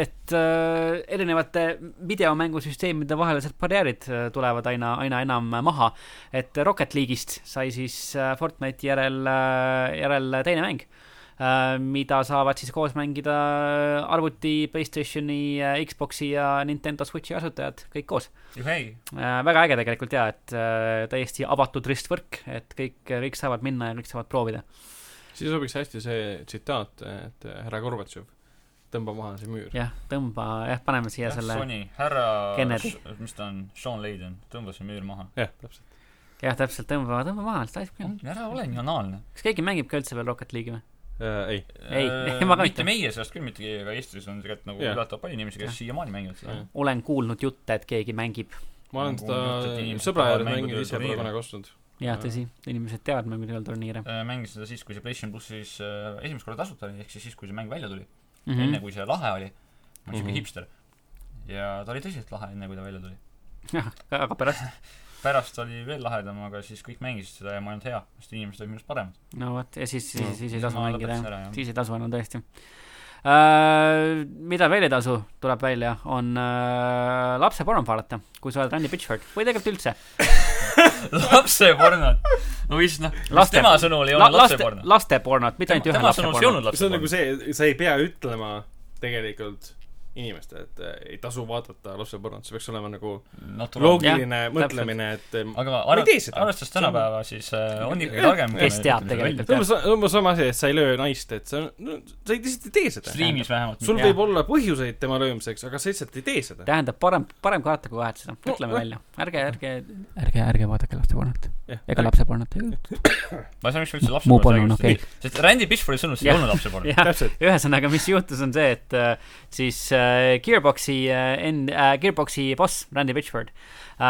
et äh, erinevate videomängusüsteemide vahelised barjäärid äh, tulevad aina , aina enam maha . et Rocket League'ist sai siis äh, Fortnite'i järel , järel teine mäng äh, mida saavad siis koos mängida arvuti , Playstationi , Xbox'i ja Nintendo Switch'i kasutajad kõik koos . juhei , Äh, väga äge tegelikult jaa , et äh, täiesti avatud ristvõrk , et kõik , kõik saavad minna ja kõik saavad proovida . siis sobiks hästi see tsitaat , et äh, härra Gorbatšov , tõmba maha see müür . jah , tõmba , jah , paneme siia jah , selle , Sony , härra Kennedy. , mis ta on , Sean Leiden , tõmbas see müür maha . jah , täpselt . jah , täpselt , tõmba , tõmba maha , seda ei saa küll . ära ole nii anaalne . kas keegi mängib ka üldse veel Rocket League'i või ? Äh, ei , Ei, ma ka Äh, mitte mitte. meie seast küll mitte keegi , aga Eestis on tegelikult nagu Jah. üllatavalt palju inimesi , kes siiamaani mängivad seda Jah. . olen kuulnud jutte , et keegi mängib . ma olen Ma kuulen juttu, et seda inimesed sõbra tahavad juures mänginud mängutööd ise , pole turniire. kunagi ostnud . jah , tõsi , inimesed teavad mängudel turniire mm . mängin Äh, seda siis , kui see PlayStation plussis äh, esimest korda tasuta oli , ehk siis siis , kui see mäng välja tuli mm . -hmm. enne -hmm. kui see lahe oli , ma olin siuke Mhm. hipster . ja ta oli tõsiselt lahe , enne kui ta välja tuli . jah , aga pärast , pärast oli veel lahedam , aga siis kõik mängisid seda ja ma ei olnud hea , sest inimesed olid minust paremad . no vot , ja siis , No, siis , siis ei Siis tasu ma mängida , jah . lõpetasin ära, jah. siis ei tasu enam tõesti . Uh, mida veel ei tasu , tuleb välja , on uh, lapseporno vaadata , kui sa oled Randy Pitchford või tegelikult üldse . lapsepornod . no või siis noh , mis Laste- tema sõnul ei La- olnud laste , lapseporno . lastepornot , mitte ainult ühe tema sõnul see ei lasteporno . olnud nagu see on nagu lapseporno . see , sa ei pea ütlema tegelikult inimeste , et äh, ei tasu vaadata lapsepõlvend , see peaks olema nagu natuurne . loogiline Jah, mõtlemine , et ähm, aga Ma ei tee arvestades seda. arvestas tänapäeva , siis äh, on ikka Jah, targem . kes teab tegelikult, see on umbes , umbes sama asi , et sa ei löö naist , et sa , no sa ei- lihtsalt ei tee seda . striimis vähemalt . sul Jah. võib olla põhjuseid tema löömiseks , aga sa lihtsalt ei tee seda . tähendab , parem , parem kaata kui kahetsusena , ütleme jah. välja . ärge , ärge , ärge , ärge vaadake lapsepornot . ega jah , lapsepornot . ma ei saa , miks me muu üldse lapsepõlve porno on okei . sest Randy Pitchfordi sõnul see ei Jah. olnud lapsepõlve . jah , täpselt . ühesõnaga , mis juhtus , on see , et äh, siis äh, Gearboxi äh, end- äh, , Gearboxi boss Randy Pitchford äh,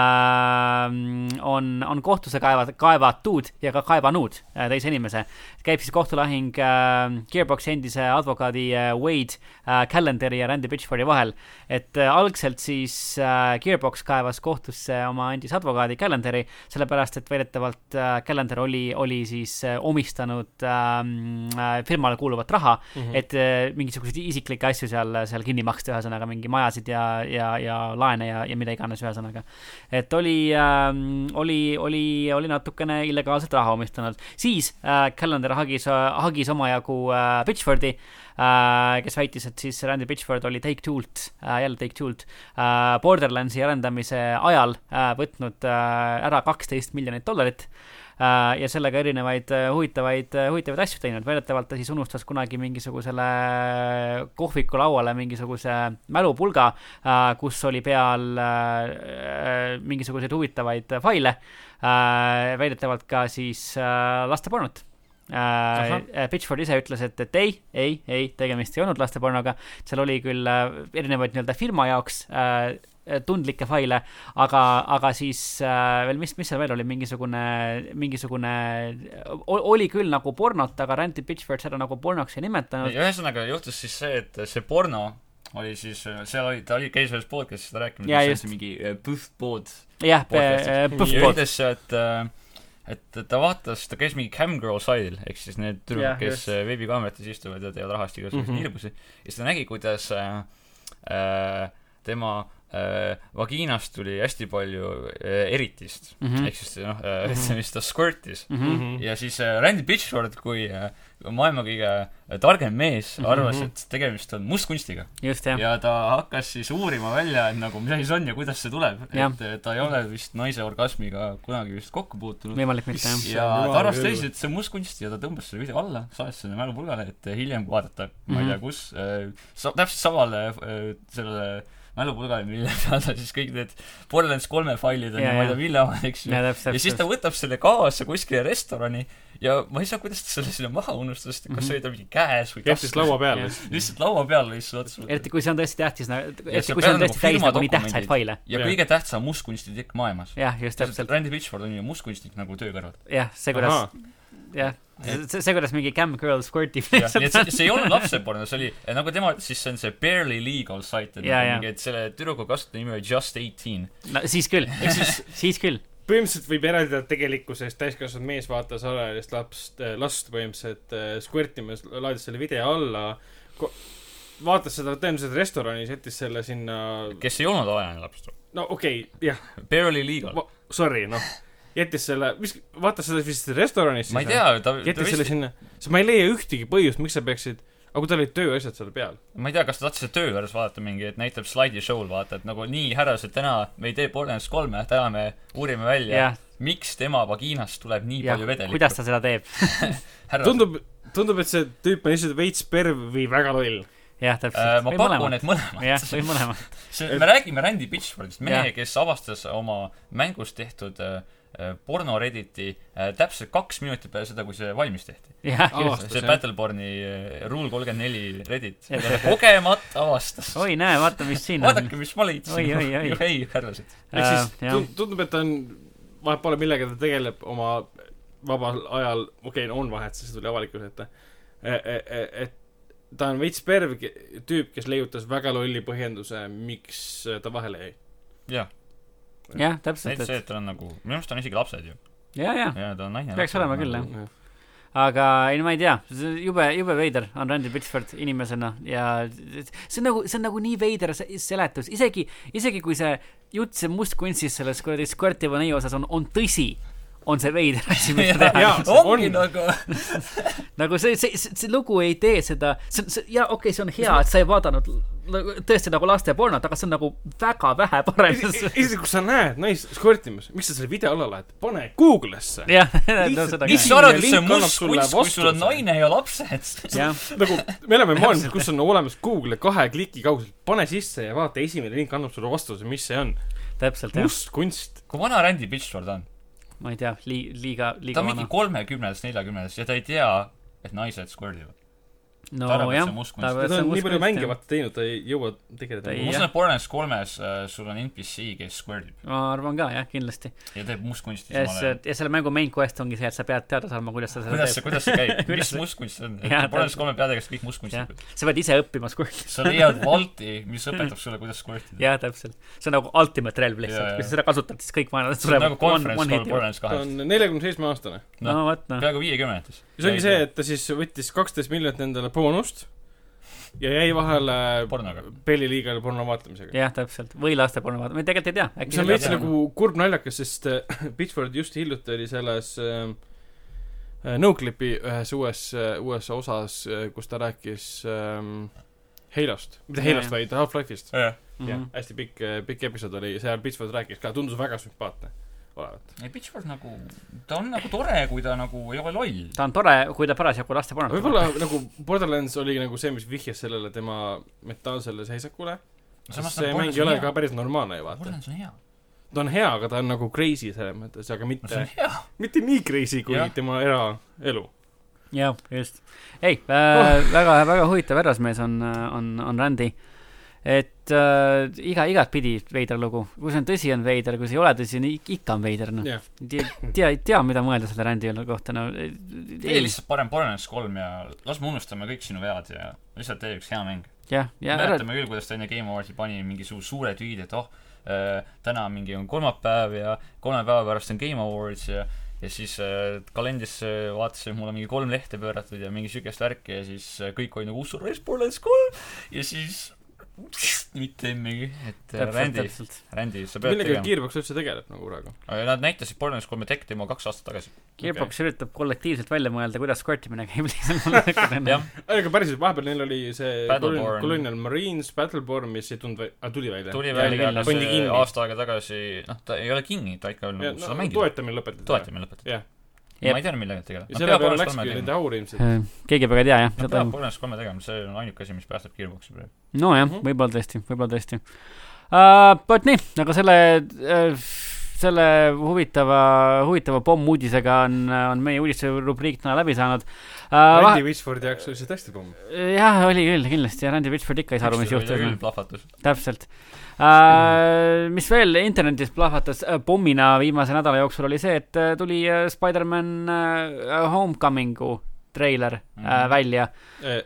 on , on kohtusse kaevad- , kaevatud ja ka kaevanud äh, teise inimese . käib siis kohtulahing äh, Gearboxi endise advokaadi äh, Wade äh, Calendari ja Randy Pitchfordi vahel . et äh, algselt siis äh, Gearbox kaevas kohtusse oma endise advokaadi Calendari , sellepärast et väidetavalt äh, Calendar oli , oli siis äh, omistanud äh, firmale kuuluvat raha Mhm. -hmm. et eh, mingisuguseid isiklikke asju seal , seal kinni maksta , ühesõnaga mingi majasid ja , ja , ja laene ja , ja mida iganes , ühesõnaga . et oli äh, , oli , oli , oli natukene illegaalset raha omistanud . siis äh, Calendar hagis , hagis omajagu äh, Pitchfordi äh, , kes väitis , et siis Randy Pitchford oli Take Two'lt äh, , jälle Take Two'lt äh, , Borderlandsi arendamise ajal äh, võtnud äh, ära kaksteist miljonit dollarit äh, ja sellega erinevaid äh, huvitavaid , huvitavaid asju teinud , väidetavalt ta siis unustas kunagi mingisugusele kohviku lauale mingisuguse mälupulga , kus oli peal äh, mingisuguseid huvitavaid faile , Äh, väidetavalt ka siis äh, lastepornot . Ahah. Äh, Pitchford ise ütles , et , et ei , ei , ei , tegemist ei olnud lastepornoga , seal oli küll äh, erinevaid nii-öelda firma jaoks äh, tundlikke faile , aga , aga siis äh, veel , mis , mis seal veel oli , mingisugune , mingisugune , oli küll nagu pornot , aga Randy Pitchford seda nagu pornoks ei nimetanud . ühesõnaga juhtus siis see , et see porno oli siis , seal oli , ta oli , käis ühes podcast'is , ta rääkis , Jaa, et just. see on mingi äh, põhpood jah , äh, Podcast'is. ja Puffpot , ütles , et äh, et ta vaatas , ta käis mingi camgirl side'il , ehk siis need Jah, tüdrukud , kes just. äh, veebikaamerates istuvad ja teevad rahast igasuguseid Mhm. mm -hmm. nirbusi , ja siis ta nägi , kuidas äh, äh, tema äh, vagiinast tuli hästi palju äh, eritist mm Mhm. -hmm. . ehk siis noh äh, , mis ta squirtis . jah , ja siis äh, Randy Pitchford kui äh, maailma kõige äh, targem mees arvas , Mhm. et tegemist on mustkunstiga . just jah , ja ta hakkas siis uurima välja , et nagu mis asi see on ja kuidas see tuleb . Jah. et eh, ta ei ole vist naise orgasmiga kunagi vist kokku puutunud . võimalik mitte jah . ja Issand ta jumal, arvas küll. tõesti , et see on mustkunst ja ta tõmbas selle video alla , saatis selle mälupulgale , et hiljem vaadata , ma Mhm. ei tea , kus äh, , sa- , täpselt samale äh, sellele mälupulgale , mille peal ta siis kõik need Borderlands kolme failid on Jaa, ja ma jaa. ei tea , mille omad , eks ju ja täpselt ja , siis ta võtab selle kaasa kuskile restorani ja ma ei saa , kuidas ta selle sinna maha unustas , et Mhm. kas see oli tal mingi käes või siis laua peal lihtsalt . lihtsalt laua peal lihtsalt otsa eriti kui see on tõesti tähtis , eriti sa kui see pead on tõesti nagu täis firma nagu nii tähtsaid dokumendid. faile . ja Jah. kõige tähtsam mustkunstnik maailmas . jah , just täpselt , Randy Pitchford on ju mustkunstnik nagu töö kõrval . jah , see kuidas , jah , see , see kuidas mingi cam girl squirtib nii et see , see ei olnud lapseporno , see oli , nagu tema ütles , siis see on see barely legal site , et Jaa, nagu jaa. mingi , et selle tüdruku kasutaja nimi oli Just Eighteen . no siis küll , ehk siis siis küll , põhimõtteliselt võib eraldada tegelikkuses täiskasvanud mees vaatas alaealist lapst , last põhimõtteliselt äh, skvõrtimas , laadis selle video alla , vaatas seda tõenäoliselt restoranis , jättis selle sinna , kes ei olnud alaealine laps . no okei okay, , jah , Barely legal . sorry , noh , jättis selle , mis , vaatas seda vist restoranis ma ei tea , ta , ta jättis selle vist , sinna , sest ma ei leia ühtegi põhjust , miks sa peaksid , aga kui tal olid tööasjad seal peal . ma ei tea , kas ta tahtis seda töö juures vaadata mingi , et näitab slaidishow'l vaata , et nagu nii härrased , täna me ei tee Borderlands kolme , täna me uurime välja , jah , miks tema vagiinast tuleb nii jah palju , vedelikku kuidas . ta seda teeb , tundub , tundub , et see tüüp on lihtsalt veits perv või väga loll . jah , Äh, täpselt , ma või pakun , mõlemad , et mõlemad . jah , või mõlemad . see , me räägime Randy Pitchfordist , mehe Jah. , kes avastas oma mängus tehtud äh, äh, porno Redditi äh, täpselt kaks minutit peale seda , kui see valmis tehti . jah , just . Avastas, see jah. Battleborni äh, Rule kolmkümmend neli Reddit , Jah. mida ta kogemata avastas . oi , näe , vaata , mis siin on . vaadake , mis ma leidsin . Oi, oi, oi. ei , härrased . ehk siis Äh, jah. tund- tundub , et ta on , vahet pole , millega ta tegeleb oma vabal ajal , okei okay, , no on vahet , sest see tuli avalikkuse ette . et ta on veits perv ke- tüüp , kes leiutas väga lolli põhjenduse , miks ta vahele jäi . jah , jah , täpselt , näiteks see , et et tal on nagu , minu meelest on isegi lapsed ju . ja , ja , ja ta on naine . Peaks olema küll, jah. aga ei no ma ei tea , jube , jube veider on Randy Pitchford inimesena ja see on nagu , see on nagu nii veider se- seletus , isegi , isegi kui see jutt siin mustkunstist selles kuradi Squirtivo neiu osas on , on tõsi , on see veider asi , mida teha . jaa, ongi on. nagu , nagu see , see , see lugu ei tee seda , see , see ja okei okay, , see on hea , et sa ei vaadanud nagu tõesti nagu lastepornot , aga see on nagu väga vähe parem . isegi kui sa näed naist skortimas , miks sa selle video alla lähed , pane Google'isse . jah , no seda ka . mis sa arvad , et see Link on annab must sulle kunst , kus sul on vastuse. naine ja lapsed ? jah , nagu me elame maailmas , kus on olemas Google kahe kliki kaugusel , pane sisse ja vaata , esimene link annab sulle vastuse , mis see on . täpselt jah , must kunst . kui vana Randy Pitchford on ? ma ei tea , lii- , liiga , ta liiga on mingi vana . kolmekümnes , neljakümnes ja ta ei tea , et naised skordivad . no ta arvab, et see jah on , must kunst. ta ta arvab , et see on on nii palju mänge muskul . vaata teinud , ta ei jõua tegeleda Ta ei- ma jah. usun , et Borderlands kolmes äh, sul on NPC , kes skordib ma arvan ka jah , kindlasti . ja teeb mustkunsti ja samal see ajal ., ja selle mängu main quest ongi see , et sa pead teada saama , kuidas sa seda kuidas see , teed . kuidas see käib , Kuidas mis see- mustkunst see on ? Jah, Borderlands täpselt. kolme peategelased kõik jah mustkunstnikud ., sa pead ise õppima squirt'i . sa leiad valti , mis õpetab sulle , kuidas skordida . jah , täpselt . see on nagu ultimate relv Mm. Jaa, lihtsalt , jaa. kui sa seda kasutad , siis kõik vaenlased see on surevad nagu . konverents Borderlands ta kahes , on neljakümne seitsme aastane . no vot noh , peaaegu viiekümnendates . ja see oli see ,, et ta siis võttis kaksteist miljonit endale boonust ja jäi vahele pornoga . Belli liigale porno vaatamisega . jah , täpselt . või laste porno vaata , me tegelikult ei tea . mis on Äkki veits see- nagu kurb naljakas , sest äh, Pitchford just hiljuti oli selles äh, äh, Noclipi ühes uues , uues osas , kus ta rääkis ähm, Halost , mitte Jaa, Halost , jah. Mhm. vaid Half-Life'ist . ei , Mm. jah , hästi pikk , pikk episood oli , seal Pitchford rääkis ka , tundus väga sümpaatne olevat . Pitchford nagu , ta on nagu tore , kui ta nagu ei ole loll . ta on tore , kui ta parasjagu laste porno võib-olla nagu Borderlands oligi nagu see , mis vihjas sellele tema mentaalsele seisakule . see nagu mäng ei ole ka päris normaalne ju vaata . Borderlands on hea . ta on hea , aga ta on nagu crazy selles mõttes , aga no see mitte on , hea . mitte nii crazy kui ja. Jah. tema eraelu . jah , just . ei äh, oh. , väga , väga huvitav härrasmees on , on , on Randy . et äh, iga , igatpidi veider lugu . kui see on tõsi , on veider , kui see ei ole tõsi , on ik- ikka on veider , noh . jah , tea , tea , tea , mida mõelda selle Randy üle kohta , no ei, tee lihtsalt parem Borderlands kolm ja las me unustame kõik sinu vead ja lihtsalt tee üks hea mäng . jah , jah , ära , mäletame küll , kuidas ta enne Game Awards'i pani mingi suur , suure tüüdi , et oh , täna mingi on kolmapäev ja kolme päeva pärast on Game Awards ja ja siis äh, kalendrisse vaatasin , mul on mingi kolm lehte pööratud ja mingi siukest värki ja siis äh, kõik olid nagu ussu raisk Borderlands kolm ja siis mitte midagi , et äh, täpselt , Randy , täpselt . Randy , sa pead millega tegema . Gearbox üldse tegeleb nagu praegu . Nad näitasid Borderlands kolme tech demo kaks aastat tagasi . Gearbox okay. üritab kollektiivselt välja mõelda , kuidas squirtimine käib lihtsalt . jah , aga päriselt , vahepeal neil oli see Battleborn. Colonial Colonial Marines , Battleborn , mis ei tulnud välja , tuli välja . tuli Ja välja kinni. ja pandi see kinni . aasta aega tagasi , noh , ta ei ole kinni , ta ikka nagu seda no, mängib . toetamine lõpetati . toetamine lõpetati . jah , Jep. ma ei tea , millega tegeleb . ja selle peale läkski nende aur ilmselt . keegi väga ei tea , jah , Nad seda peavad toimub . Borderlands kolme tegema , see on ainuke asi , mis päästab Gearboxi praegu . nojah Mhm. , võib-olla tõesti , võib-olla tõesti uh, . vot nii , aga selle uh, , selle huvitava , huvitava pommuudisega on , on meie uudisterubriik täna läbi saanud uh, . Randy Pitchfordi jaoks oli see tõesti pomm . jah , oli küll , kindlasti ja Randy Pitchford ikka ei saa aru , mis juhtus . plahvatus . täpselt uh, . mis veel internetis plahvatas äh, pommina viimase nädala jooksul oli see , et äh, tuli äh, Spider-man äh, Homecomingu treiler mm -hmm. äh, Mhm. välja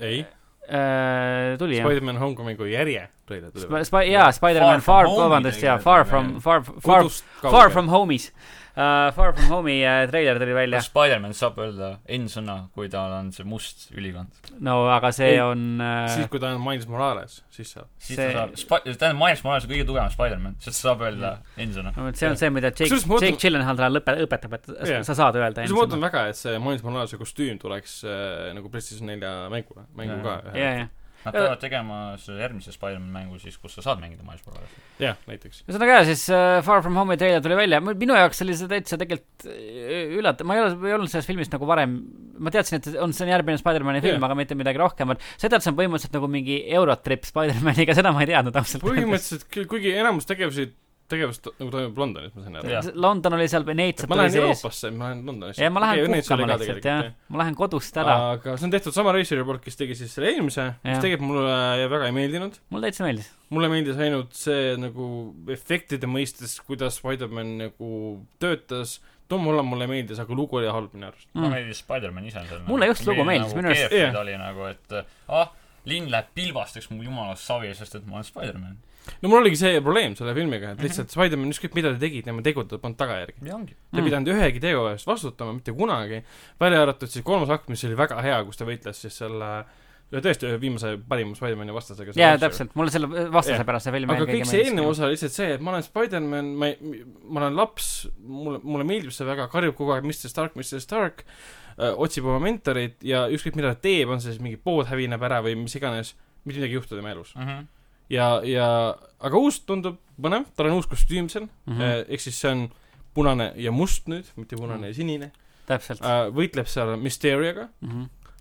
ei , äh, . tuli jah ? Spider-man Homecomingu järje tuli Sp- , Sp- , jaa , Spider-man Far , Far From Home'i vabandust , jaa , tegelikult Far tuli From , välja. Far , Far , Far . From Home'is uh, . Far From Home'i uh, treiler tuli välja . Spider-man saab öelda N-sõna , kui tal on see must ülikond . no aga see Ei, on uh, siis , kui ta on Miles Morales , siis saab . siis See- ta saab , tähendab , Miles Morales on kõige tugevam Spider-man , sest ta saab öelda N-sõna . see on see , mida Jake , Kusjuures ma mõtlen- Jake Gyllenhaal täna lõpe- , õpetab , et sa- Jaa. sa saad öelda siis ma ootan . väga , et see Miles Moralese kostüüm tuleks äh, nagu PlayStation nelja mängule , mängu Jaa. ka . jaa , jaa . Nad peavad tegema selle järgmise Spider-man mängu siis , kus sa saad mängida Miles Morales . jah , näiteks . ühesõnaga jah , siis äh, Far From Home'i treiler tuli välja , minu jaoks oli see täitsa tegelikult äh, üllatav , ma ei ole , ei olnud sellest filmist nagu varem , ma teadsin , et on , see on järgmine Spider-man'i film Jah. yeah. , aga mitte midagi rohkemat . seda , et see on põhimõtteliselt nagu mingi Eurotrip Spider-maniga , seda ma ei teadnud ausalt öeldes . põhimõtteliselt küll , kuigi enamus tegevusi , tegevust to- nagu toimub Londonis , ma sain aru . Jah. London oli seal , Veneetsia ma tuli lähen sees . Euroopasse , ma lähen Londonisse . ja ma lähen puhkama lihtsalt jah , ma lähen kodust ära . aga see on tehtud sama reisijale poolt , kes tegi siis selle eelmise , mis Jah. tegelikult mulle väga ei meeldinud . mulle täitsa meeldis . mulle meeldis ainult see nagu efektide mõistes , kuidas Spider-man nagu töötas . Tom Holland mulle meeldis , aga lugu oli halb minu arust . mulle Mm. meeldis Spider-man ise . Mulle just lugu meeldis, minu minu arust- arust . Jah. ta oli nagu , et äh, ah , linn läheb pilvasteks mu jumalast savi , sest et ma olen Spider-man . no mul oligi see probleem selle filmiga , Mhm. et lihtsalt Spider-man ükskõik mida ta tegi , tema tegud ei pannud tagajärgi . ja ongi . ta ei Mhm. pidanud ühegi teo eest vastutama mitte kunagi , välja arvatud siis kolmas akt , mis oli väga hea , kus ta võitles siis selle ühe tõesti ühe viimase parima Spider-mani vastasega . jaa , täpselt , mulle selle vastase Jah. pärast see film aga kõik see eelnev . osa oli lihtsalt see , et ma olen Spider-man , ma ei , ma olen laps , mulle , mulle meeldib see väga , karjub kogu aeg Mr Stark , Mr Stark , otsib oma Mhm. mentorit ja ükskõik mida ta teeb , on see siis mingi pood hävineb ära või mis iganes , mitte midagi ei juhtu tema elus . ja , ja , aga uus tundub põnev , tal on uus kostüüm seal mm Mhm. -hmm. , ehk siis see on punane ja must nüüd , mitte punane mm -hmm. ja sinine . täpselt . Mhm. äh, Mhm. võitleb seal Mysteriaga ,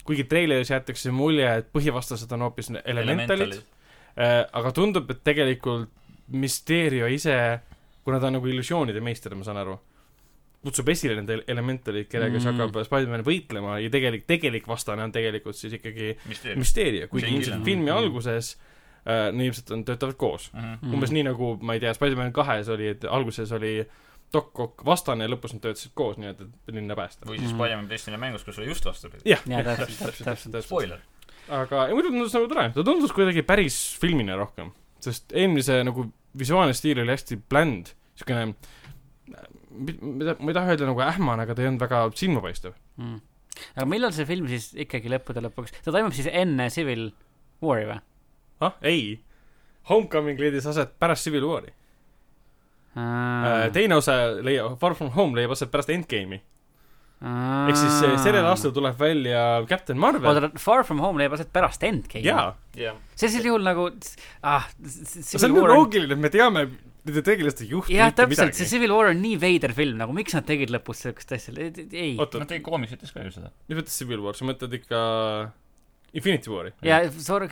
kuigi treileris jäetakse mulje , et põhivastased on hoopis elementalid , aga tundub , et tegelikult Mysterio ise , kuna ta on nagu illusioonide meister , ma saan aru , kutsub esile need ele- elementalid , kellega siis Mm. hakkab Spider-man võitlema ja tegelik , tegelik vastane on tegelikult siis ikkagi Mysteerium . Mysterio , Mhm. kuigi Jake ilmselt Gyllenhaal. filmi Mm. alguses äh, no ilmselt on , töötavad koos . Mhm. Mm. umbes nii nagu , ma ei tea , Spider-man kahes oli , et alguses oli Doc Ock vastane ja lõpus nad töötasid koos , nii et , et linna päästa . või siis Mhm. Spider-man PlayStationi mängus , kus oli just vastupidi . jah , jaa , täpselt , täpselt , täpselt . täpselt . Spoiler . aga ei, muidu tundus nagu tore , ta tundus kuidagi päris filmina rohkem , sest eelmise nagu visuaalne stiil oli hästi bland , siukene ma ei taha öelda nagu ähmane , aga ta ei olnud väga silmapaistev . mm. . aga millal see film siis ikkagi lõppude lõpuks , ta toimub siis enne Civil War'i või ah , ei . Homecoming leidis aset pärast Civil War'i . uh, ? Äh, teine osa leiab , Far From Home leiab aset pärast Endgame'i . ehk siis eh, sellel aastal tuleb välja Captain Marvel . Ah. oota , Far From Home leiab aset pärast Endgame'i ? jaa , jah . sellisel juhul nagu , ah , see on nagu Civil ju War on loogiline , et me teame nende tegelaste juhti . jah , täpselt , see . Civil War on nii veider film nagu , miks nad tegid lõpus sellist asja , ei . oota , Nad tegid koomiksites ka ju seda . mis mõttes Civil War , sa mõtled ikka Infinity War'i ? ja sorry ,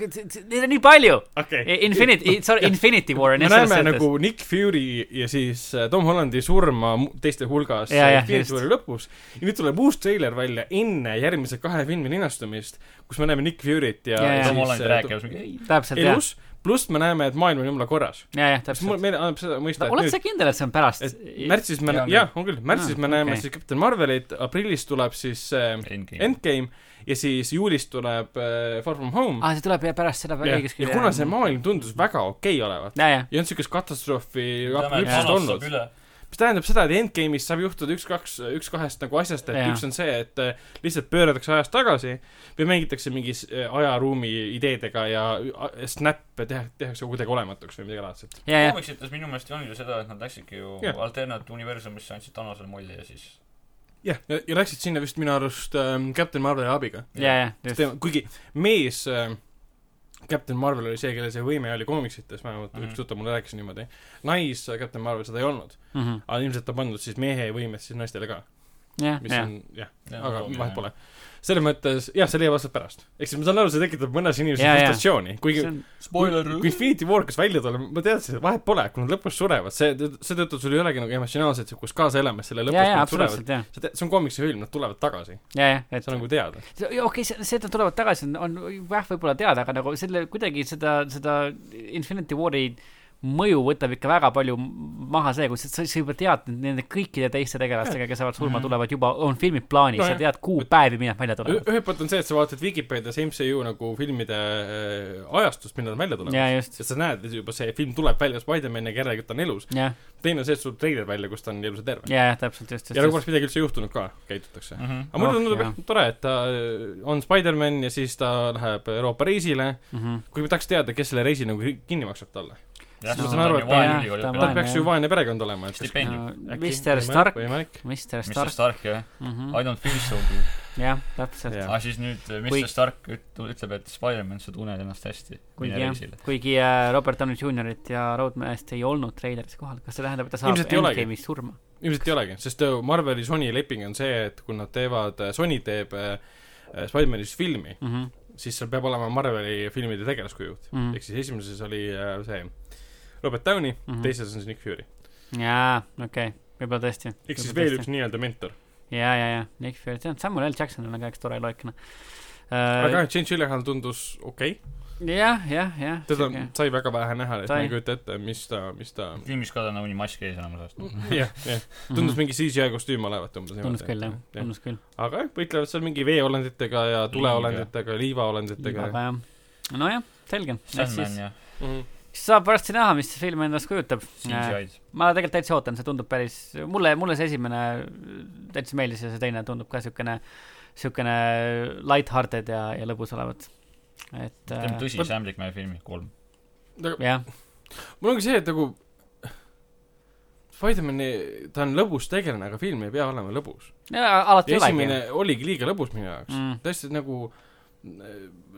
neid on nii palju . okei . E, Infinity , sorry , Infinity War on me jah selles näeme mõttes . nagu Nick Fury ja siis äh, Tom Hollandi surma mu- teiste hulgas Jaa, äh, jah, Infinity just. War'i lõpus ja nüüd tuleb uus treiler välja enne järgmise kahe filmi linastumist , kus me näeme Nick Furyt ja, Jaa, jaa. ja Tom Holland siis rääkis , ei , täpselt , äh, jah . elus , pluss me näeme , et maailm on jumala korras . ja , jah , mis mul , täpselt . meile annab seda mõista , et oled nüüd sa kindel , et see on pärast ? et märtsis me Jaa, , jah , on küll , märtsis Aa, me näeme okei. siis Captain Marvelit , aprillis tuleb siis äh, endgame . Endgame ja siis juulis tuleb äh, Far From Home . aa , Ah, see tuleb jah pärast seda ja ja kuna see maailm tundus väga okei olevat , ja , jah . ei olnud siukest katastroofi Thanos apokalüpsust olnud . mis tähendab seda , et endgame'is saab juhtuda üks-kaks , üks-kahest nagu asjast , et Jaa. ja. üks on see , et äh, lihtsalt pööratakse ajas tagasi või mängitakse mingis äh, ajaruumi ideedega ja äh, snap'e teha- , tehakse kuidagi olematuks või midagi laadset . ja , jah . koomiksites minu meelest ei olnud ju seda , et nad läksidki ju Jah. alternatiivuniversumisse , andsid Thanosele mulli ja siis jah , ja ja läksid sinna vist minu arust äh, Captain Marveli abiga . ja , ja , just . kuigi mees äh, Captain Marvel oli see , kellel see võime oli koomiksites , vähemalt mm Mhm. -hmm. üks tuttav mulle rääkis niimoodi . nais äh, Captain Marvel seda ei olnud , Mhm. aga ilmselt ta pandud siis mehe võimed siis naistele ka , jah , mis ja. jah . on jah , Jah, aga loogiline. vahet pole . selles mõttes , jah , see leiab aastaid pärast . ehk siis ma saan aru , see tekitab mõnes inimeses Jaa, jaa. frustratsiooni , kuigi spoiler kui Infinity War hakkas välja tulema , ma teadsin , et vahet pole , kui nad lõpus surevad , see , seetõttu sul ei olegi nagu emotsionaalset niisugust kaasaelamist selle lõpus , ja , kui ja nad surevad . absoluutselt , jah . sa tead , see on komiksifilm , nad tulevad tagasi , ja , jah , et see on nagu teada . okei okay, , see , et nad tulevad tagasi , on , on jah , võib-olla teada , aga nagu selle kuidagi seda , seda Infinity War'i mõju võtab ikka väga palju maha see , kus sa, sa juba tead et nende kõikide teiste tegelastega , kes saavad surma , Mhm. tulevad juba , on filmid plaanis No no, , sa jah. tead kuupäevi , millal nad välja tulevad . ühelt poolt on see , et sa vaatad Vikipeedias MCU nagu filmide äh, ajastust , millal nad välja ja tulevad . just , sest sa näed , et juba see film tuleb välja Spider-maniga , järelikult ta on elus . jah , teine on see , et sul tuleb treiler välja , kus ta on ilus ja terve . ja , jah , täpselt , just , ja nagu just , oleks midagi üldse juhtunud ka , käitutakse . Mhm. aga Oh, mulle tundub jaa. jah tore , et ta äh, on Spider-man ja siis ta läheb Euroopa reisile , just . kuigi ma tahaks teada , kes selle reisi nagu ri- kinni maksab talle . ma ma saan aru, et ta- ta tal Vaene, peaks ju jah. vaene perekond olema , et kas stipendium Mr Stark , võimalik . Mr Mr Stark , Mm. Stark jah I don't feel so good jah , täpselt . Jah. aga siis nüüd äh, Mr Kui- Stark üt- ütleb et Spider-man sa tunned ennast hästi kuigi mine jah reisile. , kuigi äh, Robert Downey Jr.'it ja Roadmanist ei olnud treileris kohal , kas see tähendab , et ta saab Ilmselt ei olegi. Endgame'is surma ? ilmselt ei olegi , sest äh, Marveli Sony leping on see , et kui nad teevad , Sony teeb äh, äh, Spider-manis filmi , Mhm, siis seal peab olema Marveli filmide tegelaskujuht . ehk siis esimeses oli äh, see Robert Downey Mhm. mm , -hmm. teises on siis Nick Fury . jaa , okei okay. , võib-olla tõesti . ehk siis veel üks . nii-öelda mentor . jaa , jaa , jaa , Nick Fury , tead , Samuel L Jackson on ka üks tore loikene . aga jah , jah , James Gyllenhaal tundus okei okay. , jah , jah . teda okay. sai väga vähe näha , et Ta ma ei- ei kujuta ette , mis ta , mis ta filmis ka ta nagunii mask ees enamus Mm. aastast jah , jah , tundus mingi CGI kostüüm olevat umbes Mhm. tundus küll , jah , tundus küll . aga jah , võitlevad seal mingi veeolenditega ja tuleolenditega , liivaolenditega ja nojah , selge . Sandman siis ja Mhm. saab varsti näha , mis see film endast kujutab . Äh, CGI-d ma tegelikult täitsa ootan , see tundub päris , mulle , mulle see esimene täitsa meeldis ja see teine tundub ka siukene , siukene light-hearted ja , ja lõbus olevat . et teeme äh, tõsi vot- Sam Lickman'i filmi kolm Aga jah , mul ongi see , et nagu Spider-man'i , ta on lõbus tegelane , aga film ei pea olema lõbus . alati ei olegi . esimene oligi liiga lõbus minu jaoks mm. . Mm. täiesti nagu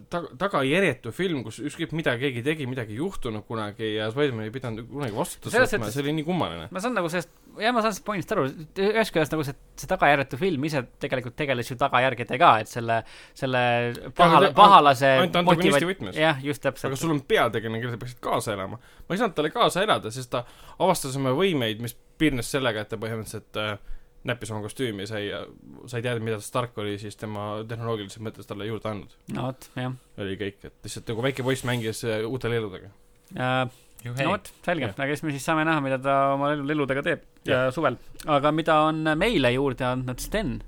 ta- , tagajärjetu film , kus ükskõik mida keegi tegi , midagi ei juhtunud kunagi ja Spider-man ei pidanud kunagi vastutust Selles võtma , suhtes- see oli nii kummaline . ma saan nagu sellest , jah , ma saan sellest pointist aru , ühest küljest nagu see , see tagajärjetu film ise tegelikult tegeles ju tagajärgedega ka, , et selle , selle aga pahala , ta- pahalase ainult antagonisti võtmes. jah , just aga täpselt . sul on peategelane , kellele peaksid kaasa elama . ma ei saanud talle kaasa elada , sest ta avastas oma võimeid , mis piirnes sellega , et ta põhimõtteliselt äh, näppis oma kostüümi ja sai , sai teada , mida Stark oli siis tema tehnoloogilises mõttes talle juurde andnud . no vot , jah oli kõik , et lihtsalt nagu väike poiss mängis äh, uute lelludega . Äh, no vot , selge , aga eks me siis saame näha , mida ta oma lelu- lelludega teeb ja. suvel . aga mida on meile juurde andnud Sten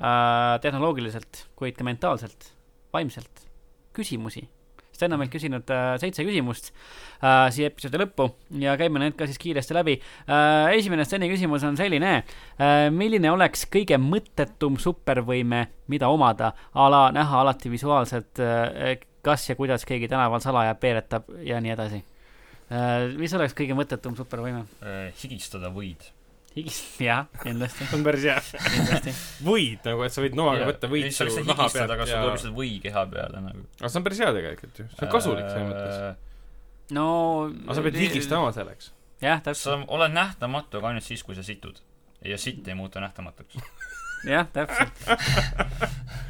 äh, tehnoloogiliselt , kuid ka mentaalselt , vaimselt , küsimusi . Sten on meilt küsinud äh, seitse küsimust äh, siia episoodi lõppu ja käime need ka siis kiiresti läbi äh, . esimene Steni küsimus on selline äh, . milline oleks kõige mõttetum supervõime , mida omada , a la näha alati visuaalselt äh, , kas ja kuidas keegi tänaval salaja peeretab ja nii edasi äh, . mis oleks kõige mõttetum supervõime ? äh, higistada võid . jah , kindlasti , see on päris hea . kindlasti . võid nagu , et sa võid noaga võtta võid su naha pealt aga sul ja tuleb lihtsalt või keha peale nagu . aga see on päris hea tegelikult ju , see on kasulik selles mõttes .. Äh, no . aga sa pead higistama selleks . jah , sa täpselt , oled nähtamatu , aga ainult siis , kui sa situd . ja sitt ei muutu nähtamatuks . jah , täpselt .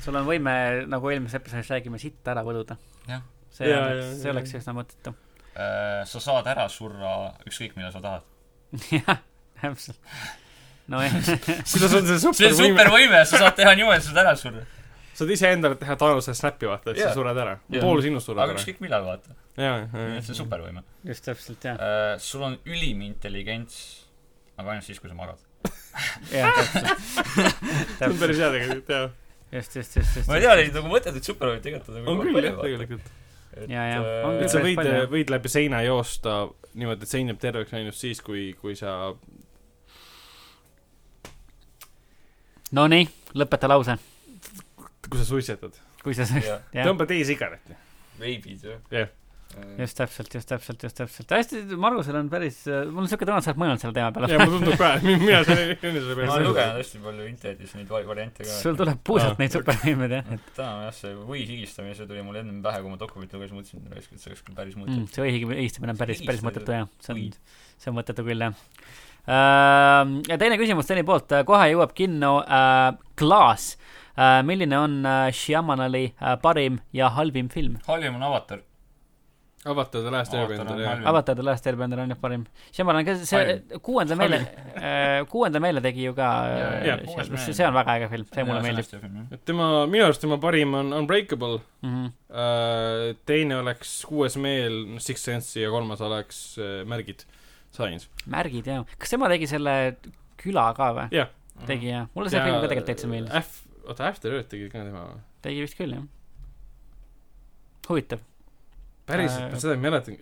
sul on võime , nagu eelmises episoodis räägime , sitt ära võluda . Jah. see Ja, ja, oleks , ja, see oleks ja. üsna mõttetu . Äh, sa saad ära surra ükskõik , mida sa tahad . jah , täpselt . nojah , kuidas on see see on supervõime ? supervõime , sa saad teha niimoodi , et sa saad ära surra . saad iseendale teha Tanuse snappi , vaata , et Jaa. sa sured ära . Jaa. pool sinust sureb aga ära . ükskõik millal , vaata . jaa , see jaa , on supervõime . just täpselt , jah . sul on ülim intelligents , aga ainult siis , kui sa magad . jah , täpselt . see on päris hea tegelikult , jaa . just , just , just , just . ma ei tea , neid nagu mõttetuid supervõimeid tegelikult on on nagu küll jah , palju . äh, tegelikult . Jaa, jaa, on et küll. sa Päris võid palju, jah. , võid läbi seina joosta niimoodi , et sein jääb terveks ainult siis , kui , kui sa Nonii , lõpeta lause , kui sa suitsetad . kui sa , jah . jah . tõmba e-sigareti . veibid ju . Jah. . Äh, just täpselt , just täpselt , just täpselt . hästi , Margusel on päris , mul on siuke tunne , et sa oled mõelnud selle teema ja mulle peale . tundub ka , et mina selle , selle ma olen peale lugenud . hästi palju internetis neid vari- variante ka . sul tuleb puusalt Aa. neid supervõimeid , jah . täna jah , see või higistamine , see tuli mulle ennem pähe , kui ma dokumenti lugesin , mõtlesin , et raisk, et see oleks küll päris mm, mõttetu . see õige higistamine on päris , päris Higistamine. mõttetu jah , see on Võid. , see on mõttetu küll jah . ja teine küsimus Steni poolt , kohe jõuab kinno äh, Klaas äh, . milline on äh, Shyamanali äh, parim ja halvim film ? halvim on avatar . avatud ja lähest Avatar on ööbendel , jah . halvim. Avatar The Last Airbender on jah parim . Shyamalan , kes see Halvim. kuuenda meele äh, , kuuenda meele tegi ju ka Jaa, jaa, äh, kuues meel. see see on väga äge film , see mulle meeldib . et tema , minu arust tema parim on Unbreakable , mm . -hmm. teine oleks Kuues meel , Six Sense'i ja kolmas oleks äh, Märgid , Science . märgid jah , kas tema tegi selle küla ka või ? jah . tegi jah , mulle see film ka tegelikult täitsa meeldis , F , oota , After Earth tegi ka tema või ? tegi vist küll jah . huvitav . päriselt Äh, äh, , seda ei mäleta .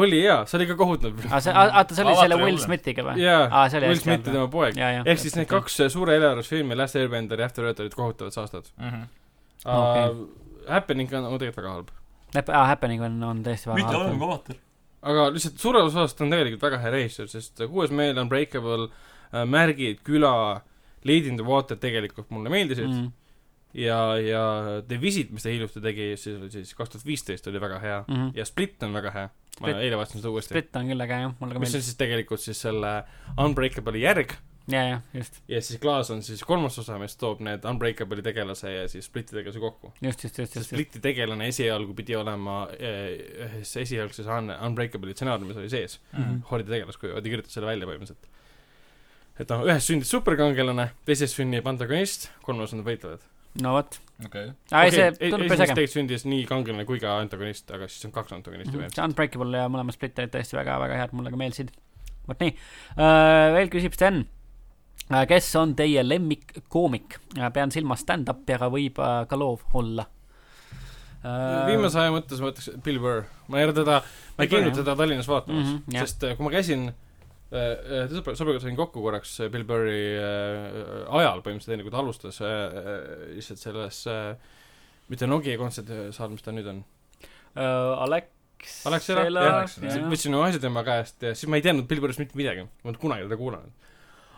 oli hea , see oli ka kohutav . aga Ah, see , vaata , see oli selle Avatar Will jõule. Smithiga või ? jaa aa, see , oli Will hästi Smith ja hea. tema poeg . ja , ja . ehk siis need . kaks äh, suure eelarvusfilmi , Last Airbender ja After Earth olid kohutavad saastad Mhm. Okei. okay. . Happening on on tegelikult väga halb . aa , ah, Happening on , on tõesti väga mitte halvim halb . kui avatar . aga lihtsalt suures osas ta on tegelikult väga hea reisijal , sest äh, Kuues meel on Breakable , Märgid , Küla , Lead in the Water tegelikult mulle meeldisid Mhm, mm. ja , ja The Visit , mis ta hiljuti tegi , siis oli siis kaks tuhat viisteist oli väga hea mm. ja Split on väga hea . ma Split- eile vaatasin seda uuesti . Split mhm. on küll äge jah , mulle ka mis on meeldib . siis tegelikult siis selle Unbreakable'i järg ja , ja , just , ja siis Klaas on siis kolmas osa , mis toob need Unbreakable'i tegelase ja siis Spliti tegelase kokku . just , just , just , see just , just . Spliti tegelane esialgu pidi olema eh, ühes esialgses Un- Unbreakable'i stsenaariumis oli sees . Mhm. Mhm. Hordi tegelaskuju , ta kirjutas selle välja põhimõtteliselt . et noh , ühes sündis superkangelane , teises sünnib antagonist , kolmas on võitlejad . no vot . okei . aa , ei , see tundub päris esimeses äge . tegelikult sündis nii kangelane kui ka antagonist , aga siis on kaks antagonisti veel . see Mhm. Unbreakable ja mõlemad Split olid tõesti väga , väga head , mulle ka meeldisid . vot nii , veel küsib Sten . kes on teie lemmikkoomik ? pean silmas stand-up'i , aga võib äh, ka loov olla . Äh, viimase aja mõttes ma ütleks Bill Burr , ma ei ole teda , ma Bill ei Burr, käinud jah. teda Tallinnas vaatamas mm , Mhm, -hmm, jah. sest äh, kui ma käisin äh, äh, sõbra , sõbraga sain kokku korraks äh, Bill Burri äh, ajal põhimõtteliselt , enne kui ta alustas äh, äh, lihtsalt selles äh, mitte Nokia kontserdisaal , mis ta nüüd on . Aleks . Alexela, jah, äh, jah Alexela. . võtsin ühe asja tema käest ja siis ma ei teadnud Bill Burrist mitte midagi , ma ei olnud kunagi teda kuulanud .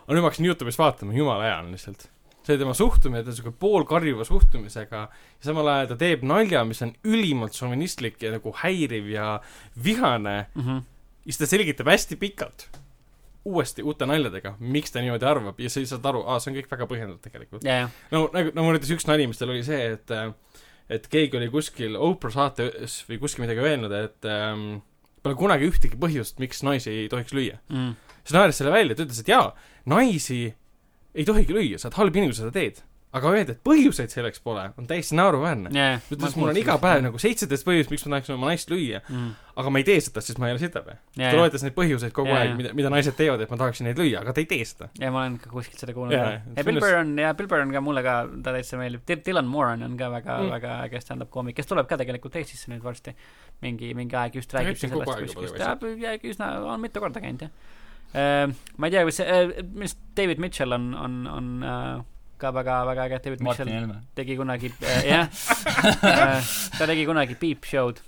aga nüüd ma hakkasin Youtube'is vaatama , jumala hea on lihtsalt . see tema suhtumine , ta on siuke poolkarjuva suhtumisega ja samal ajal ta teeb nalja , mis on ülimalt šovinistlik ja nagu häiriv ja vihane mm . -hmm. ja siis ta selgitab hästi pikalt uuesti uute naljadega , miks ta niimoodi arvab ja sa ei saad aru , aa , see on kõik väga põhjendatud tegelikult . ja , ja , no nagu , no mul näiteks üks nali , mis tal oli see , et äh, et keegi oli kuskil Oprah saates või kuskil midagi öelnud , et ähm, pole kunagi ühtegi põhjust , miks naisi ei tohiks lüüa . Mhm. siis naeris selle välja , ta ütles , et jaa , naisi ei tohigi lüüa , sa oled halb inimene , kui sa seda teed . aga öelda , et põhjuseid selleks pole , on täiesti naeruväärne . ja , ja . ta ütles , mul on iga päev . nagu seitseteist põhjust , miks ma tahaksin oma naist lüüa , aga ma ei tee seda , sest ma ei ole sitapäev . Mhm. ja , ta ja , loetas neid põhjuseid kogu Jaa, aeg jaa. , mida , mida naised teevad , et ma tahaksin neid lüüa , aga ta ei tee seda . ja ma olen ka kuskilt seda kuulnud Jaa, yeah, . jaa. ja Bill Sellest- Burr on ja Bill Burr on ka mulle ka , ta täitsa meeldib . Dylan Moran on ka väga Mm. mm. , väga äge stand-up koomik , kes tuleb ka tegelikult Eestisse nüüd varsti . mingi , mingi aeg just Ta räägib käib siin kogu sellest aeg juba kuskilt . tagasi. ta jääb üsna , on mitu korda käinud jah . ma ei tea , kas see , minu arust David Mitchell on , on , on äh, ka väga , väga äge . David Martin Mitchell Helme . tegi kunagi , jah , ta tegi kunagi Beep Show'd .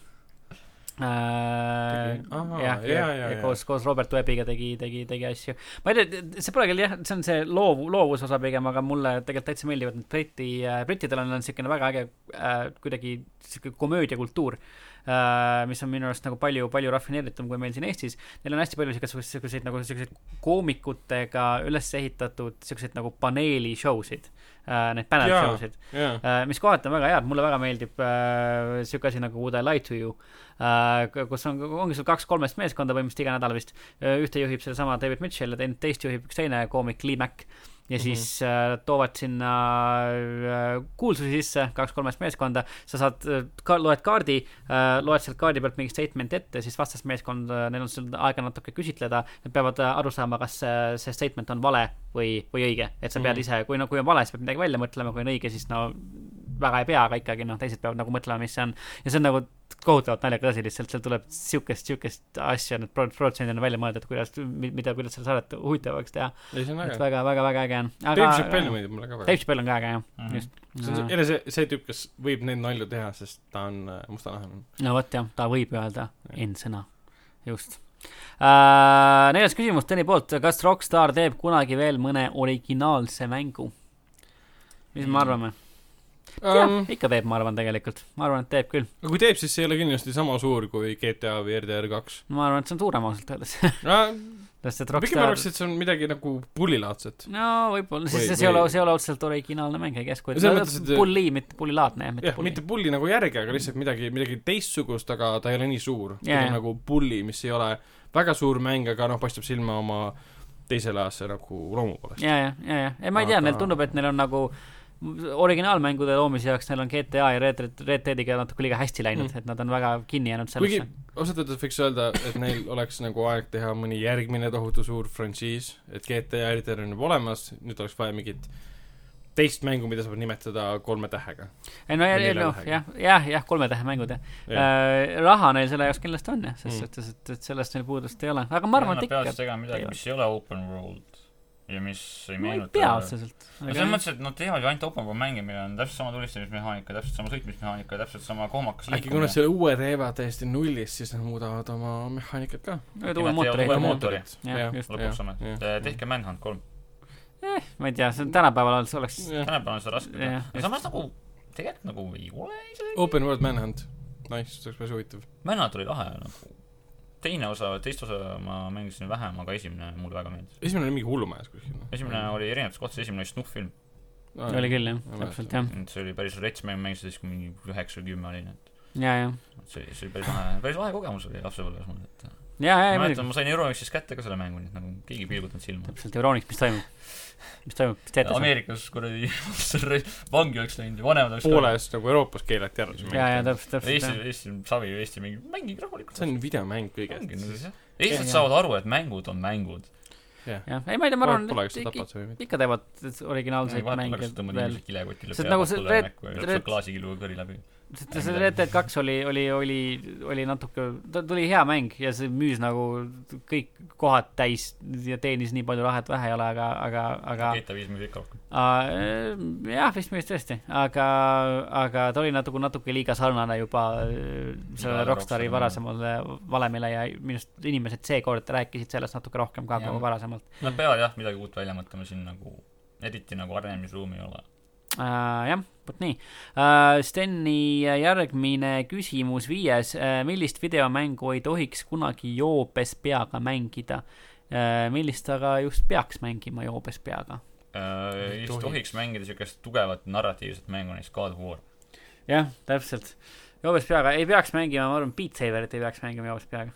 Ahaa, jah , jaa, ja jaa, jaa. koos , koos Robert Webbiga tegi , tegi , tegi asju . ma ei tea , see pole küll jah , see on see loov , loovusosa pigem , aga mulle tegelikult täitsa meeldivad need Briti , brittidel on niisugune väga äge äh, kuidagi sihuke komöödiakultuur , mis on minu arust nagu palju , palju rafineeritum kui meil siin Eestis . Neil on hästi palju siukseid , siukseid nagu siukseid koomikutega üles ehitatud siukseid nagu paneeli show sid , neid panel Jaa. show sid . jaa , Äh, mis kohati on väga head , mulle väga meeldib äh, siuke asi nagu Would I lie to you äh, , kus on , ongi sul kaks-kolmest meeskonda põhimõtteliselt iga nädal vist . Äh, ühte juhib sellesama David Mitchell ja teine , teist juhib üks teine koomik Lee Mack . ja siis mm -hmm. äh, toovad sinna äh, kuulsusi sisse , kaks-kolmest meeskonda , sa saad äh, ka, , loed kaardi äh, , loed sealt kaardi pealt mingi statement ette , siis vastasmeeskond , neil on sul aega natuke küsitleda , nad peavad äh, aru saama , kas see, see statement on vale või , või õige . et sa pead Mhm. ise , kui no kui on vale , siis pead midagi välja mõtlema , kui on õige , siis no väga ei pea , aga ikkagi noh , teised peavad nagu mõtlema , mis see on . ja see on nagu kohutavalt naljakas asi lihtsalt , seal tuleb siukest , siukest asja nüüd pro- protsendina välja mõelda , et kuidas , mida , kuidas seda saadet huvitavaks teha . ei see on et äge . väga , väga , väga äge on . Ah, Dave Chappelle meeldib mulle ka väga . Dave Chappelle on ka äge jah mm , Mhm. -hmm. just . see on see- jälle see , see tüüp , kes võib neid nalju teha , sest ta on äh, mustanahaline . no vot jah , ta võib öelda Jah. N-sõna , just uh, . neljas küsimus Tõni poolt , kas Rockstar teeb kunagi veel mõne originaalse mängu ? mis me Mm. arvame um, ? aga ikka teeb , ma arvan tegelikult , ma arvan , et teeb küll , kui teeb , siis see ei ole kindlasti sama suur kui GTA või RDR kaks . ma arvan , et see on suurem ausalt öeldes , pigem sest et ma Rockstar arvaks , et see on midagi nagu pullilaadset . no võib-olla , Või- sest see ei ole või- , see ei ole otseselt originaalne mäng , ei käsku , Selles mõttes, et- pulli , mitte pullilaadne jah , mitte jah , pulli mitte . pulli nagu järgi , aga lihtsalt midagi , midagi teistsugust , aga ta ei ole nii suur . Jaa, jaa. pigem nagu pulli , mis ei ole väga suur mäng , aga noh , paistab silma oma teisele ajasse nagu loomu poolest . ja , ja , ja , ja , ei ma ei tea , Aga- neil tundub , et neil on nagu originaalmängude loomise jaoks neil on GTA ja Red Red , Red Deadiga natuke liiga hästi läinud Mm. mm. , et nad on väga kinni jäänud kuigi sellesse . ausalt öeldes võiks öelda , et neil oleks nagu aeg teha mõni järgmine tohutu suur frantsiis , et GTA RTR on juba olemas , nüüd oleks vaja mingit teist mängu , mida saab nimetada kolme tähega . ei no ja , Nelja ja noh , tähega. jah , jah , jah , kolme tähe mängud jah äh, . raha neil selle jaoks kindlasti on jah , selles Mm. suhtes , et , et sellest neil puudust ei ole , aga ma arvan , et ikka peavad . tegema midagi , teevad. mis ei ole open world ja mis ei ma ei meenuta . pea otseselt . no selles mõttes , et nad teevad ju ainult open world mänge , millel on täpselt sama tulistamismehaanika , täpselt sama sõitmismehaanika , täpselt sama kohmakas äkki kui nad selle uue teevad täiesti nullist , siis nad muudavad oma mehaanikat ka . nüüd ja uue nad mootori teevad uue ehitada. uue mootori. mootori . Jah, just. lõpuks ometi . tehke Manhunt kolm . ma ei tea , see on tänapäeval alles oleks . tänapäeval on seda raske teha Jah, . aga samas nagu , tegelikult nagu ei ole isegi . Open World Manhunt . Nice , see oleks päris huvitav . Manhunt oli lahe nagu . teine osa , teist osa ma mängisin vähem , aga esimene mulle väga meeldis . esimene oli mingi hullumajas kuskil . noh. esimene Mm. oli erinevates kohtades , esimene oli snuff-film . oli küll jah , mäletan. täpselt jah , see oli päris rets mäng , mängisin siis , kui mingi üheksa või kümme olin , et ja , ja , see oli , see oli päris lahe , päris lahe kogemus oli lapsepõlves mul , et ja , ja , ma ja muidugi mäletan , ma sain Euronixist kätte ka selle mängu , nii et nagu keegi ei pilgutanud silma . täpselt , Euronics , mis toimub , mis toimub , mis teete ? Ameerikas kuradi selle vangi oleks läinud ja vanemad oleks pooles nagu Euroopas keelati ära see ja , ja mäng . täpselt , täpselt Eesti jah. , Eesti savi , Eesti mingi , mängige rahulikult . see on videomäng kõigest . Jaa, jaa. eestlased saavad aru , et mängud on mängud . jah , ei ma ei tea , ma arvan , Pole , kas et sa ikka- tapad või mitte . ikka teevad originaalseid mänge tõmbad veel inimesed . kilekotile See on peale , nagu see nagu Red- põleb näkku ja Red- lõpuks klaasikiluga kõri läbi . sest see Red Dead kaks oli , oli , oli , oli natuke , ta tuli hea mäng ja see müüs nagu kõik kohad täis ja teenis nii palju raha , et vähe ei ole , aga , aga , aga GTA viis müüs ikka rohkem . äh, jah , vist müüs tõesti , aga , aga ta oli natuke , natuke liiga sarnane juba äh, Jaa, sellele Rockstari Rockstari varasemale valemile ja minu arust inimesed seekord rääkisid sellest natuke rohkem ka Jah. kui varasemalt . Nad peavad jah midagi uut välja mõtlema siin nagu eriti nagu arenemisruumi ei ole . Äh, jah , vot nii äh, . Steni järgmine küsimus , viies äh, . millist videomängu ei tohiks kunagi joobes peaga mängida äh, ? millist aga just peaks mängima joobes peaga ? Äh, ei tohiks. tohiks mängida siukest tugevat narratiivset mängu , näiteks God of War . jah , täpselt . joobes peaga , ei peaks mängima , ma arvan , Beat Saberit ei peaks mängima joobes peaga .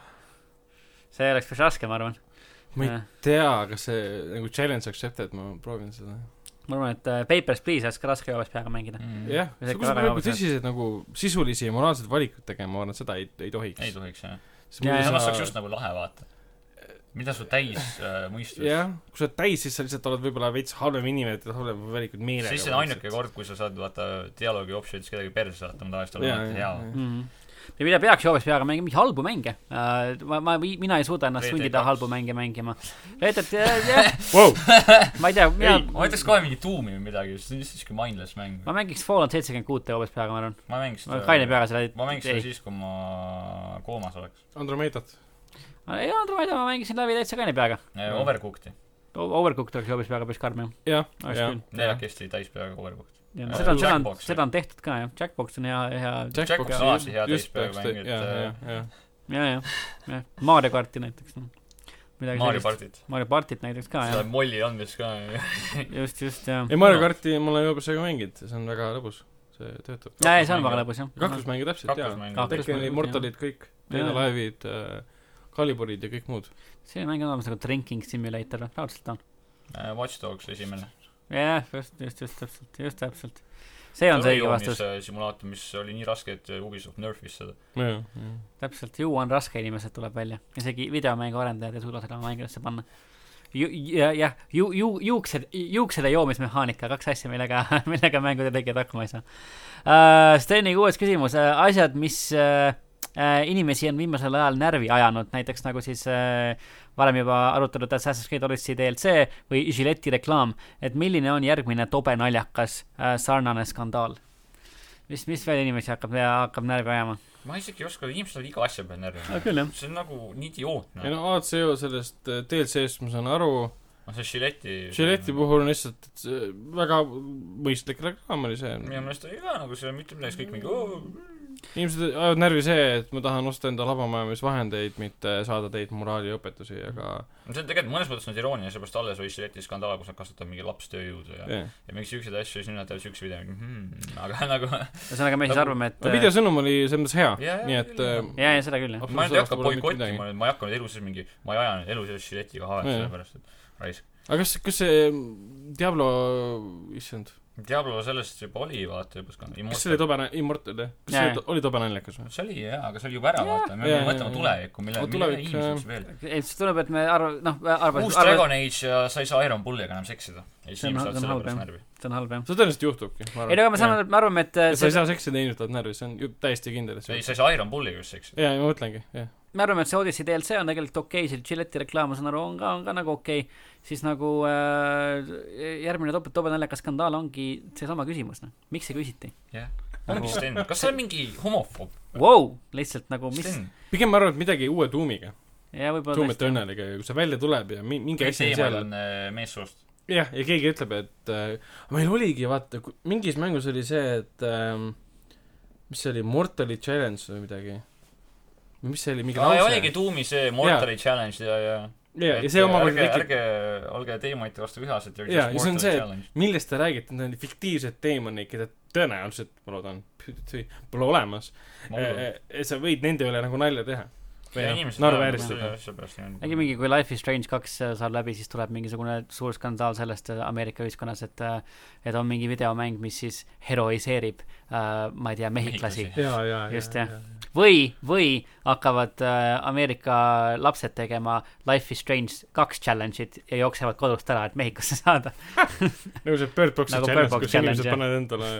see oleks päris raske , ma arvan . Äh, ma ei tea , kas see nagu challenge accepted , ma proovin seda . ma arvan , et äh, Papers , Please oleks ka raske joobes peaga mängida . Mhm. jah , See kui kõlab sa pead nagu ausalt. tõsiseid nagu sisulisi ja moraalseid valikuid tegema , ma arvan , et seda ei , ei ei tohiks . tohiks jah . Jaa, samas oleks just nagu lahe vaata . mida su täis äh, mõistus jah , kui sa oled täis , siis sa lihtsalt oled võib-olla veits halvem inimene , et halvem valikud meelega . siis see on ainuke . kord , kui sa saad vaata dialoogi option'is kedagi perse saata , ma tavaliselt olen alati hea . Mhm. Mm. ja mida peaks joobes peaga mängima , mingi halbu mänge äh, . ma , ma , mina ei suuda ennast Red Dead sundida kaks. halbu mänge mängima . Red Dead , jah , Wow. ma ei tea , mina , ma ütleks kohe mingi tuumi või midagi , see on lihtsalt siuke mindless mäng . ma mängiks Fallout seitsekümmend kuute joobes peaga , ma arvan . ma mängiks ma kaine peaga seda Äh, ma mängiks seda ei , siis , kui ma koomas oleks . Andromedat . ei olnud , ma ei tea , ma mängiksin läbi täitsa kaine peaga . Jah. Overcooked'i , Overcooked oleks joobes peaga päris karm ju . jah , oleks jah . küll . neljakesti täis peaga Overcooked'i . seda on , Äh, seda on , Jackbox, seda on tehtud ka jah , Jackbox on hea , hea , Jackbox on alati hea teispäeva mäng, et, jah , äh, jah , jah . ja , ja , ja Mario karti näiteks . midagi Mario sellist . partit , Mario partit näiteks ka seda jah , molli andis ka . äh, just , just jah . ei , Mario karti ma olen juba sellega mänginud , see on väga lõbus , see töötab . jaa , ei see on väga lõbus jah . kaklusmänge täpselt , jaa . kaklusmäng . Kaklusmäng. Tekkenid , Mortalid , kõik , Teine Jaa. laevid , Kaliburid ja kõik muud . selline mäng on olemas nagu Drinking Simulator , raudselt on . äh, Watch Dogs esimene . jah , just , just , just täpselt , just täpselt . see on see õige vastus ,. äh, simulaator , mis oli nii raske , et Ubisoft nörfis seda . jah , jah . täpselt , ju on raske , inimesed tuleb välja , isegi videomängu arendajad ei suuda seda oma mängudesse panna . ju- , jah , jah , ju- , ju- , juuksed , juuksed ja joomismehaanika , kaks asja , millega , millega mängude tegijad hakkama ei saa uh, . Steni kuues küsimus uh, , asjad , mis uh, uh, inimesi on viimasel ajal närvi ajanud , näiteks nagu siis uh, varem juba arutatud Assassin's Creed Odyssey DLC või Gilletti reklaam , et milline on järgmine tobe naljakas uh, sarnane skandaal ? mis , mis veel inimesi hakkab , hakkab närvi ajama ? ma isegi ei oska , inimesed on iga asja peal närvi . küll jah see on nagu nii ei idiootne . no ACO sellest äh, DLC-st ma saan aru , no see Gilletti . Gilletti . puhul on lihtsalt et see väga mõistlik reklaam oli see . minu meelest oli ka nagu see mitte midagi , kõik mingi oo . inimesed ajavad närvi see , et ma tahan osta endale labamajandamisvahendeid , mitte saada teilt moraaliõpetusi , aga no see on tegelikult mõnes mõttes on iroonia , seepärast alles oli Gilletti skandaal , kus nad kasutavad mingi lapstööjõudu ja , jah . ja mingi siukseid asju ja siis nüüd nad teevad siukse video , mhmmm , aga nagu ühesõnaga , me siis Nagu- arvame , et aga videosõnum oli selles mõttes hea Jaa, , jaa, Ah, nii et jaa. äh, jaa , jaa , seda küll , jah . nagu- ma nüüd ei hakka Absoluutselt pole mitte boikotima , ma ei hakka nüüd elu sees mingi , ma ei aja nüüd elu sees Gilletiga hahet Jaa. sellepärast , et raisk . aga kas , kas see eh, Diablo , issand , Diablo sellest juba oli , vaata juba skandaal . kas see oli tobe , Immortal jah ? kas Jaa, see jaa. oli- oli tobe naljakas või ? see oli jaa , aga see oli juba ära , vaata , jaa, me peame mõtlema jaa, tulevikku , mille , Aga mille tulevik, äh, inimeseks veel . ei , siis tundub , et me arv- , noh , arvame , uus arvame , Dragon Age ja sa ei saa Iron Bulliga enam seksida . ja siis See on- inimesed see saavad on selle halb, pärast jah. närvi . see on halb , jah . see tõenäoliselt juhtubki , ma ei no aga me saame , me arvame , et äh, et sa ei see , saa seksida ja inimesed on närvis , see on ju täiesti kindel , et see ei , sa ei saa Iron Bulliga just seksida . jaa , ma mõtlengi , jah . me arvame , et see Odyssey DLC on tegelikult okei okay, , see Gilletti reklaam , ma saan aru , on ka , on ka nagu okei okay. . siis nagu äh, järgmine top , top naljakas skandaal ongi seesama küsimus , noh . miks see küsiti ? jah . ongi Sten , Nagu- kas sa oled mingi homofoob ? Vau , lihtsalt nagu mis , Sten , pigem ma arvan , et midagi uue tuumiga , ja võib-olla tuumete õnneliga ja kui see välja tuleb ja mi- , mingi kõik asi on teemal seal , on äh, meessoost . jah , ja keegi ütleb , et äh, meil oligi , vaata , mingis mängus oli see , et ähm, mis see oli , Mortali Challenge või midagi . või mis see oli , mingi aa , ja lause oligi ? Doom'i see Mortali challenge ja , ja . jaa , ja see omakorda ärge , tekib , ärge olge teemaite vastu vihased ja Jaa, ja see on see, et challenge . millest te räägite , need on fiktiivsed teemonid , keda tõenäoliselt , ma loodan , pole olemas . äh, sa võid nende üle nagu nalja teha . ja inimesed naeruvääristada . äkki mingi , kui Life is Strange kaks äh, saab läbi , siis tuleb mingisugune suur skandaal sellest äh, Ameerika ühiskonnas , et äh, et on mingi videomäng , mis siis heroiseerib , ma ei tea , mehhiklasi . Mehhiklasi. jaa , jaa , Just, jah. . või , või hakkavad äh, Ameerika lapsed tegema Life is Strange kaks challenge'it ja jooksevad kodust ära , et Mehhikosse saada . nagu see Bird Box'i Nagu Bird nagu challenge , Box kus challenge, inimesed jah. panevad endale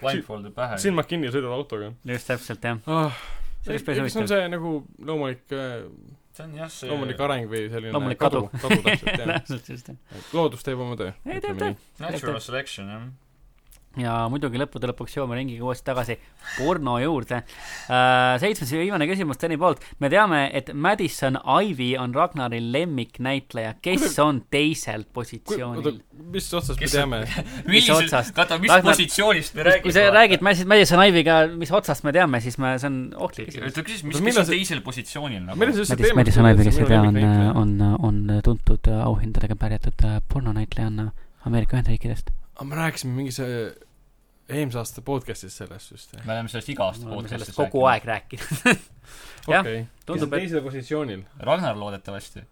blindfolded pähe . silmad kinni ja sõidavad autoga just täpselt , jah . ah, . See oleks päris kas see on huvitav. see nagu loomulik , see on jah , see loomulik areng või selline Loomulik kadu, kadu täpselt , jah . täpselt , just . loodus teeb oma töö . Ei, teeb, teeb. natural selection jah . ja muidugi lõppude lõpuks jõuame ringiga uuesti tagasi porno juurde . seitsmes ja viimane küsimus Tõni poolt . me teame , et Madison Ivy on Ragnari lemmiknäitleja , kes on teisel oota positsioonil ?, mis otsast me Kes- teame ? otsast? millisest , vaata , mis Ragnar- positsioonist me räägime . kui sa räägid Madis- Madison Ivy'ga , mis otsast me teame , siis me , see on ohtlik küsimus . ta küsis , mis , Oota, kes millal on see- teisel positsioonil millal nagu . see üldse Madis , teemaks Madison tuli, Ivy , et kes see ei tea , minu on , lemmiknäitleja? on , on tuntud äh, auhindadega pärjatud äh, pornonäitlejanna Ameerika Ühendriikidest . aga Ah, me rääkisime mingis äh, eelmise aasta podcast'is sellest just , jah ? me oleme sellest iga aasta me oleme sellest podcast'is kogu aeg rääkinud . Jah, okei . tundub , et teisel positsioonil . Ragnar loodetavasti .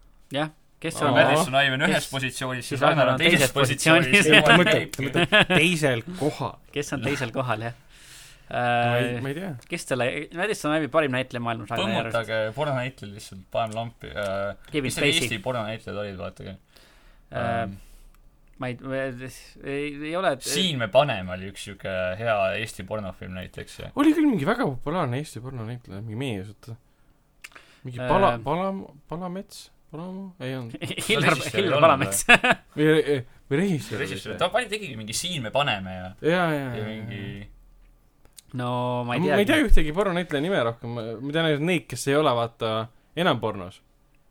kes Aa. on Madison Ive on ühes Kes- positsioonis , siis Ragnar on teises positsioonis. ta positsioonis mõtleb , ta . mõtleb teisel kohal . kes on teisel kohal , jah Äh. ma ei , ma ei tea . kes selle , Madison Ive'i parim näitleja maailmas . põmmutage pornonäitlejad lihtsalt , paneme lampi äh, . Kevin mis need Spacey Eesti . pornonäitlejad olid , vaatage Äh, ähm, . ma ei , ei , ei ole . siin me paneme oli üks siuke hea Eesti pornofilm näiteks ja oli küll mingi väga populaarne Eesti pornonäitleja , mingi mees , oota . mingi Äh. Pala , Pala , Palamets , Palamu , ei olnud . Hillar , režissöör ei Hillar olnud Palamets . või , või režissöör . režissöör , ta pani , tegigi mingi Siin me paneme ja , jaa , jaa , ja jaa . mingi Äh, no ma ma ei ma tea . ei tea . ühtegi pornonäitleja nime rohkem , ma tean ainult neid , kes ei ole , vaata , enam pornos .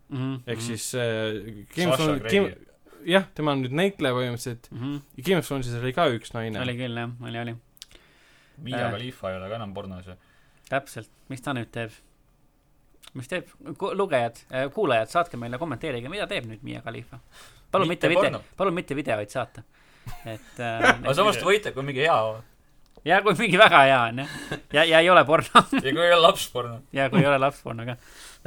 Mhm. ehk siis äh, Game of Mhm. Sasha Grey. Thrones , jah , tema on nüüd näitleja põhimõtteliselt . Game of Thronesis oli ka üks naine . Mhm. oli küll jah , oli , oli . Mia Äh. Khalifa ei ole ka enam pornos ju . täpselt , mis ta nüüd teeb ? mis teeb ? lugejad , kuulajad , saatke meile , kommenteerige , mida teeb nüüd Miia Khalifa . palun Mitte mitte video porno. , palun mitte videoid saata . et aga samas äh, . ta võitleb , kui on mingi hea ja kui mingi väga hea on jah , ja , ja ei ole porno ja kui ei ole lapsporno . ja kui ei ole lapsporno ka .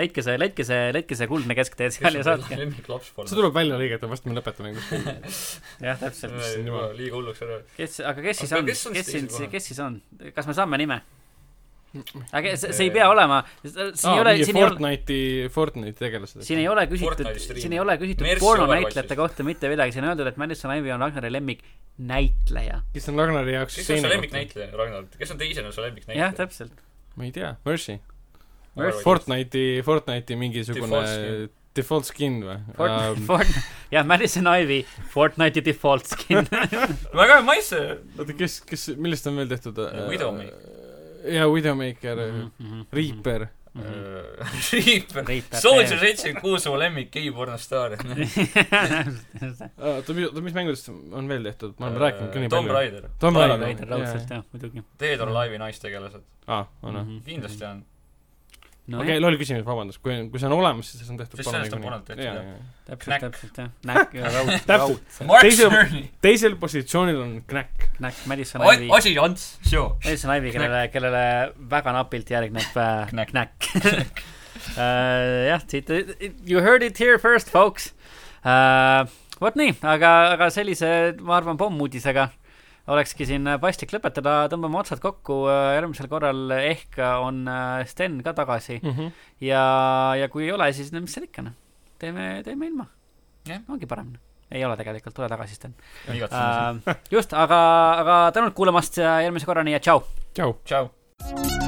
leidke see , leidke see , leidke see kuldne kesktee seal ja saatke . lemmik see lapsporno . tuleb välja lõigata , varsti me lõpetame kuskil . jah , täpselt . liiga hulluks ära . kes , aga kes siis Aga on , kes on kes siis teisel siin , kohal? kes siis on , kas me saame nime ? aga see , Äh, see ei pea olema , siin ei aa , ole , mingi siin ei ole , Fortnite'i , Fortnite'i tegelased . siin ei ole küsitud Fortnite'i , stream. siin ei ole küsitud Mercy pornonäitlejate Overwatchist. kohta mitte midagi , siin on öeldud , et Madison Ivy on Ragnari lemmik näitleja . kes on Ragnari jaoks kes on su ? lemmiknäitleja , Ragnar , kes on teisena su jah , lemmiknäitleja ? täpselt . ma ei tea , Mercy . Mercy. Fortnite'i , Fortnite'i mingisugune Default skin. default skin või ? Äh, Ähm. jah , Madison Ivy , Fortnite'i default skin . väga hea maitse . oota , kes , kes , millest on veel tehtud ? Widowmaker. . jaa , Widowmaker , Mhm. Reaper . Reaper . Mhm. Soldier seitsekümmend kuus , mu lemmik gei pornostaar . oota , mis , oota , mis mängudest on veel tehtud ? me oleme rääkinud ka nii Mhm. Äh, Tomb palju . Raider , Tomb Tomb Raider raudselt jaa. jah , muidugi . Dead or Alive'i naistegelased . aa , Ah, on või ? kindlasti on . Mhm. no, . okei , loll küsimus , vabandust , kui , kui see on olemas , siis on tehtud Siis sellest on pornot tehtud, jah. . täpselt , Knack. täpselt jah , näkk ja raud , raud , täpselt , Mark Teise- Cerny , teisel positsioonil on Knack . näkk , Madison Ivy , Asi Ants , sure . Madison Ivy , kellele , kellele väga napilt järgneb äh, Knack. knäkk . jah , siit , you heard it here first , folks uh, . vot nii , aga , aga sellise , ma arvan , pommuudisega olekski siin paslik lõpetada , tõmbame otsad kokku , järgmisel korral ehk on äh, Sten ka tagasi ja , ja kui ei ole , siis no mis seal ikka noh , teeme , teeme ilma Jah. . ongi parem . ei ole tegelikult , tule tagasi , Sten . igatsen sind . Äh, just , aga , aga tänud kuulamast ja järgmise korrani ja tšau . tšau . tšau .